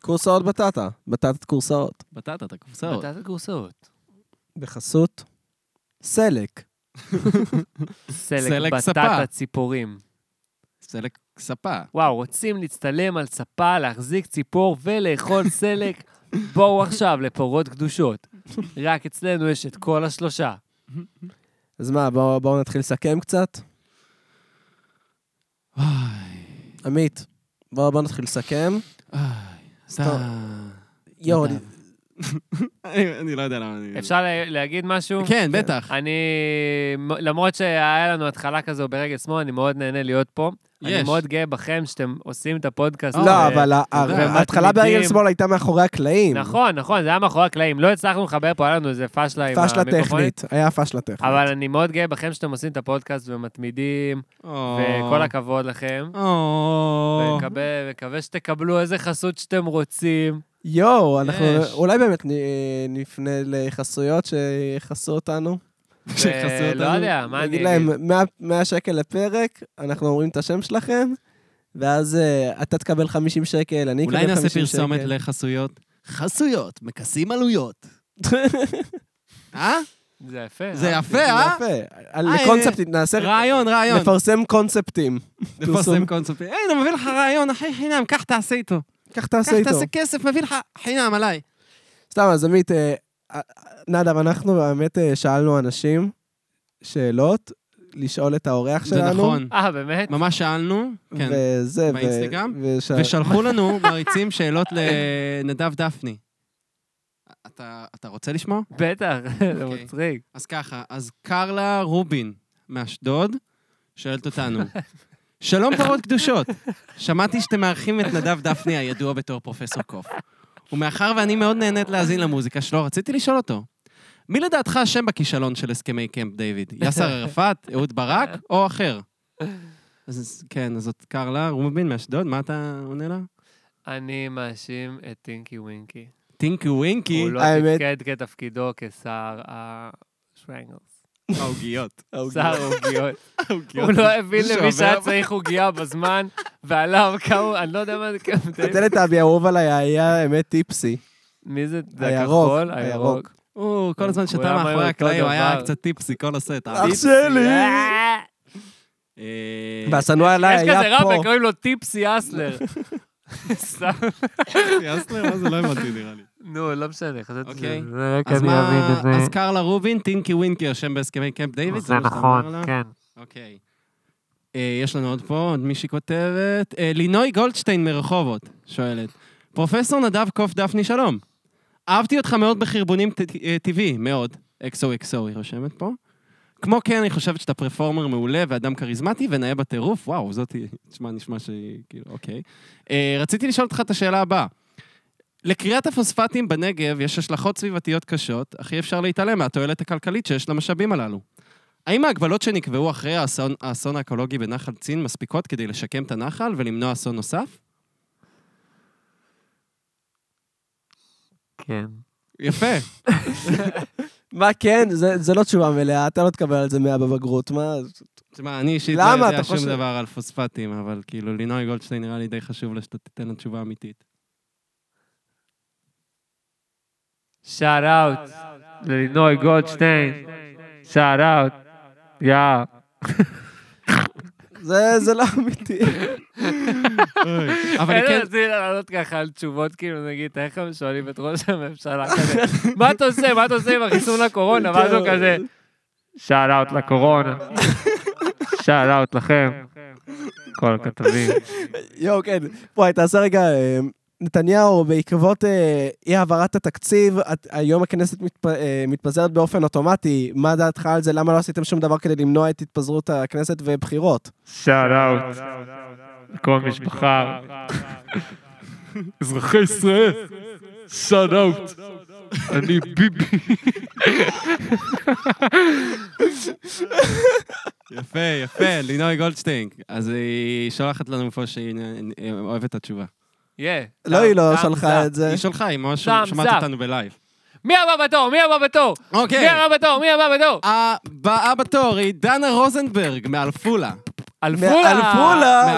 S2: קורסאות בטטה, בטטת קורסאות.
S1: בטטה, את הכורסאות.
S3: בטטת גורסאות.
S2: בחסות סלק.
S3: סלק
S1: סלק
S3: בטטה
S1: ספה.
S3: ציפורים.
S1: סלק ספה.
S3: וואו, רוצים להצטלם על ספה, להחזיק ציפור ולאכול סלק? בואו עכשיו לפרות קדושות. רק אצלנו יש את כל השלושה.
S2: אז מה, בואו בוא נתחיל לסכם קצת? עמית, בואו בוא נתחיל לסכם. טוב. יואו,
S1: נכון.
S2: אני-
S1: אני אני לא יודע למה אני...
S3: אפשר לה- להגיד משהו?
S1: כן, בטח.
S3: אני, מ- למרות שהיה לנו התחלה כזו ברגל שמאל, אני מאוד נהנה להיות פה. אני
S1: יש.
S3: מאוד גאה בכם שאתם עושים את הפודקאסט.
S2: לא,
S3: אה,
S2: אבל ה-
S3: ומתמידים.
S2: ההתחלה ברגל שמאל הייתה מאחורי הקלעים.
S3: נכון, נכון, זה היה מאחורי הקלעים. לא הצלחנו לחבר פה, היה לנו איזה פאשלה עם
S2: פשלה
S3: המיקרופונים.
S2: טכנית, היה פשלה טכנית.
S3: אבל אני מאוד גאה בכם שאתם עושים את הפודקאסט ומתמידים,
S2: אה.
S1: או.
S3: וכל הכבוד לכם.
S1: או.
S3: ומקווה, מקווה שתקבלו איזה חסות שאתם רוצים.
S2: יואו, אנחנו
S1: יש.
S2: אולי באמת נ- נפנה לחסויות שיחסו אותנו.
S1: שיכסו
S3: ולא
S1: אותנו.
S3: לא יודע, מה אני
S2: נגיד
S3: אגיד?
S2: להם 100 100 שקל לפרק, אנחנו אומרים את השם שלכם, ואז אה, אתה תקבל 50 שקל, אני אקבל
S1: אולי
S2: 50 שקל.
S1: נעשה פרסומת לחסויות. חסויות, מכסים עלויות. אה?
S3: זה יפה.
S1: זה
S3: אה?
S1: יפה, אה?
S2: יפה. על-
S1: אה,
S2: לקונספטים, נעשה...
S1: רעיון, רעיון.
S2: נפרסם קונספטים.
S1: לפרסם
S2: פרסום.
S1: קונספטים. היי, אני מביא לך רעיון, אחי חינם, קח תעשה איתו.
S2: כך
S1: קח
S2: תעשה איתו.
S1: תעשה כסף, מביא לך חינם עליי.
S2: סתם, אז עמית, אה, אה, נדב, אנחנו באמת אה, שאלנו אנשים שאלות, לשאול את האורח
S1: זה
S2: שלנו.
S1: נכון.
S3: אה, באמת?
S1: ממש שאלנו, כן.
S2: וזה, ו-
S1: באינסטגרם,
S2: וש-
S1: ושלחו לנו מעריצים שאלות
S2: כן.
S1: לנדב דפני. אתה, אתה רוצה לשמוע?
S3: בטח, זה
S1: אוקיי.
S3: מצחיק.
S1: אז ככה, אז קרלה רובין מאשדוד שואלת אותנו, שלום פרות קדושות, שמעתי שאתם מארחים את נדב דפני הידוע בתור פרופסור קוף. ומאחר ואני מאוד נהנית להאזין למוזיקה שלו, רציתי לשאול אותו, מי לדעתך אשם בכישלון של הסכמי קמפ דיוויד? יאסר ערפאת, אהוד ברק או אחר? אז כן, אז זאת קרלה רובין מאשדוד, מה אתה עונה לה?
S3: אני מאשים את טינקי ווינקי.
S1: טינקי ווינקי,
S3: הוא לא
S2: האמת-
S3: תפקד כתפקידו כשר ה... שרנגלס.
S1: העוגיות.
S2: אוקיי.
S3: שר עוגיות. הוא
S1: העוגיות.
S3: לא הבין למי
S1: שעובר-
S3: שהיה צריך עוגיה בזמן, ועליו כמה, אני לא יודע מה זה כמה...
S2: הטלת האהוב עליי היה האמת טיפסי.
S3: מי זה? זה
S2: הירוק,
S3: הכחול?
S2: הירוק.
S1: הוא כל הזמן שתה
S3: כולם היו
S1: מאחורי
S3: אותו
S1: הקלעים, הוא היה
S3: דבר.
S1: קצת טיפסי, כל הסט. אה?
S2: אח שלי!
S3: אה,
S1: אה,
S2: והשנוא עליי
S3: יש
S2: היה
S3: כזה
S2: פה.
S3: ראפר, קוראים לו טיפסי אסלר. סתם.
S1: אסלר, מה זה לא הבנתי נראה לי.
S3: נו, לא משנה, חשבתי
S1: אוקיי.
S3: שזה... זה רק
S1: אז
S3: כן, אני
S1: מה,
S3: אבין את זה.
S1: אז קרלה רובין, טינקי ווינקי אשם בהסכמי קמפ דיוויד?
S3: זה
S1: מה שאתה אומר לה?
S3: נכון, כן.
S1: אוקיי. אה, יש לנו עוד פה, עוד מישהי כותבת. אה, לינוי גולדשטיין מרחובות, שואלת. פרופסור נדב קוף דפני, שלום. אהבתי אותך מאוד בחרבונים ט- אה, טבעי, מאוד. אקסו אקסו, היא רושמת פה. כמו כן, אני חושבת שאתה פרפורמר מעולה ואדם כריזמטי ונאה בטירוף. וואו, זאתי, תשמע, נשמע שהיא, כאילו, אוקיי. אה, רציתי לשאול אותך את השאלה הבאה. לכריית הפוספטים בנגב יש השלכות סביבתיות קשות, אך אי אפשר להתעלם מהתועלת הכלכלית שיש למשאבים הללו. האם ההגבלות שנקבעו אחרי האסון, האסון האקולוגי בנחל צין מספיקות כדי לשקם את הנחל ולמנוע אסון נוסף?
S3: כן.
S1: יפה.
S2: מה כן? זה- זה לא תשובה מלאה, אתה לא תקבל על זה 100 בבגרות, מה?
S1: תשמע, אני אישית לא
S2: למה? אתה
S1: יודע שום
S2: חושב-
S1: דבר על פוספטים, אבל כאילו, לינוי גולדשטיין נראה לי די חשוב לה שאתה תיתן לה תשובה אמיתית.
S3: שאט אאוט. ללינוי גולדשטיין, שאט אאוט, יא.
S2: זה זה לא אמיתי.
S1: אבל אני כן...
S3: רציתי לענות ככה על תשובות, כאילו, נגיד, איך הם שואלים את ראש הממשלה כזה, מה אתה עושה, מה אתה עושה עם החיסון לקורונה? ואז הוא כזה, שאט אאוט לקורונה, שאט אאוט לכם, כל הכתבים.
S2: יואו, כן. וואי, תעשה רגע... אה, נתניהו, בעקבות אה, אי-העברת התקציב, את- היום הכנסת מתפ- אה, מתפזרת באופן אוטומטי. מה דעתך על זה? למה לא עשיתם שום דבר כדי למנוע את התפזרות הכנסת ובחירות?
S3: שאט אאוט לכל משפחה. אזרחי ישראל, שאט אאוט. אני ביבי.
S1: יפה, יפה, לינוי גולדשטיין. אז היא שולחת לנו פה שהיא אה, אוהבת את התשובה.
S2: לא, היא לא שלחה את זה.
S1: היא שלחה, היא ממש
S3: זעם,
S1: שמעת
S3: זעם.
S1: אותנו בלייב.
S3: מי הבא בתור? מי הבא בתור?
S2: כן,
S1: אוקיי.
S3: מי הבא בתור? מי הבא בתור?
S1: הבאה בתור היא דנה רוזנברג מעפולה.
S3: אלפולה.
S2: אלפולה.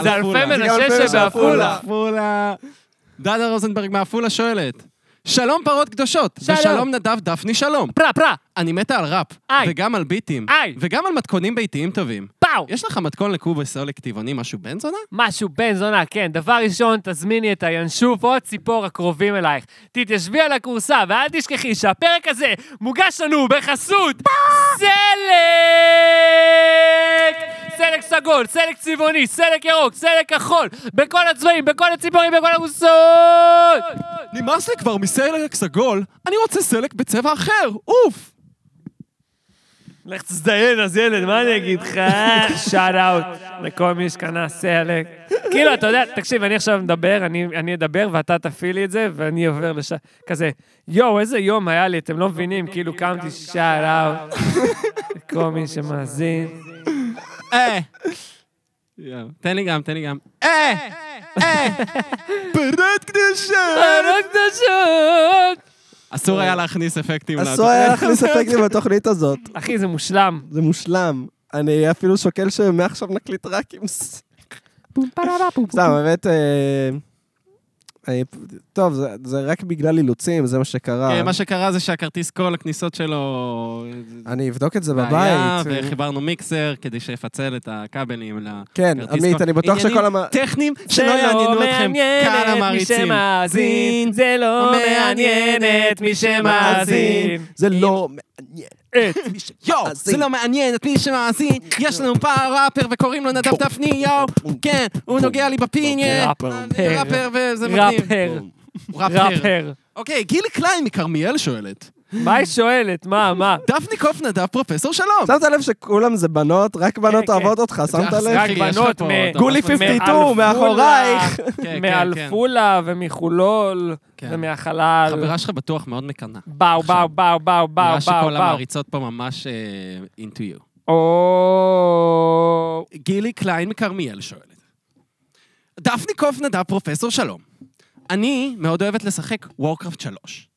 S3: זה
S1: מעפולה.
S3: אלפי
S2: זה אלפי
S3: מנשה
S2: מנשה
S3: שבעפולה.
S1: מעפולה. דנה רוזנברג מעפולה שואלת, שלום פרות קדושות,
S3: שלום.
S1: ושלום נדב דפני שלום.
S3: פרה, פרה,
S1: אני מתה על ראפ,
S3: איי.
S1: וגם על ביטים,
S3: איי.
S1: וגם על מתכונים ביתיים טובים.
S3: פאו.
S1: יש לך מתכון לקובוס או לכתיבוני משהו בן זונה?
S3: משהו בן זונה, כן. דבר ראשון, תזמיני את הינשוף או הציפור הקרובים אלייך. תתיישבי על הכורסה, ואל תשכחי שהפרק הזה מוגש לנו בחסות סלק! סלק סגול, סלק צבעוני, סלק ירוק, סלק כחול, בכל הצבעים, בכל הציפורים, בכל המוסות!
S1: נמאס לי כבר מסלק סגול, אני רוצה סלק בצבע אחר, אוף!
S3: לך תזדיין, אז ילד, מה אני אגיד לך? שאט אאוט לכל מי שקנה סלק. כאילו, אתה יודע, תקשיב, אני עכשיו מדבר, אני אני אדבר ואתה תפעיל לי את זה, ואני עובר לש... כזה, יואו, איזה יום היה לי, אתם לא מבינים, כאילו קמתי שאט אאוט לכל מי שמאזין.
S1: אה. תן לי גם, תן לי גם. אה! אה! פרות קדושות!
S3: פרות קדושות!
S1: אסור היה להכניס אפקטים.
S2: אסור היה להכניס אפקטים בתוכנית הזאת.
S3: אחי, זה מושלם.
S2: זה מושלם. אני אפילו שוקל שמעכשיו נקליט רק עם... ס- סתם, באמת... אה, אה, טוב, זה- זה רק בגלל אילוצים, זה מה שקרה.
S1: כן, מה שקרה זה שהכרטיס כל הכניסות שלו...
S2: אני אבדוק את זה
S1: היה,
S2: בבית.
S1: וחיברנו מיקסר כדי שיפצל את הכבלים לכרטיס
S2: כן,
S1: כל.
S2: עמית, אני בטוח שכל המ...
S1: עניינים טכניים שלא
S3: לא
S1: יעניינו אתכם, קהל המעריצים. זין,
S3: זה לא
S1: מעניין את מי שמאזין.
S2: זה לא מעניין.
S1: יואו, זה
S2: מאזין.
S1: לא מעניין את מי שמאזין, יש לנו פעם ראפר וקוראים לו נדב דפני, יואו, כן, הוא נוגע לי בפיניה,
S3: ראפר.
S1: ראפר וזה מגניב.
S3: ראפר.
S1: ראפר.
S3: ראפר.
S1: אוקיי, גילי קליין מכרמיאל שואלת,
S3: מה היא שואלת? מה, מה?
S1: דפני קוף נדב פרופסור שלום.
S2: שמת לב שכולם זה בנות, רק בנות
S3: כן.
S2: אוהבות אותך, שמת
S1: זה אחי,
S2: לב?
S3: רק
S1: יש לך
S3: בנות
S1: פה
S3: מ...
S1: אותו.
S2: גולי
S1: מאלפולה.
S2: 52, מאחורייך.
S1: כן, כן, כן.
S3: מאלפולה ומחולול
S1: כן.
S3: ומהחלל.
S1: חברה שלך בטוח מאוד מקנאה.
S3: באו, באו, באו, באו, באו,
S1: נראה
S3: באו,
S1: שכל
S3: באו.
S1: המעריצות פה ממש אה, into you.
S3: או...
S1: גילי קליין מכרמיאל שואלת. דפני קוף נדב פרופסור שלום. אני מאוד אוהבת לשחק וורקראפט 3.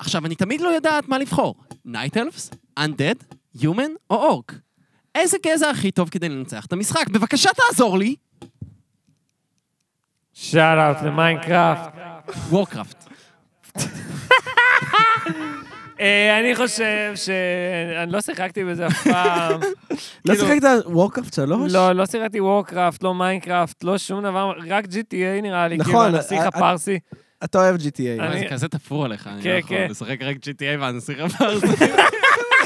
S1: עכשיו, אני תמיד לא יודעת מה לבחור. נייט אלפס, אנדד, יומן או אורק. איזה גזע הכי טוב כדי לנצח את המשחק? בבקשה תעזור לי!
S3: שאט אאוט למיינקראפט.
S1: וורקראפט.
S3: אה, אני חושב ש... אני לא שיחקתי בזה אף פעם.
S2: לא
S3: כאילו-
S2: שיחקת וורקאפט 3?
S3: לא, לא שיחקתי וורקראפט, לא מיינקראפט, לא שום דבר, רק GTA נראה לי,
S2: נכון,
S3: כאילו, הנסיך
S2: אה,
S3: הפרסי.
S2: אתה אוהב GTA.
S1: מה, זה
S3: אני-
S1: כזה תפור עליך, אני לא
S3: כן,
S1: יכול
S3: כן.
S1: לשחק רק GTA והנסיך הפרסי.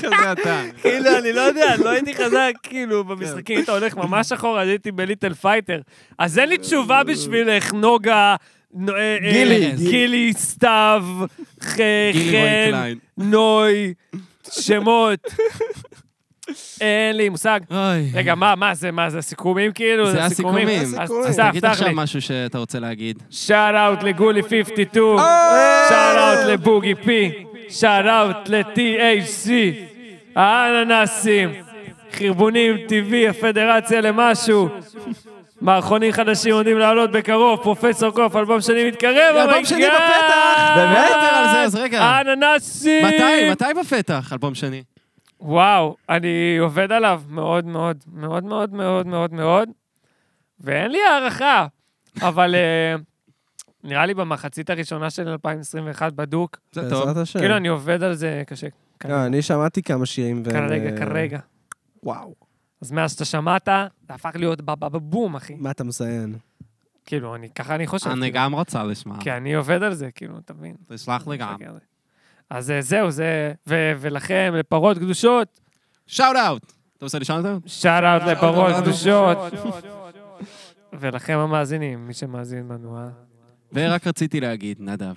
S1: כזה אתה.
S3: כאילו, אני לא יודע, לא הייתי חזק,
S1: כן.
S3: כאילו, במשחקים, אתה הולך ממש אחורה, אז הייתי בליטל פייטר. אז אין לי תשובה בשבילך, נוגה, נו- אה, אה,
S2: גילי, גילי.
S3: גילי, סתיו, ח-
S1: גילי רועי
S3: חן,
S1: קליין.
S3: נוי, שמות. אין לי מושג.
S1: אוי.
S3: רגע, מה, מה זה, מה זה, הסיכומים כאילו?
S1: זה הסיכומים.
S3: אז-
S2: הסיכומים.
S3: אז
S1: תגיד
S3: תפתח
S1: עכשיו
S3: לי.
S1: משהו שאתה רוצה להגיד.
S3: שאט אאוט לגולי 52,
S2: אה,
S3: שאט אאוט לבוגי פי, שאט אאוט ל-THC, האננסים, חרבונים, טבעי, הפדרציה למשהו. מערכונים חדשים עומדים לעלות בקרוב, פרופסור קוף, אלבום שני מתקרב,
S1: אלבום
S3: אומייגאד!
S1: שני בפתח! באמת? נדבר על זה, אז רגע.
S3: האננסים!
S1: מתי? מתי בפתח? אלבום שני.
S3: וואו, אני עובד עליו מאוד מאוד מאוד מאוד מאוד מאוד מאוד, ואין לי הערכה, אבל אה, נראה לי במחצית הראשונה של 2021 בדוק,
S1: זה טוב.
S2: בעזרת השם.
S3: כאילו אני כאילו, עובד על זה קשה. כרגע.
S2: לא, אני שמעתי כמה שירים. והם,
S3: כרגע,
S2: אה,
S3: כרגע.
S2: וואו,
S3: אז מאז שאתה שמעת, זה הפך להיות בבום, אחי.
S2: מה אתה מזיין?
S3: כאילו, אני, ככה אני חושב.
S1: אני
S3: כאילו.
S1: גם רוצה לשמוע.
S3: כי אני עובד על זה, כאילו, אתה מבין?
S1: תסלח לי
S3: כן.
S1: גם.
S3: אז אה, זהו, זה... ו- ולכם, לפרות קדושות,
S1: שאוט אאוט! אתה רוצה לשאול אותו?
S3: שאט אאוט לפרות
S1: לפרות
S3: קדושות. ולכם המאזינים, מי שמאזין לנו, אה?
S1: ורק רציתי להגיד, נדב,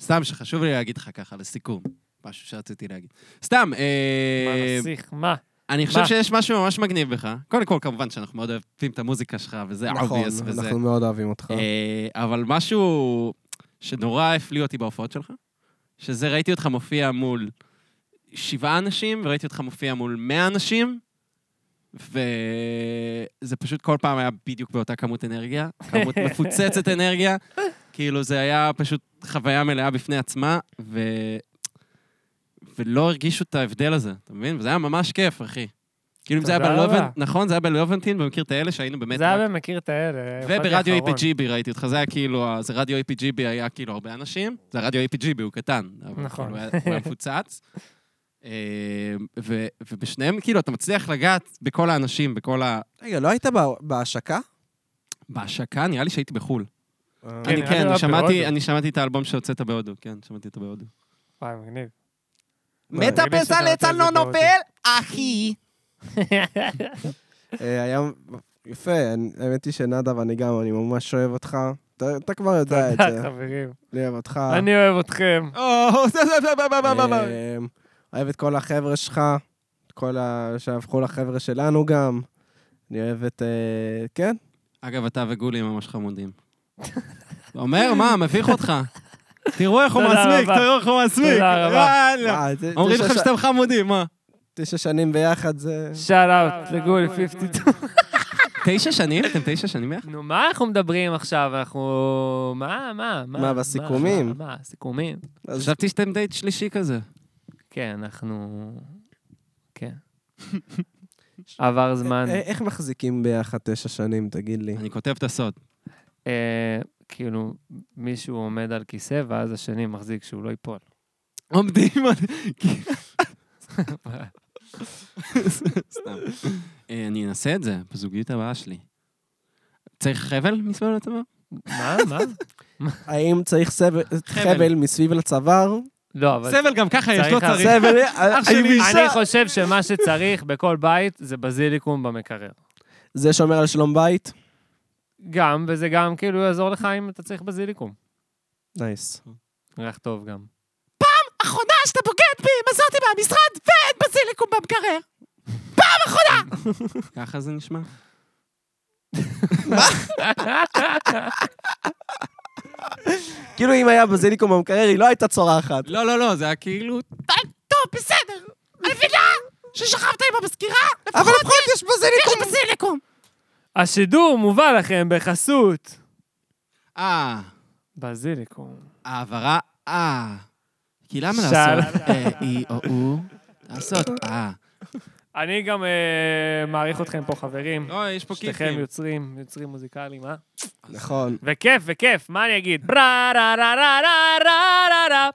S1: סתם שחשוב לי להגיד לך ככה, לסיכום, משהו שרציתי להגיד. סתם,
S3: מה
S1: אה,
S3: נסיך, מה?
S1: אני חושב
S3: מה?
S1: שיש משהו ממש מגניב בך. קודם כל, כמובן שאנחנו מאוד אוהבים את המוזיקה שלך, וזה
S2: נכון,
S1: obvious וזה...
S2: אנחנו מאוד אוהבים אותך.
S3: נכון.
S1: אה, אבל משהו שנורא הפליא אותי בהופעות שלך, שזה ראיתי אותך מופיע מול שבעה אנשים, וראיתי אותך מופיע מול מאה אנשים, וזה פשוט כל פעם היה בדיוק באותה כמות אנרגיה, כמות מפוצצת אנרגיה, כאילו זה היה פשוט חוויה מלאה בפני עצמה, ו... ולא הרגישו את ההבדל הזה, אתה מבין? וזה היה ממש כיף, אחי. כאילו אם זה היה
S3: תודה רבה.
S1: בלובנטין, נכון? זה היה בלובנטין, ומכיר את האלה שהיינו באמת...
S3: זה
S1: רק-
S3: היה במכיר את האלה. אה? הופעתי
S1: וברדיו
S3: האחרון.
S1: APGB ראיתי אותך, זה היה כאילו, ה- זה רדיו APGB היה כאילו הרבה אנשים, זה הרדיו APGB, הוא קטן. אבל
S3: נכון.
S1: כאילו, הוא היה- הוא היה מפוצץ. אה, ו- ובשניהם, כאילו, אתה מצליח לגעת בכל האנשים, בכל ה...
S2: רגע, לא היית בה- בהשקה?
S1: בהשקה, נראה לי שהייתי בחו"ל.
S2: אה,
S3: כן,
S1: אני
S3: נראה לי
S1: כן,
S3: הוא היה
S1: אני שמעתי,
S3: בהודו.
S1: אני שמעתי את האלבום שהוצאת בהודו, כן, שמעתי אותו בהודו.
S3: וואי, מגניב.
S2: מתה
S3: אני מבין שאתה רוצה את זה בהודו.
S1: אחי!
S2: אה, היה... יפה, אני- האמת היא שנדב, אני גם, אני ממש אוהב אותך. אתה- אתה כבר יודע את
S3: תודה,
S2: זה.
S3: חברים.
S2: אני אוהב אותך.
S3: אני אוהב אתכם.
S1: אה.
S2: אה, אוהב את כל החבר'ה שלך, את כל ה... שהפכו לחבר'ה שלנו גם. אני אוהב את... אה, כן?
S1: אגב, אתה וגולי ממש חמודים. אומר, מה, מביך אותך. תראו איך הוא
S3: תודה
S1: מסמיק,
S3: רבה.
S1: תראו איך הוא מסמיק.
S3: תודה רבה. לא.
S1: יאללה.
S2: אה, זה-
S1: אומרים
S2: תשע
S1: לך
S2: ש-
S1: שאתם חמודים, מה?
S2: תשע שנים ביחד זה...
S3: שאט אאוט לגול 52.
S1: תשע שנים? אתם תשע שנים יחד?
S3: נו, מה אנחנו מדברים עכשיו? אנחנו... מה, מה, מה?
S2: מה, בסיכומים?
S3: מה, מה, סיכומים?
S2: אז-
S1: חשבתי שאתם דייט שלישי כזה.
S3: כן, אנחנו... כן. עבר זמן.
S2: א- א- אה, איך מחזיקים ביחד תשע שנים, תגיד לי?
S1: אני כותב את הסוד.
S3: אה, כאילו, מישהו עומד על כיסא, ואז השני מחזיק שהוא לא ייפול.
S1: עומדים על... סתם. אה, אני אנסה את זה בזוגיות הבאה שלי. צריך חבל מסביב לצבא?
S3: מה? מה?
S2: האם צריך סבל- חבל מסביב לצוואר?
S3: לא, אבל...
S1: סבל גם ככה יש, לא
S3: צריך-
S1: צריך.
S2: סבל... עם אישה.
S3: אני חושב שמה שצריך בכל בית זה בזיליקום במקרר.
S2: זה שומר על שלום בית?
S3: גם, וזה גם כאילו יעזור לך אם אתה צריך בזיליקום.
S2: נייס.
S3: ריח טוב גם.
S1: אחרונה שאתה בוגד בי, מסרתי מהמשרד ואת בזיליקום במקרר. פעם אחרונה! ככה זה נשמע.
S2: כאילו אם היה בזיליקום במקרר, היא לא הייתה צורחת.
S1: לא, לא, לא, זה היה כאילו... טוב, בסדר. אני מבינה ששכבת עם המזכירה,
S2: אבל לפחות יש בזיליקום!
S1: בזיליקום.
S3: השידור מובא לכם בחסות.
S1: אה,
S3: בזיליקום.
S1: העברה, אה. כי למה
S3: שאל.
S1: לעשות אה, אי או או? לעשות אה.
S3: אני גם אה, מעריך אתכם פה, חברים.
S1: לא, יש פה
S3: שתיכם
S1: כיפים.
S3: יוצרים, יוצרים מוזיקליים, אה?
S2: נכון.
S3: וכיף, וכיף, מה אני אגיד? רה רה רה רה רה רה רה רה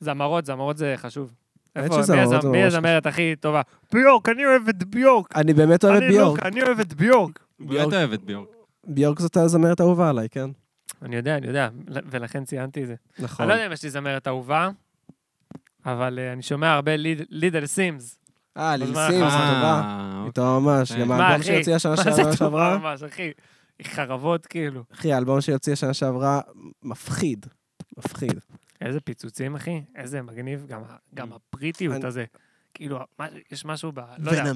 S3: זמרות, זמרות זה חשוב.
S2: האמת
S3: איפה- מי
S2: שזמרות
S3: הזמ-
S2: זה
S3: מי
S2: ממש
S3: הזמרת הכי טובה? ביורק, אני אוהב את ביורק.
S2: אני באמת אוהב את
S3: אני
S2: ביורק.
S3: לא- אני אוהב את ביורק.
S1: באמת אוהב את ביורק.
S2: ביורק זאת הזמרת האהובה עליי, כן?
S3: אני יודע, אני יודע, ולכן ציינתי את זה.
S2: נכון.
S3: אני לא יודע אם יש לי זמרת אהובה, אבל אה, אני שומע הרבה לידל סימס.
S2: אה, ליל
S3: בזמן
S2: סימס,
S3: האחרון.
S2: טובה.
S1: אה,
S2: איתו ממש,
S1: אה,
S2: גם
S1: מה,
S2: האלבום
S3: אחי?
S2: שיוציא השנה
S3: מה זה
S2: שעברה-
S3: טובה
S2: שעברה,
S3: ממש, אחי. חרבות, כאילו.
S2: אחי, האלבום שיוציא השנה שעברה, מפחיד. מפחיד.
S3: איזה פיצוצים, אחי. איזה מגניב, גם, ה- גם הבריטיות
S2: אני-
S3: הזה. כאילו, מה- יש משהו ב... לא יודע.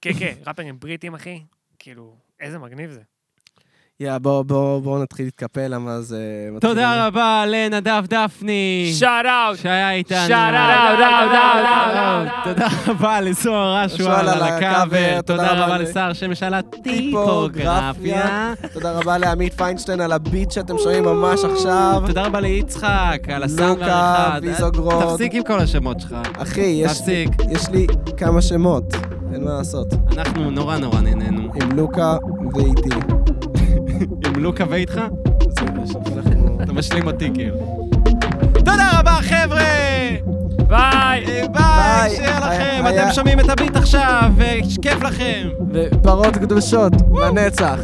S3: כן, כן, ראפרים בריטים, אחי. כאילו, איזה מגניב זה.
S2: יא, בואו בוא, בוא נתחיל להתקפל, למה זה... מתחיל-
S1: תודה רבה לנדב דפני,
S3: שאט אאוט!
S1: שהיה איתנו.
S3: שאט אאוט, אאוט, אאוט, אאוט, אאוט.
S1: תודה רבה לסוהר
S2: שועל
S1: אשואל על
S2: על
S1: הקאבר,
S2: הקאבר,
S1: תודה
S2: תודה
S1: רבה
S2: ל-
S1: לסער שמש על הטיפוגרפיה.
S2: טיפוגרפיה. תודה רבה לעמית פיינשטיין על הביט שאתם שומעים ממש עכשיו.
S1: תודה רבה ליצחק, על הסאונד
S2: לוקה,
S1: והעריכה.
S2: ויזוגרוד.
S1: תפסיק עם כל השמות שלך.
S2: אחי, יש,
S1: תפסיק.
S2: יש לי כמה שמות, אין מה לעשות.
S1: אנחנו נורא נורא נהנינו.
S2: עם לוקה ואיתי.
S1: עם לוקה ואיתך?
S2: זה מה שאנחנו...
S1: אתה משלים אותי כאילו. תודה רבה, חבר'ה!
S3: ביי!
S1: ביי,
S2: ביי.
S1: שיהיה לכם,
S2: היה-
S1: אתם שומעים את הביט עכשיו, וכיף אה, לכם.
S2: ופרות קדושות, לנצח.